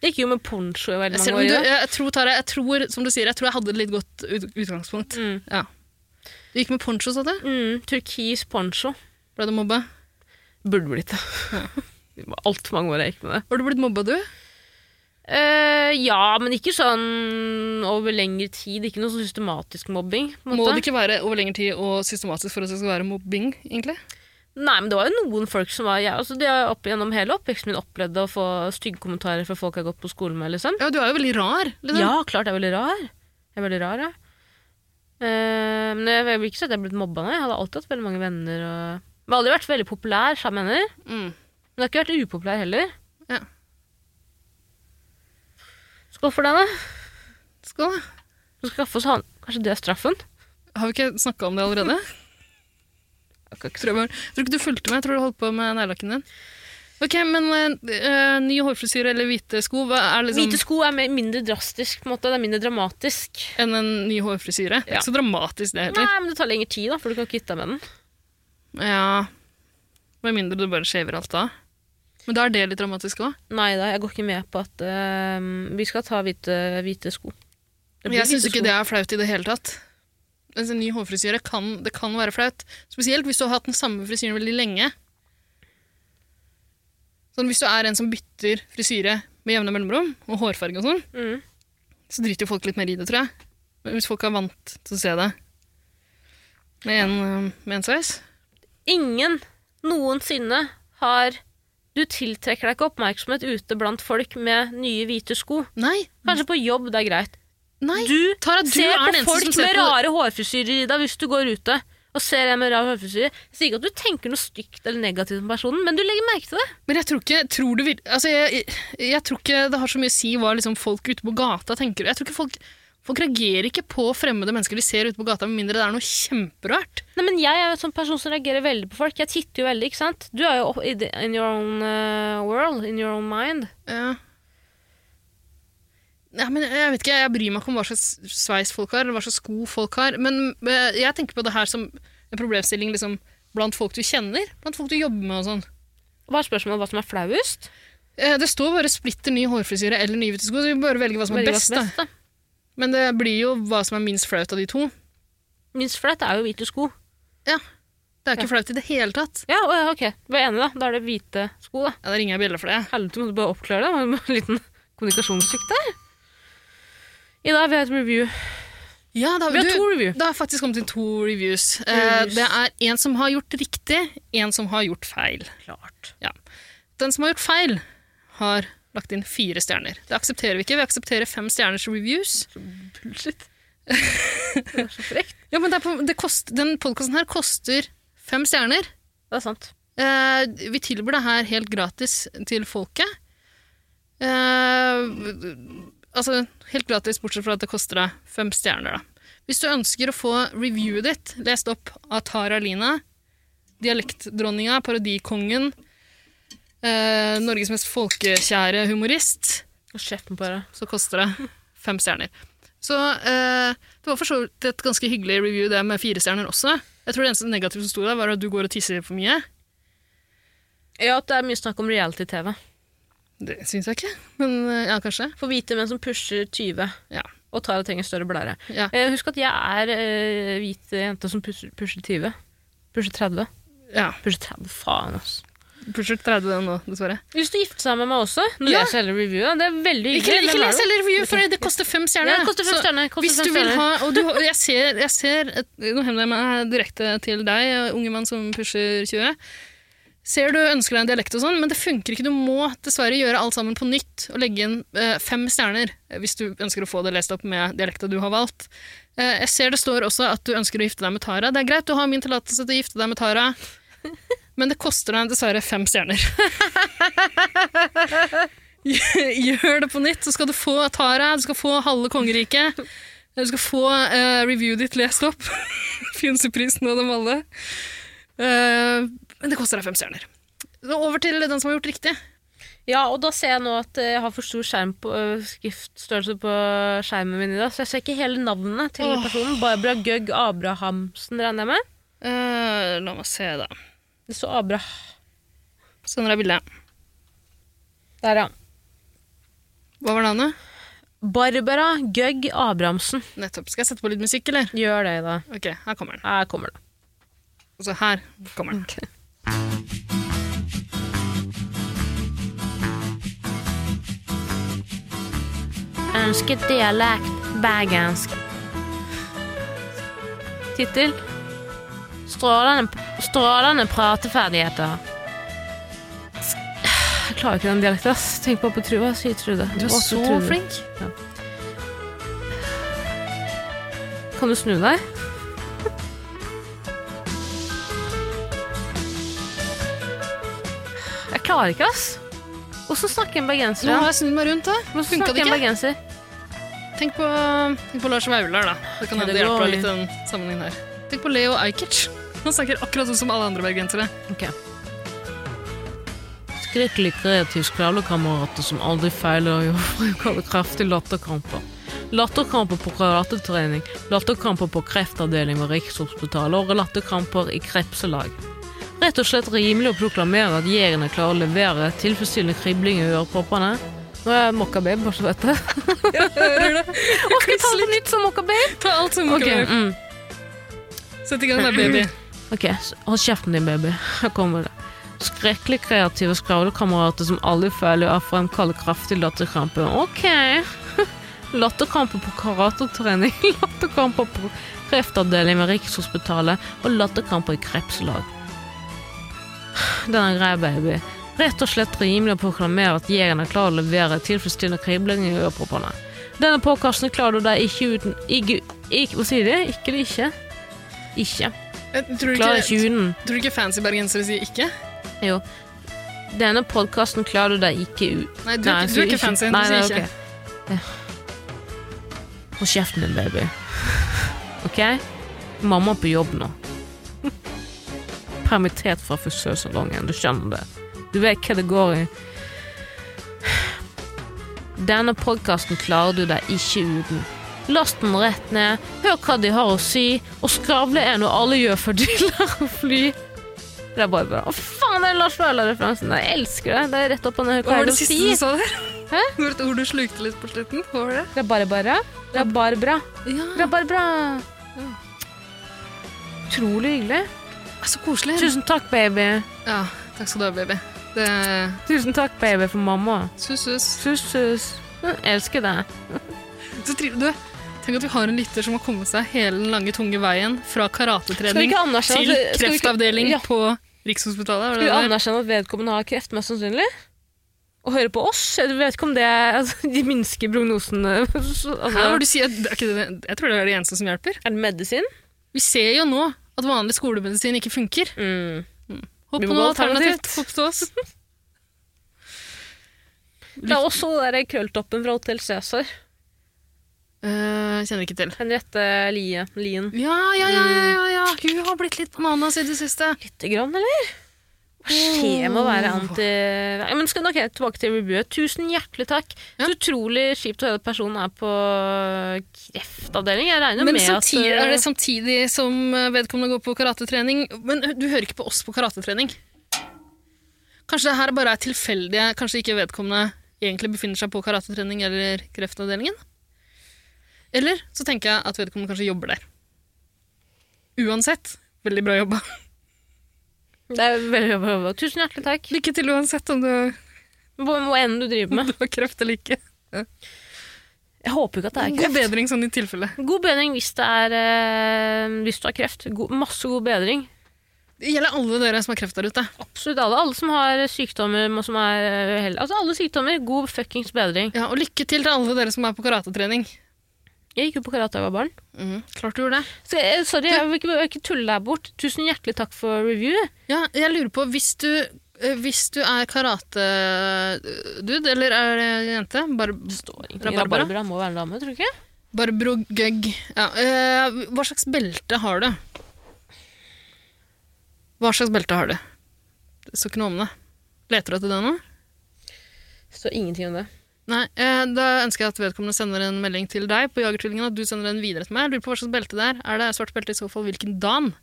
[SPEAKER 2] Jeg gikk jo med poncho i veldig
[SPEAKER 3] Jeg, ser,
[SPEAKER 2] mange
[SPEAKER 3] men
[SPEAKER 2] år.
[SPEAKER 3] du,
[SPEAKER 2] ja.
[SPEAKER 3] jeg, jeg tror, Tara, jeg tror, som du sier, jeg tror jeg hadde et litt godt ut, utgangspunkt.
[SPEAKER 2] Mm.
[SPEAKER 3] Ja. Du gikk med poncho, sa du?
[SPEAKER 2] Mm, turkis poncho.
[SPEAKER 3] Ble du mobba?
[SPEAKER 2] Burde blitt det. Det var altfor mange år jeg gikk med det.
[SPEAKER 3] Har du blitt mobba, du?
[SPEAKER 2] Eh, ja, men ikke sånn over lengre tid. Ikke noe sånn systematisk mobbing. På en
[SPEAKER 3] Må
[SPEAKER 2] måte.
[SPEAKER 3] det ikke være over lengre tid og systematisk for at det skal være mobbing, egentlig?
[SPEAKER 2] Nei, men det var jo noen folk som var jeg, altså, de har opp Gjennom hele oppveksten min opplevde å få stygge kommentarer fra folk jeg har gått på skolen med. liksom.
[SPEAKER 3] Ja, du er jo veldig rar. Liksom.
[SPEAKER 2] Ja, klart jeg er veldig rar. Jeg er veldig rar, ja. Eh, men jeg, jeg vil ikke si at jeg er blitt mobba. Nei. Jeg hadde alltid hatt veldig mange venner. og... Jeg har aldri vært veldig populær, sa jeg mener.
[SPEAKER 3] Mm.
[SPEAKER 2] Men jeg har ikke vært upopulær heller.
[SPEAKER 3] Ja.
[SPEAKER 2] Skål for deg, da.
[SPEAKER 3] Skål, da.
[SPEAKER 2] Du skal skaffe oss han. Kanskje det er straffen?
[SPEAKER 3] Har vi ikke snakka om det allerede?
[SPEAKER 2] Jeg kan ikke
[SPEAKER 3] Tror jeg, bare, jeg tror ikke du fulgte med. Jeg tror du holdt på med neglelakken din. Ok, men eh, eh, ny hårfrisyre eller hvite sko, hva er liksom
[SPEAKER 2] Hvite sko er mer, mindre drastisk, på en måte. Det er mindre dramatisk.
[SPEAKER 3] enn en ny hårfrisyre? Det er
[SPEAKER 2] Ja.
[SPEAKER 3] Ikke så dramatisk det
[SPEAKER 2] Nei,
[SPEAKER 3] heller.
[SPEAKER 2] men det tar lengre tid, da, for du kan ikke kvitte deg med den.
[SPEAKER 3] Ja, Med mindre du bare shaver alt da. Men da er det litt dramatisk òg.
[SPEAKER 2] Nei da, jeg går ikke med på at øhm, Vi skal ta hvite, hvite sko. Det blir
[SPEAKER 3] Jeg syns
[SPEAKER 2] hvite
[SPEAKER 3] ikke
[SPEAKER 2] sko.
[SPEAKER 3] det er flaut i det hele tatt. Altså, En ny hårfrisyre kan, det kan være flaut. Spesielt hvis du har hatt den samme frisyren veldig lenge. Sånn, hvis du er en som bytter frisyre med jevne mellomrom, og hårfarge og sånn,
[SPEAKER 2] Mm.
[SPEAKER 3] så driter jo folk litt mer i det, tror jeg. Men Hvis folk er vant til å se det med en, øh, med en sveis.
[SPEAKER 2] Ingen noensinne har Du tiltrekker deg ikke oppmerksomhet ute blant folk med nye hvite sko.
[SPEAKER 3] Nei,
[SPEAKER 2] Kanskje på jobb, det er greit.
[SPEAKER 3] nei.
[SPEAKER 2] Du
[SPEAKER 3] Tara, du
[SPEAKER 2] Se
[SPEAKER 3] er den
[SPEAKER 2] på
[SPEAKER 3] eneste
[SPEAKER 2] folk
[SPEAKER 3] som ser
[SPEAKER 2] med
[SPEAKER 3] på-
[SPEAKER 2] rare hårfrisyrer, Ida, hvis du går ute og ser en med rar hårfrisyre. Jeg sier ikke at du tenker noe stygt eller negativt om personen, men du legger merke til det.
[SPEAKER 3] Men jeg tror ikke, tror du, vir- altså jeg, jeg, jeg tror ikke det har så mye å si hva liksom folk ute på gata tenker. Jeg tror ikke folk, folk reagerer ikke på fremmede mennesker de ser ute på gata, med mindre det er noe kjemperørt.
[SPEAKER 2] Nei, men Jeg er jo en sånn person som reagerer veldig på folk. Jeg titter jo veldig, ikke sant? Du er jo opp- i the- in your own eh, world, in your own mind.
[SPEAKER 3] Ja. Nei, Eh, men jeg vet ikke, jeg bryr meg ikke om hva slags sveis folk har, eller hva slags sko folk har, men eh, jeg tenker på det her som en problemstilling liksom, blant folk du kjenner, blant folk du jobber med og sånn.
[SPEAKER 2] Hva er spørsmålet hva som er flauest?
[SPEAKER 3] Eh, Det står bare splitter ny hårfrisyre eller nye hvite sko, så vi bare velger hva som er
[SPEAKER 2] Veldig
[SPEAKER 3] best.
[SPEAKER 2] godt
[SPEAKER 3] Da.
[SPEAKER 2] da.
[SPEAKER 3] Men det blir jo hva som er minst flaut av de to.
[SPEAKER 2] Minst flaut er jo hvite sko.
[SPEAKER 3] Ja. Det er ikke flaut i det hele tatt.
[SPEAKER 2] Ja, å ja, ok. Du er enig, da. Da er det hvite sko, da.
[SPEAKER 3] Ja, Da ringer jeg bjelle for det.
[SPEAKER 2] Helvete, måtte du bare oppklare det. Det var en liten kommunikasjonssvikt der. I dag har vi et review.
[SPEAKER 3] Ja, da,
[SPEAKER 2] Vi har to review.
[SPEAKER 3] det har faktisk kommet inn to reviews. Eh,
[SPEAKER 2] Reviews.
[SPEAKER 3] det er en som har gjort riktig, en som har gjort feil.
[SPEAKER 2] Klart.
[SPEAKER 3] Ja. Den som har gjort feil, har lagt inn fire stjerner. Det aksepterer vi ikke. Vi aksepterer fem stjerners reviews.
[SPEAKER 2] Bullshit. det er så frekt.
[SPEAKER 3] Ja, men det er på, det kost, Den podkasten her koster fem stjerner.
[SPEAKER 2] Det er sant.
[SPEAKER 3] Eh, vi tilbyr det her helt gratis til folket. Eh, altså, helt gratis, bortsett fra at det koster deg fem stjerner, da. Hvis du ønsker å få reviewet ditt lest opp av Tara Lina, dialektdronninga, parodikongen, eh, Norges mest folkekjære humorist,
[SPEAKER 2] Og kjeften på deg.
[SPEAKER 3] så koster det fem stjerner. Så eh, det var for så vidt et ganske hyggelig review det med fire stjerner også. Jeg tror det eneste negative som sto der, var at du går og tisser for mye.
[SPEAKER 2] Ja, at det er mye snakk om reality-TV.
[SPEAKER 3] Det syns jeg ikke, men eh, ja, kanskje.
[SPEAKER 2] For hvite menn som pusher 20
[SPEAKER 3] Ja.
[SPEAKER 2] og tar og trenger større blære.
[SPEAKER 3] Ja.
[SPEAKER 2] Eh, husk at jeg er eh, hvit jente som pusher, pusher 20. Pusher 30.
[SPEAKER 3] ja.
[SPEAKER 2] Pusher 30, faen, ass.
[SPEAKER 3] Pusher 30 nå, dessverre.
[SPEAKER 2] Lyst til å gifte seg med meg også? Når
[SPEAKER 3] Ja.
[SPEAKER 2] jeg selger reviewet. Det er veldig
[SPEAKER 3] Ikke,
[SPEAKER 2] hyggelig.
[SPEAKER 3] ikke
[SPEAKER 2] Hvem er
[SPEAKER 3] les
[SPEAKER 2] du?
[SPEAKER 3] heller review, for det koster fem stjerner.
[SPEAKER 2] Ja, det koster fem
[SPEAKER 3] Så
[SPEAKER 2] stjerner. koster
[SPEAKER 3] Hvis
[SPEAKER 2] fem
[SPEAKER 3] du vil
[SPEAKER 2] stjerner.
[SPEAKER 3] ha, og du, har- jeg ser, jeg ser et, Nå hender jeg meg direkte til deg, unge mann som pusher 20. Ser du ønsker deg en dialekt og sånn, men det funker ikke. Du må dessverre gjøre alt sammen på nytt og legge inn eh, fem stjerner eh, hvis du ønsker å få det lest opp med dialekta du har valgt. Eh, jeg ser det står også at du ønsker å gifte deg med Tara. Det er greit, du har min tillatelse til å gifte deg med Tara, men det koster deg dessverre fem stjerner. Gjør det på nytt, så skal du få Tara, du skal få halve kongeriket. Du skal få eh, reviewet ditt lest opp. Fjunseprisen og dem alle. Eh, men det koster deg fem stjerner. Så over til den som har gjort riktig.
[SPEAKER 2] Ja, og da ser jeg nå at eh, jeg har for stor skjerm på, ø, skriftstørrelse på øh, skjermen min i dag, så jeg ser ikke hele navnet til
[SPEAKER 3] Åh.
[SPEAKER 2] personen. Barbara Gøgg Abrahamsen regner jeg med.
[SPEAKER 3] Eh, la meg se, da.
[SPEAKER 2] Det står Abra...
[SPEAKER 3] Sender deg bildet.
[SPEAKER 2] Der, ja.
[SPEAKER 3] Hva var navnet?
[SPEAKER 2] Barbara Gøgg Abrahamsen.
[SPEAKER 3] Nettopp. Skal jeg sette på litt musikk, eller?
[SPEAKER 2] Gjør det, da.
[SPEAKER 3] Ok, her kommer den.
[SPEAKER 2] Her kommer det.
[SPEAKER 3] Altså, her kommer den.
[SPEAKER 2] Ønsket dialekt bergensk. Tittel Strålende, strålende prateferdigheter. Jeg klarer ikke den dialekten. ass. Tenk bare på Trude. Jeg sier Trude.
[SPEAKER 3] Du er
[SPEAKER 2] Åse
[SPEAKER 3] så
[SPEAKER 2] Trude.
[SPEAKER 3] flink.
[SPEAKER 2] Kan du snu deg? Jeg klarer ikke, ass. Hvordan snakker en bergenser?
[SPEAKER 3] Nå
[SPEAKER 2] da?
[SPEAKER 3] har jeg snudd meg rundt, da.
[SPEAKER 2] Hvordan
[SPEAKER 3] Funka
[SPEAKER 2] snakker
[SPEAKER 3] det
[SPEAKER 2] en
[SPEAKER 3] ikke?
[SPEAKER 2] bergenser?
[SPEAKER 3] Tenk på, tenk på Lars Vaular, da. Det kan
[SPEAKER 2] Ja,
[SPEAKER 3] hende
[SPEAKER 2] det
[SPEAKER 3] det hjelper
[SPEAKER 2] går
[SPEAKER 3] deg litt i den sammenhengen her. Tenk på Leo Ajkic. Han snakker akkurat sånn som alle andre bergensere.
[SPEAKER 2] Ok. Skrekkeliker er tyskklaverkamerater som aldri feiler å bruke kraftige latterkramper. Latterkramper på karatetrening, latterkramper på kreftavdeling ved Rikshospitalet og latterkramper i krepselag. Rett og slett rimelig å proklamere at jegerne klarer å levere tilfredsstillende kribling i øreproppene. Nå er jeg mokkababe, bare så du vet det. Å, skal vi ta det på nytt som mokkababe?
[SPEAKER 3] Ta alt som
[SPEAKER 2] Ok,
[SPEAKER 3] kommer.
[SPEAKER 2] mm.
[SPEAKER 3] Sett i gang, da, baby.
[SPEAKER 2] Ok, s- hold kjeften din, baby. Her kommer det. Skrekkelig kreative skravlekamerater som alle føler er fremkaller kraftig latterkrampe. Ok. Latterkamper på karatetrening, latterkamper på kreftavdeling ved Rikshospitalet og latterkamper i krepslag. Den er grei, baby. Rett og slett rimelig å proklamere at jegerne klarer å levere tilfredsstillende kribling i øreproppene. Denne påkasten klarer du deg ikke uten ikke, ikke, Hva sier de? Ikke eller ikke? Ikke.
[SPEAKER 3] Jeg Tror du
[SPEAKER 2] Klarer
[SPEAKER 3] ikke,
[SPEAKER 2] ikke hunden.
[SPEAKER 3] tror du ikke fancy bergensere sier ikke?
[SPEAKER 2] Jo. Denne podkasten klarer du deg ikke ut
[SPEAKER 3] Nei, du, er ikke- du er ikke fancy. Du
[SPEAKER 2] Nei, nei,
[SPEAKER 3] sier ikke.
[SPEAKER 2] ok. Ja. Hold kjeften din, baby. OK? Mamma er på jobb nå. Permittert fra frisørsalongen, du skjønner det. Du vet hva det går i. Denne podkasten klarer du deg ikke uten. Last den rett ned, hør hva de har å si, og skravle er noe alle gjør før de lærer å fly. Det er bare bra. Å, faen, det er Lars Vaular-referansen. Jeg elsker det. Det er rett opp og ned.
[SPEAKER 3] Hva var det
[SPEAKER 2] å
[SPEAKER 3] siste
[SPEAKER 2] si?
[SPEAKER 3] du sa der? Hæ? Det var et ord du slukte litt på slutten. Hva var det?
[SPEAKER 2] Rabarbara. Rabarbra.
[SPEAKER 3] Ja,
[SPEAKER 2] Rabarbra. Utrolig hyggelig.
[SPEAKER 3] Så Altså, koselig.
[SPEAKER 2] Tusen takk, baby.
[SPEAKER 3] Ja, Takk skal du ha, baby. Det
[SPEAKER 2] Tusen takk, baby, for mamma.
[SPEAKER 3] Sus, sus.
[SPEAKER 2] Sus, sus. Jeg elsker deg.
[SPEAKER 3] Så triv- Du, tenk at vi har en lytter som har kommet seg hele den lange, tunge veien fra
[SPEAKER 2] Skal vi
[SPEAKER 3] karatetrening
[SPEAKER 2] ikke anerkjenne
[SPEAKER 3] til
[SPEAKER 2] at- skal vi ikke-
[SPEAKER 3] kreftavdeling
[SPEAKER 2] Ja,
[SPEAKER 3] på Rikshospitalet. var
[SPEAKER 2] Skal vi
[SPEAKER 3] det det der?
[SPEAKER 2] anerkjenne at vedkommende har kreft, mest sannsynlig? Og høre på oss? Jeg vet ikke om det altså, De minsker prognosen altså,
[SPEAKER 3] Hæ, hva er det du sier? Det er ikke det- Jeg tror det er det eneste som hjelper.
[SPEAKER 2] Er det medisin?
[SPEAKER 3] Vi ser jo nå at vanlig skolemedisin ikke funker.
[SPEAKER 2] Mm.
[SPEAKER 3] Hopp
[SPEAKER 2] Vi
[SPEAKER 3] på
[SPEAKER 2] må
[SPEAKER 3] noe
[SPEAKER 2] gå alternativt.
[SPEAKER 3] alternativt. Hopp til oss.
[SPEAKER 2] Det er også den der krølltoppen fra Hotell Cæsar.
[SPEAKER 3] Eh, kjenner ikke til.
[SPEAKER 2] Henriette Lie. Lien.
[SPEAKER 3] Ja, ja, ja, ja, ja,
[SPEAKER 2] Mm.
[SPEAKER 3] ja. Hun har blitt litt bananas i det siste.
[SPEAKER 2] Lite grann, eller? Hva skjer med å være anti... Ja, men skal, ok, tilbake til reviewet. Tusen hjertelig takk.
[SPEAKER 3] Ja.
[SPEAKER 2] Så utrolig kjipt å høre at personen er på øh, kreftavdeling. Jeg regner
[SPEAKER 3] Men
[SPEAKER 2] med
[SPEAKER 3] samtidig,
[SPEAKER 2] at øh, eh,
[SPEAKER 3] er det samtidig som eh, vedkommende går på karatetrening Men eh, du hører ikke på oss på karatetrening. Kanskje det her bare er tilfeldige Kanskje ikke vedkommende egentlig befinner seg på karatetrening eller kreftavdelingen? Eller så tenker jeg at vedkommende kanskje jobber der. Uansett, veldig bra jobba.
[SPEAKER 2] det er veldig bra jobba. Tusen hjertelig takk.
[SPEAKER 3] Lykke til uansett om du
[SPEAKER 2] Hva hva enn du driver med.
[SPEAKER 3] har kreft eller ikke.
[SPEAKER 2] Jeg håper jo ikke at det er
[SPEAKER 3] God
[SPEAKER 2] kreft.
[SPEAKER 3] bedring sånn i tilfelle.
[SPEAKER 2] God bedring hvis, det er, eh, hvis du har kreft. God, masse god bedring.
[SPEAKER 3] Det gjelder alle dere som har kreft der ute.
[SPEAKER 2] Absolutt alle. Alle som har sykdommer må- som er eh, hell- Altså alle sykdommer. God fuckings bedring.
[SPEAKER 3] Ja, og lykke til til alle dere som er på karatetrening.
[SPEAKER 2] Jeg gikk jo på karate da jeg var barn.
[SPEAKER 3] Mhm. Klart du gjorde det.
[SPEAKER 2] Så, eh, sorry, jeg vil ikke, jeg vil ikke tulle deg bort. Tusen hjertelig takk for review.
[SPEAKER 3] Ja, jeg lurer på, hvis du, eh, hvis du er karate-dude, eller er det jente? Bar Rabarbara?
[SPEAKER 2] Rabarbra må være en dame, tror du ikke?
[SPEAKER 3] Barbro Gøgg. Ja, eh, hva slags belte har du? Hva slags belte har du? Det står ikke noe om det. Leter du etter det nå?
[SPEAKER 2] Så ingenting om det.
[SPEAKER 3] Nei, eh, Da ønsker jeg at vedkommende sender en melding til deg på Jagertvillingen, at du sender den videre til meg. Jeg lurer på hva slags belte det er. Er det svart belte i så fall? Hvilken dan?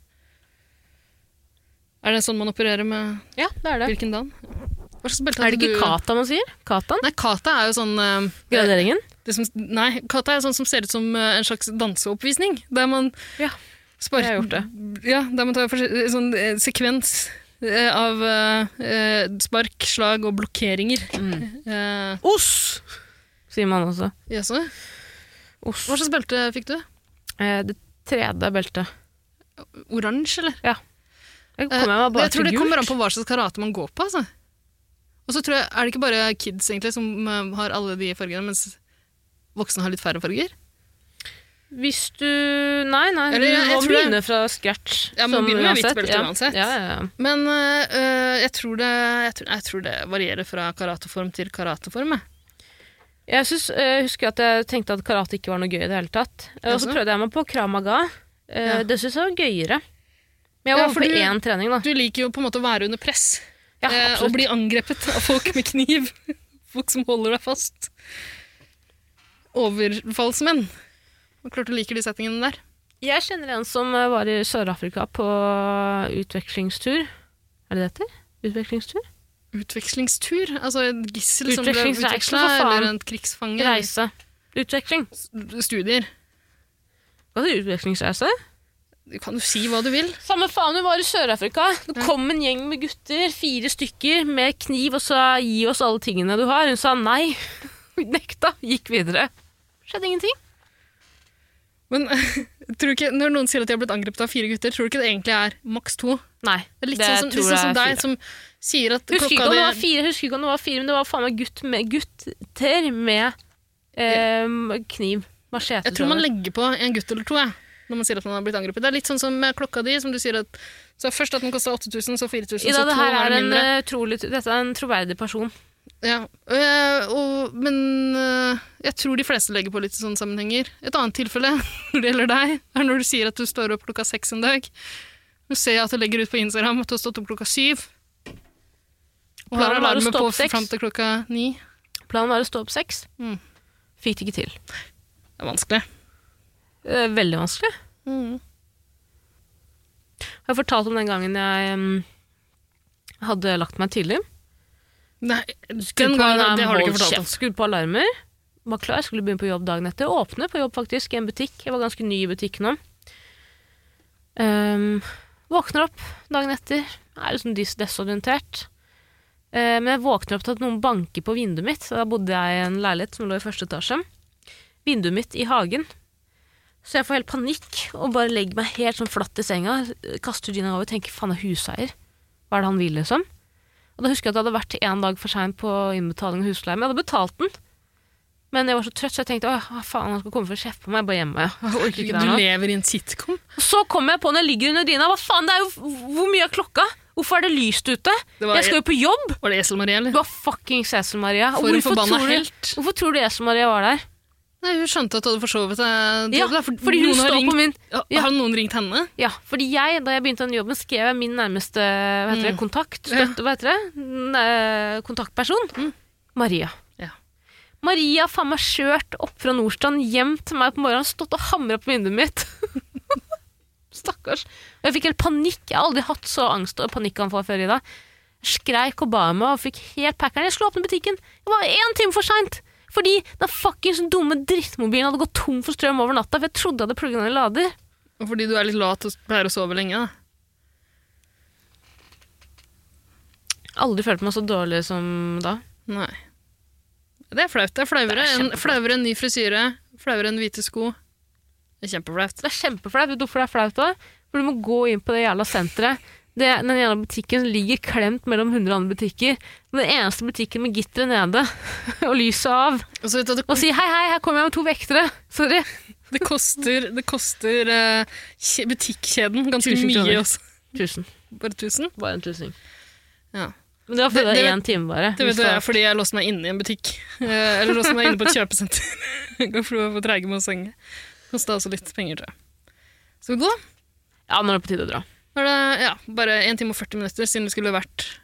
[SPEAKER 3] Er det sånn man opererer med
[SPEAKER 2] Ja, det er det.
[SPEAKER 3] hvilken dan? Hva slags belte
[SPEAKER 2] Er det
[SPEAKER 3] hadde
[SPEAKER 2] ikke
[SPEAKER 3] du-
[SPEAKER 2] kata man sier? Katan?
[SPEAKER 3] Nei, kata er jo sånn eh,
[SPEAKER 2] Graderingen?
[SPEAKER 3] det som, Nei, kata er sånn som ser ut som eh, en slags danseoppvisning. Der man
[SPEAKER 2] Ja,
[SPEAKER 3] sparker
[SPEAKER 2] jeg har gjort det.
[SPEAKER 3] Ja, der man tar forskjell- sånn eh, sekvens eh, av eh, eh, spark, slag og blokkeringer.
[SPEAKER 2] Mm.
[SPEAKER 3] Eh,
[SPEAKER 2] Oss! Sier man også.
[SPEAKER 3] jaså?
[SPEAKER 2] Oss.
[SPEAKER 3] Hva slags belte fikk du?
[SPEAKER 2] Eh, det tredje beltet.
[SPEAKER 3] Oransje, eller?
[SPEAKER 2] Jeg
[SPEAKER 3] Eh,
[SPEAKER 2] kommer meg bare
[SPEAKER 3] jeg
[SPEAKER 2] til
[SPEAKER 3] tror det kommer an
[SPEAKER 2] gult.
[SPEAKER 3] på hva slags karate man går på. Altså. Og så tror jeg, Er det ikke bare kids egentlig som eh, har alle de fargene, mens voksne har litt færre farger?
[SPEAKER 2] Hvis du Nei, nei,
[SPEAKER 3] Eller,
[SPEAKER 2] du
[SPEAKER 3] jeg- jeg
[SPEAKER 2] må
[SPEAKER 3] tror det-
[SPEAKER 2] begynne fra scratch.
[SPEAKER 3] Ja, man
[SPEAKER 2] som
[SPEAKER 3] begynner med hvitt belte
[SPEAKER 2] ja.
[SPEAKER 3] uansett.
[SPEAKER 2] Ja, ja, ja.
[SPEAKER 3] Men eh, eh, jeg, tror det, jeg, tror, jeg tror det varierer fra karateform til karateform. jeg.
[SPEAKER 2] Jeg synes, eh, husker at jeg tenkte at karate ikke var noe gøy i det hele tatt. Eh, og så
[SPEAKER 3] Jaså?
[SPEAKER 2] prøvde jeg meg på kramaga. Eh,
[SPEAKER 3] Ja.
[SPEAKER 2] Det syns jeg var gøyere. Men jeg
[SPEAKER 3] Ja,
[SPEAKER 2] var
[SPEAKER 3] for
[SPEAKER 2] på
[SPEAKER 3] du-
[SPEAKER 2] én trening, da.
[SPEAKER 3] Du liker jo på en måte å være under press.
[SPEAKER 2] Ja,
[SPEAKER 3] eh, å
[SPEAKER 2] absolutt.
[SPEAKER 3] bli angrepet av folk med kniv. Folk som holder deg fast. Overfallsmenn. Og klart du liker de setningene der.
[SPEAKER 2] Jeg kjenner en som eh, var i Sør-Afrika på utvekslingstur. Er det det heter? Utvekslingstur?
[SPEAKER 3] Utvekslingstur? Altså et gissel som ble
[SPEAKER 2] Utvekslingsreise,
[SPEAKER 3] utveksla,
[SPEAKER 2] for faen.
[SPEAKER 3] eller en krigsfange? eller
[SPEAKER 2] Reise. Utveksling.
[SPEAKER 3] s- Studier.
[SPEAKER 2] Hva heter utvekslingsreise?
[SPEAKER 3] Du kan jo si hva du vil.
[SPEAKER 2] Samme faen, hun var i Sør-Afrika. Det kom en gjeng med gutter, fire stykker, med kniv og sa 'gi oss alle tingene du har'. Hun sa nei. Hun nekta. Gikk videre. Skjedde ingenting.
[SPEAKER 3] Men tror du ikke, når noen sier at de har blitt angrepet av fire gutter, tror du ikke det egentlig er maks to?
[SPEAKER 2] Nei.
[SPEAKER 3] Det er litt sånn som, litt sånn som deg, som sier at
[SPEAKER 2] Husker ikke
[SPEAKER 3] klokka
[SPEAKER 2] om det
[SPEAKER 3] di
[SPEAKER 2] var fire, husker ikke om det var fire, men det var faen meg gutt med, gutter med eh, kniv. Machete.
[SPEAKER 3] Jeg tror man legger på en gutt eller to, jeg. Når man sier at man har blitt angrepet. Det er litt sånn som med klokka di, som du sier at så først at den kosta 8000, så 4000,
[SPEAKER 2] Ida,
[SPEAKER 3] så
[SPEAKER 2] det her
[SPEAKER 3] 2000 er
[SPEAKER 2] er
[SPEAKER 3] det
[SPEAKER 2] en,
[SPEAKER 3] mindre.
[SPEAKER 2] eh, trolig, dette er en troverdig person.
[SPEAKER 3] Ja. Eh, og, men eh, jeg tror de fleste legger på litt i sånne sammenhenger. Et annet tilfelle når det gjelder deg, er når du sier at du står opp klokka seks en dag. Nå ser jeg at du legger ut på Instagram at du har stått opp klokka syv. Og har
[SPEAKER 2] Planen var å
[SPEAKER 3] alarmen
[SPEAKER 2] stå
[SPEAKER 3] på
[SPEAKER 2] opp seks.
[SPEAKER 3] fram til klokka ni.
[SPEAKER 2] Planen var å stå opp seks.
[SPEAKER 3] Mm.
[SPEAKER 2] Fikk det ikke til.
[SPEAKER 3] Det er vanskelig.
[SPEAKER 2] Eh, Veldig vanskelig.
[SPEAKER 3] Mm.
[SPEAKER 2] Jeg har fortalt om den gangen jeg mm, hadde lagt meg tidlig.
[SPEAKER 3] Nei,
[SPEAKER 2] Skrudd
[SPEAKER 3] den
[SPEAKER 2] på
[SPEAKER 3] gangen,
[SPEAKER 2] alarm,
[SPEAKER 3] det har du
[SPEAKER 2] holdt
[SPEAKER 3] ikke fortalt
[SPEAKER 2] kjeft, Skrudd på alarmer. Var klar, skulle begynne på jobb dagen etter. Åpne på jobb, faktisk, i en butikk. Jeg var ganske ny i butikken nå. Ehm, våkner opp dagen etter. Er liksom dis- desorientert. Eh, men jeg våkner opp til at noen banker på vinduet mitt. Da bodde jeg i en leilighet som lå i første etasje. Vinduet mitt i hagen. Så jeg får helt panikk og bare legger meg helt sånn flatt i senga. Kaster dyna over og tenker faen, det er huseier. Hva er det han vil, liksom? Og da husker jeg at jeg hadde vært én dag for sein på innbetaling av husleie. Men jeg hadde betalt den. Men jeg var så trøtt, så jeg tenkte åh, hva faen, han skal komme for å kjefte på meg. Jeg bare gjemmer meg. Jeg orker ikke det
[SPEAKER 3] om.
[SPEAKER 2] her nå.
[SPEAKER 3] Du lever i en sitcom.
[SPEAKER 2] Og så kommer jeg på når jeg ligger under dyna, hva faen, det er jo Hvor mye er klokka? Hvorfor er det lyst ute?
[SPEAKER 3] Det var-
[SPEAKER 2] jeg skal jo på jobb!
[SPEAKER 3] Var det Esel Marie, eller?
[SPEAKER 2] Du har fucking Cecil Maria. Og
[SPEAKER 3] For en
[SPEAKER 2] hvorfor
[SPEAKER 3] forbanna
[SPEAKER 2] tror du-
[SPEAKER 3] helt.
[SPEAKER 2] Hvorfor tror du Cecil Maria var der?
[SPEAKER 3] Nei, hun skjønte at du hadde forsovet deg.
[SPEAKER 2] Ja,
[SPEAKER 3] Det er
[SPEAKER 2] fordi hun
[SPEAKER 3] noen har
[SPEAKER 2] står
[SPEAKER 3] ringt-
[SPEAKER 2] på min
[SPEAKER 3] Ja,
[SPEAKER 2] ja.
[SPEAKER 3] Har noen ringt henne?
[SPEAKER 2] Ja, fordi jeg, da jeg begynte den jobben, skrev jeg min nærmeste hva heter det, kontakt, støtte, hva heter det, N- eh, kontaktperson, Maria.
[SPEAKER 3] Ja.
[SPEAKER 2] Maria faen meg kjørt opp fra Nordstrand, hjem til meg på morgenen, stått og hamra på vinduet mitt. Stakkars. Og jeg fikk helt panikk. Jeg har aldri hatt så angst og panikkanfall før i dag. Jeg Skreik og ba meg og fikk helt packeren. Jeg skulle åpne butikken. Jeg var én time for seint! Fordi den fuckings dumme drittmobilen hadde gått tom for strøm over natta, for jeg trodde jeg hadde plugga den i lader.
[SPEAKER 3] Og Fordi du er litt lat og pleier å sove lenge, da.
[SPEAKER 2] Aldri følt meg så dårlig som da.
[SPEAKER 3] Nei. Det er flaut. Det er flauere
[SPEAKER 2] Det er
[SPEAKER 3] enn
[SPEAKER 2] kjempeflaut.
[SPEAKER 3] flauere enn ny frisyre, flauere enn hvite sko. Det er kjempeflaut.
[SPEAKER 2] Det er kjempeflaut. Vet du hvorfor det er flaut òg? For du må gå inn på det jævla senteret. Det, den jævla butikken ligger klemt mellom 100 andre butikker. Den eneste butikken med gitteret nede og lyset av.
[SPEAKER 3] Og så vet du at
[SPEAKER 2] Og
[SPEAKER 3] det,
[SPEAKER 2] si 'hei, hei, her kommer jeg med to vektere'. Sorry.
[SPEAKER 3] det koster, det koster eh, kje- butikkjeden ganske
[SPEAKER 2] Tusen
[SPEAKER 3] mye
[SPEAKER 2] kroner.
[SPEAKER 3] også.
[SPEAKER 2] Tusen.
[SPEAKER 3] Bare 1000?
[SPEAKER 2] Bare en tusen.
[SPEAKER 3] Ja.
[SPEAKER 2] Men det var fordi
[SPEAKER 3] Det-
[SPEAKER 2] det
[SPEAKER 3] det
[SPEAKER 2] er
[SPEAKER 3] vet-
[SPEAKER 2] én time, bare.
[SPEAKER 3] Det vet
[SPEAKER 2] Hvis
[SPEAKER 3] du, er fordi jeg låste meg inne i en butikk. Eh, eller låste meg inne på et kjøpesenter. For du var for treige med å senge. Kosta også litt penger, tror jeg. Skal vi gå?
[SPEAKER 2] Ja, nå er det på tide å dra.
[SPEAKER 3] Nå er det ja, bare 1 time og 40 minutter siden vi skulle vært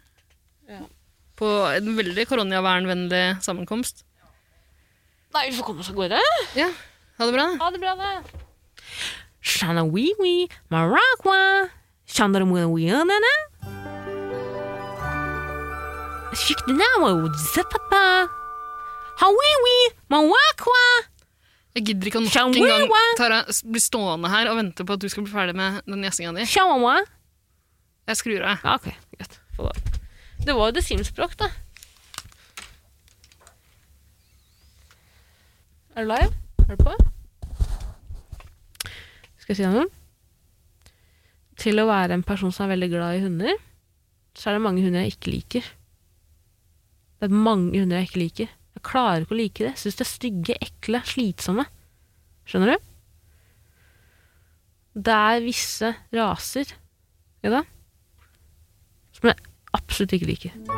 [SPEAKER 3] på en veldig koronavernvennlig sammenkomst.
[SPEAKER 2] Nei, vi får komme oss av gårde.
[SPEAKER 3] Ja, ha det bra. da.
[SPEAKER 2] Ha det bra, da. Shanawiwi, Maragua, Shandaramuyawianana. Shikdinawa, Zapapa. Hawiwi, Mawakwa.
[SPEAKER 3] Jeg gidder ikke å nok en
[SPEAKER 2] Shanwiwa.
[SPEAKER 3] gang Tara, s- bli stående her og vente på at du skal bli ferdig med den gjessinga di.
[SPEAKER 2] Shawawa.
[SPEAKER 3] Jeg skrur av.
[SPEAKER 2] Ja, ok, greit. Få det. Det var jo det simspråk, da. Er du live? Er du på? Skal jeg si deg noe? Til å være en person som er veldig glad i hunder, så er det mange hunder jeg ikke liker. Det er mange hunder jeg ikke liker. Jeg klarer ikke å like det. Jeg syns det er stygge, ekle, slitsomme. Skjønner du? Det er visse raser, ja da, som jeg absolutt ikke liker.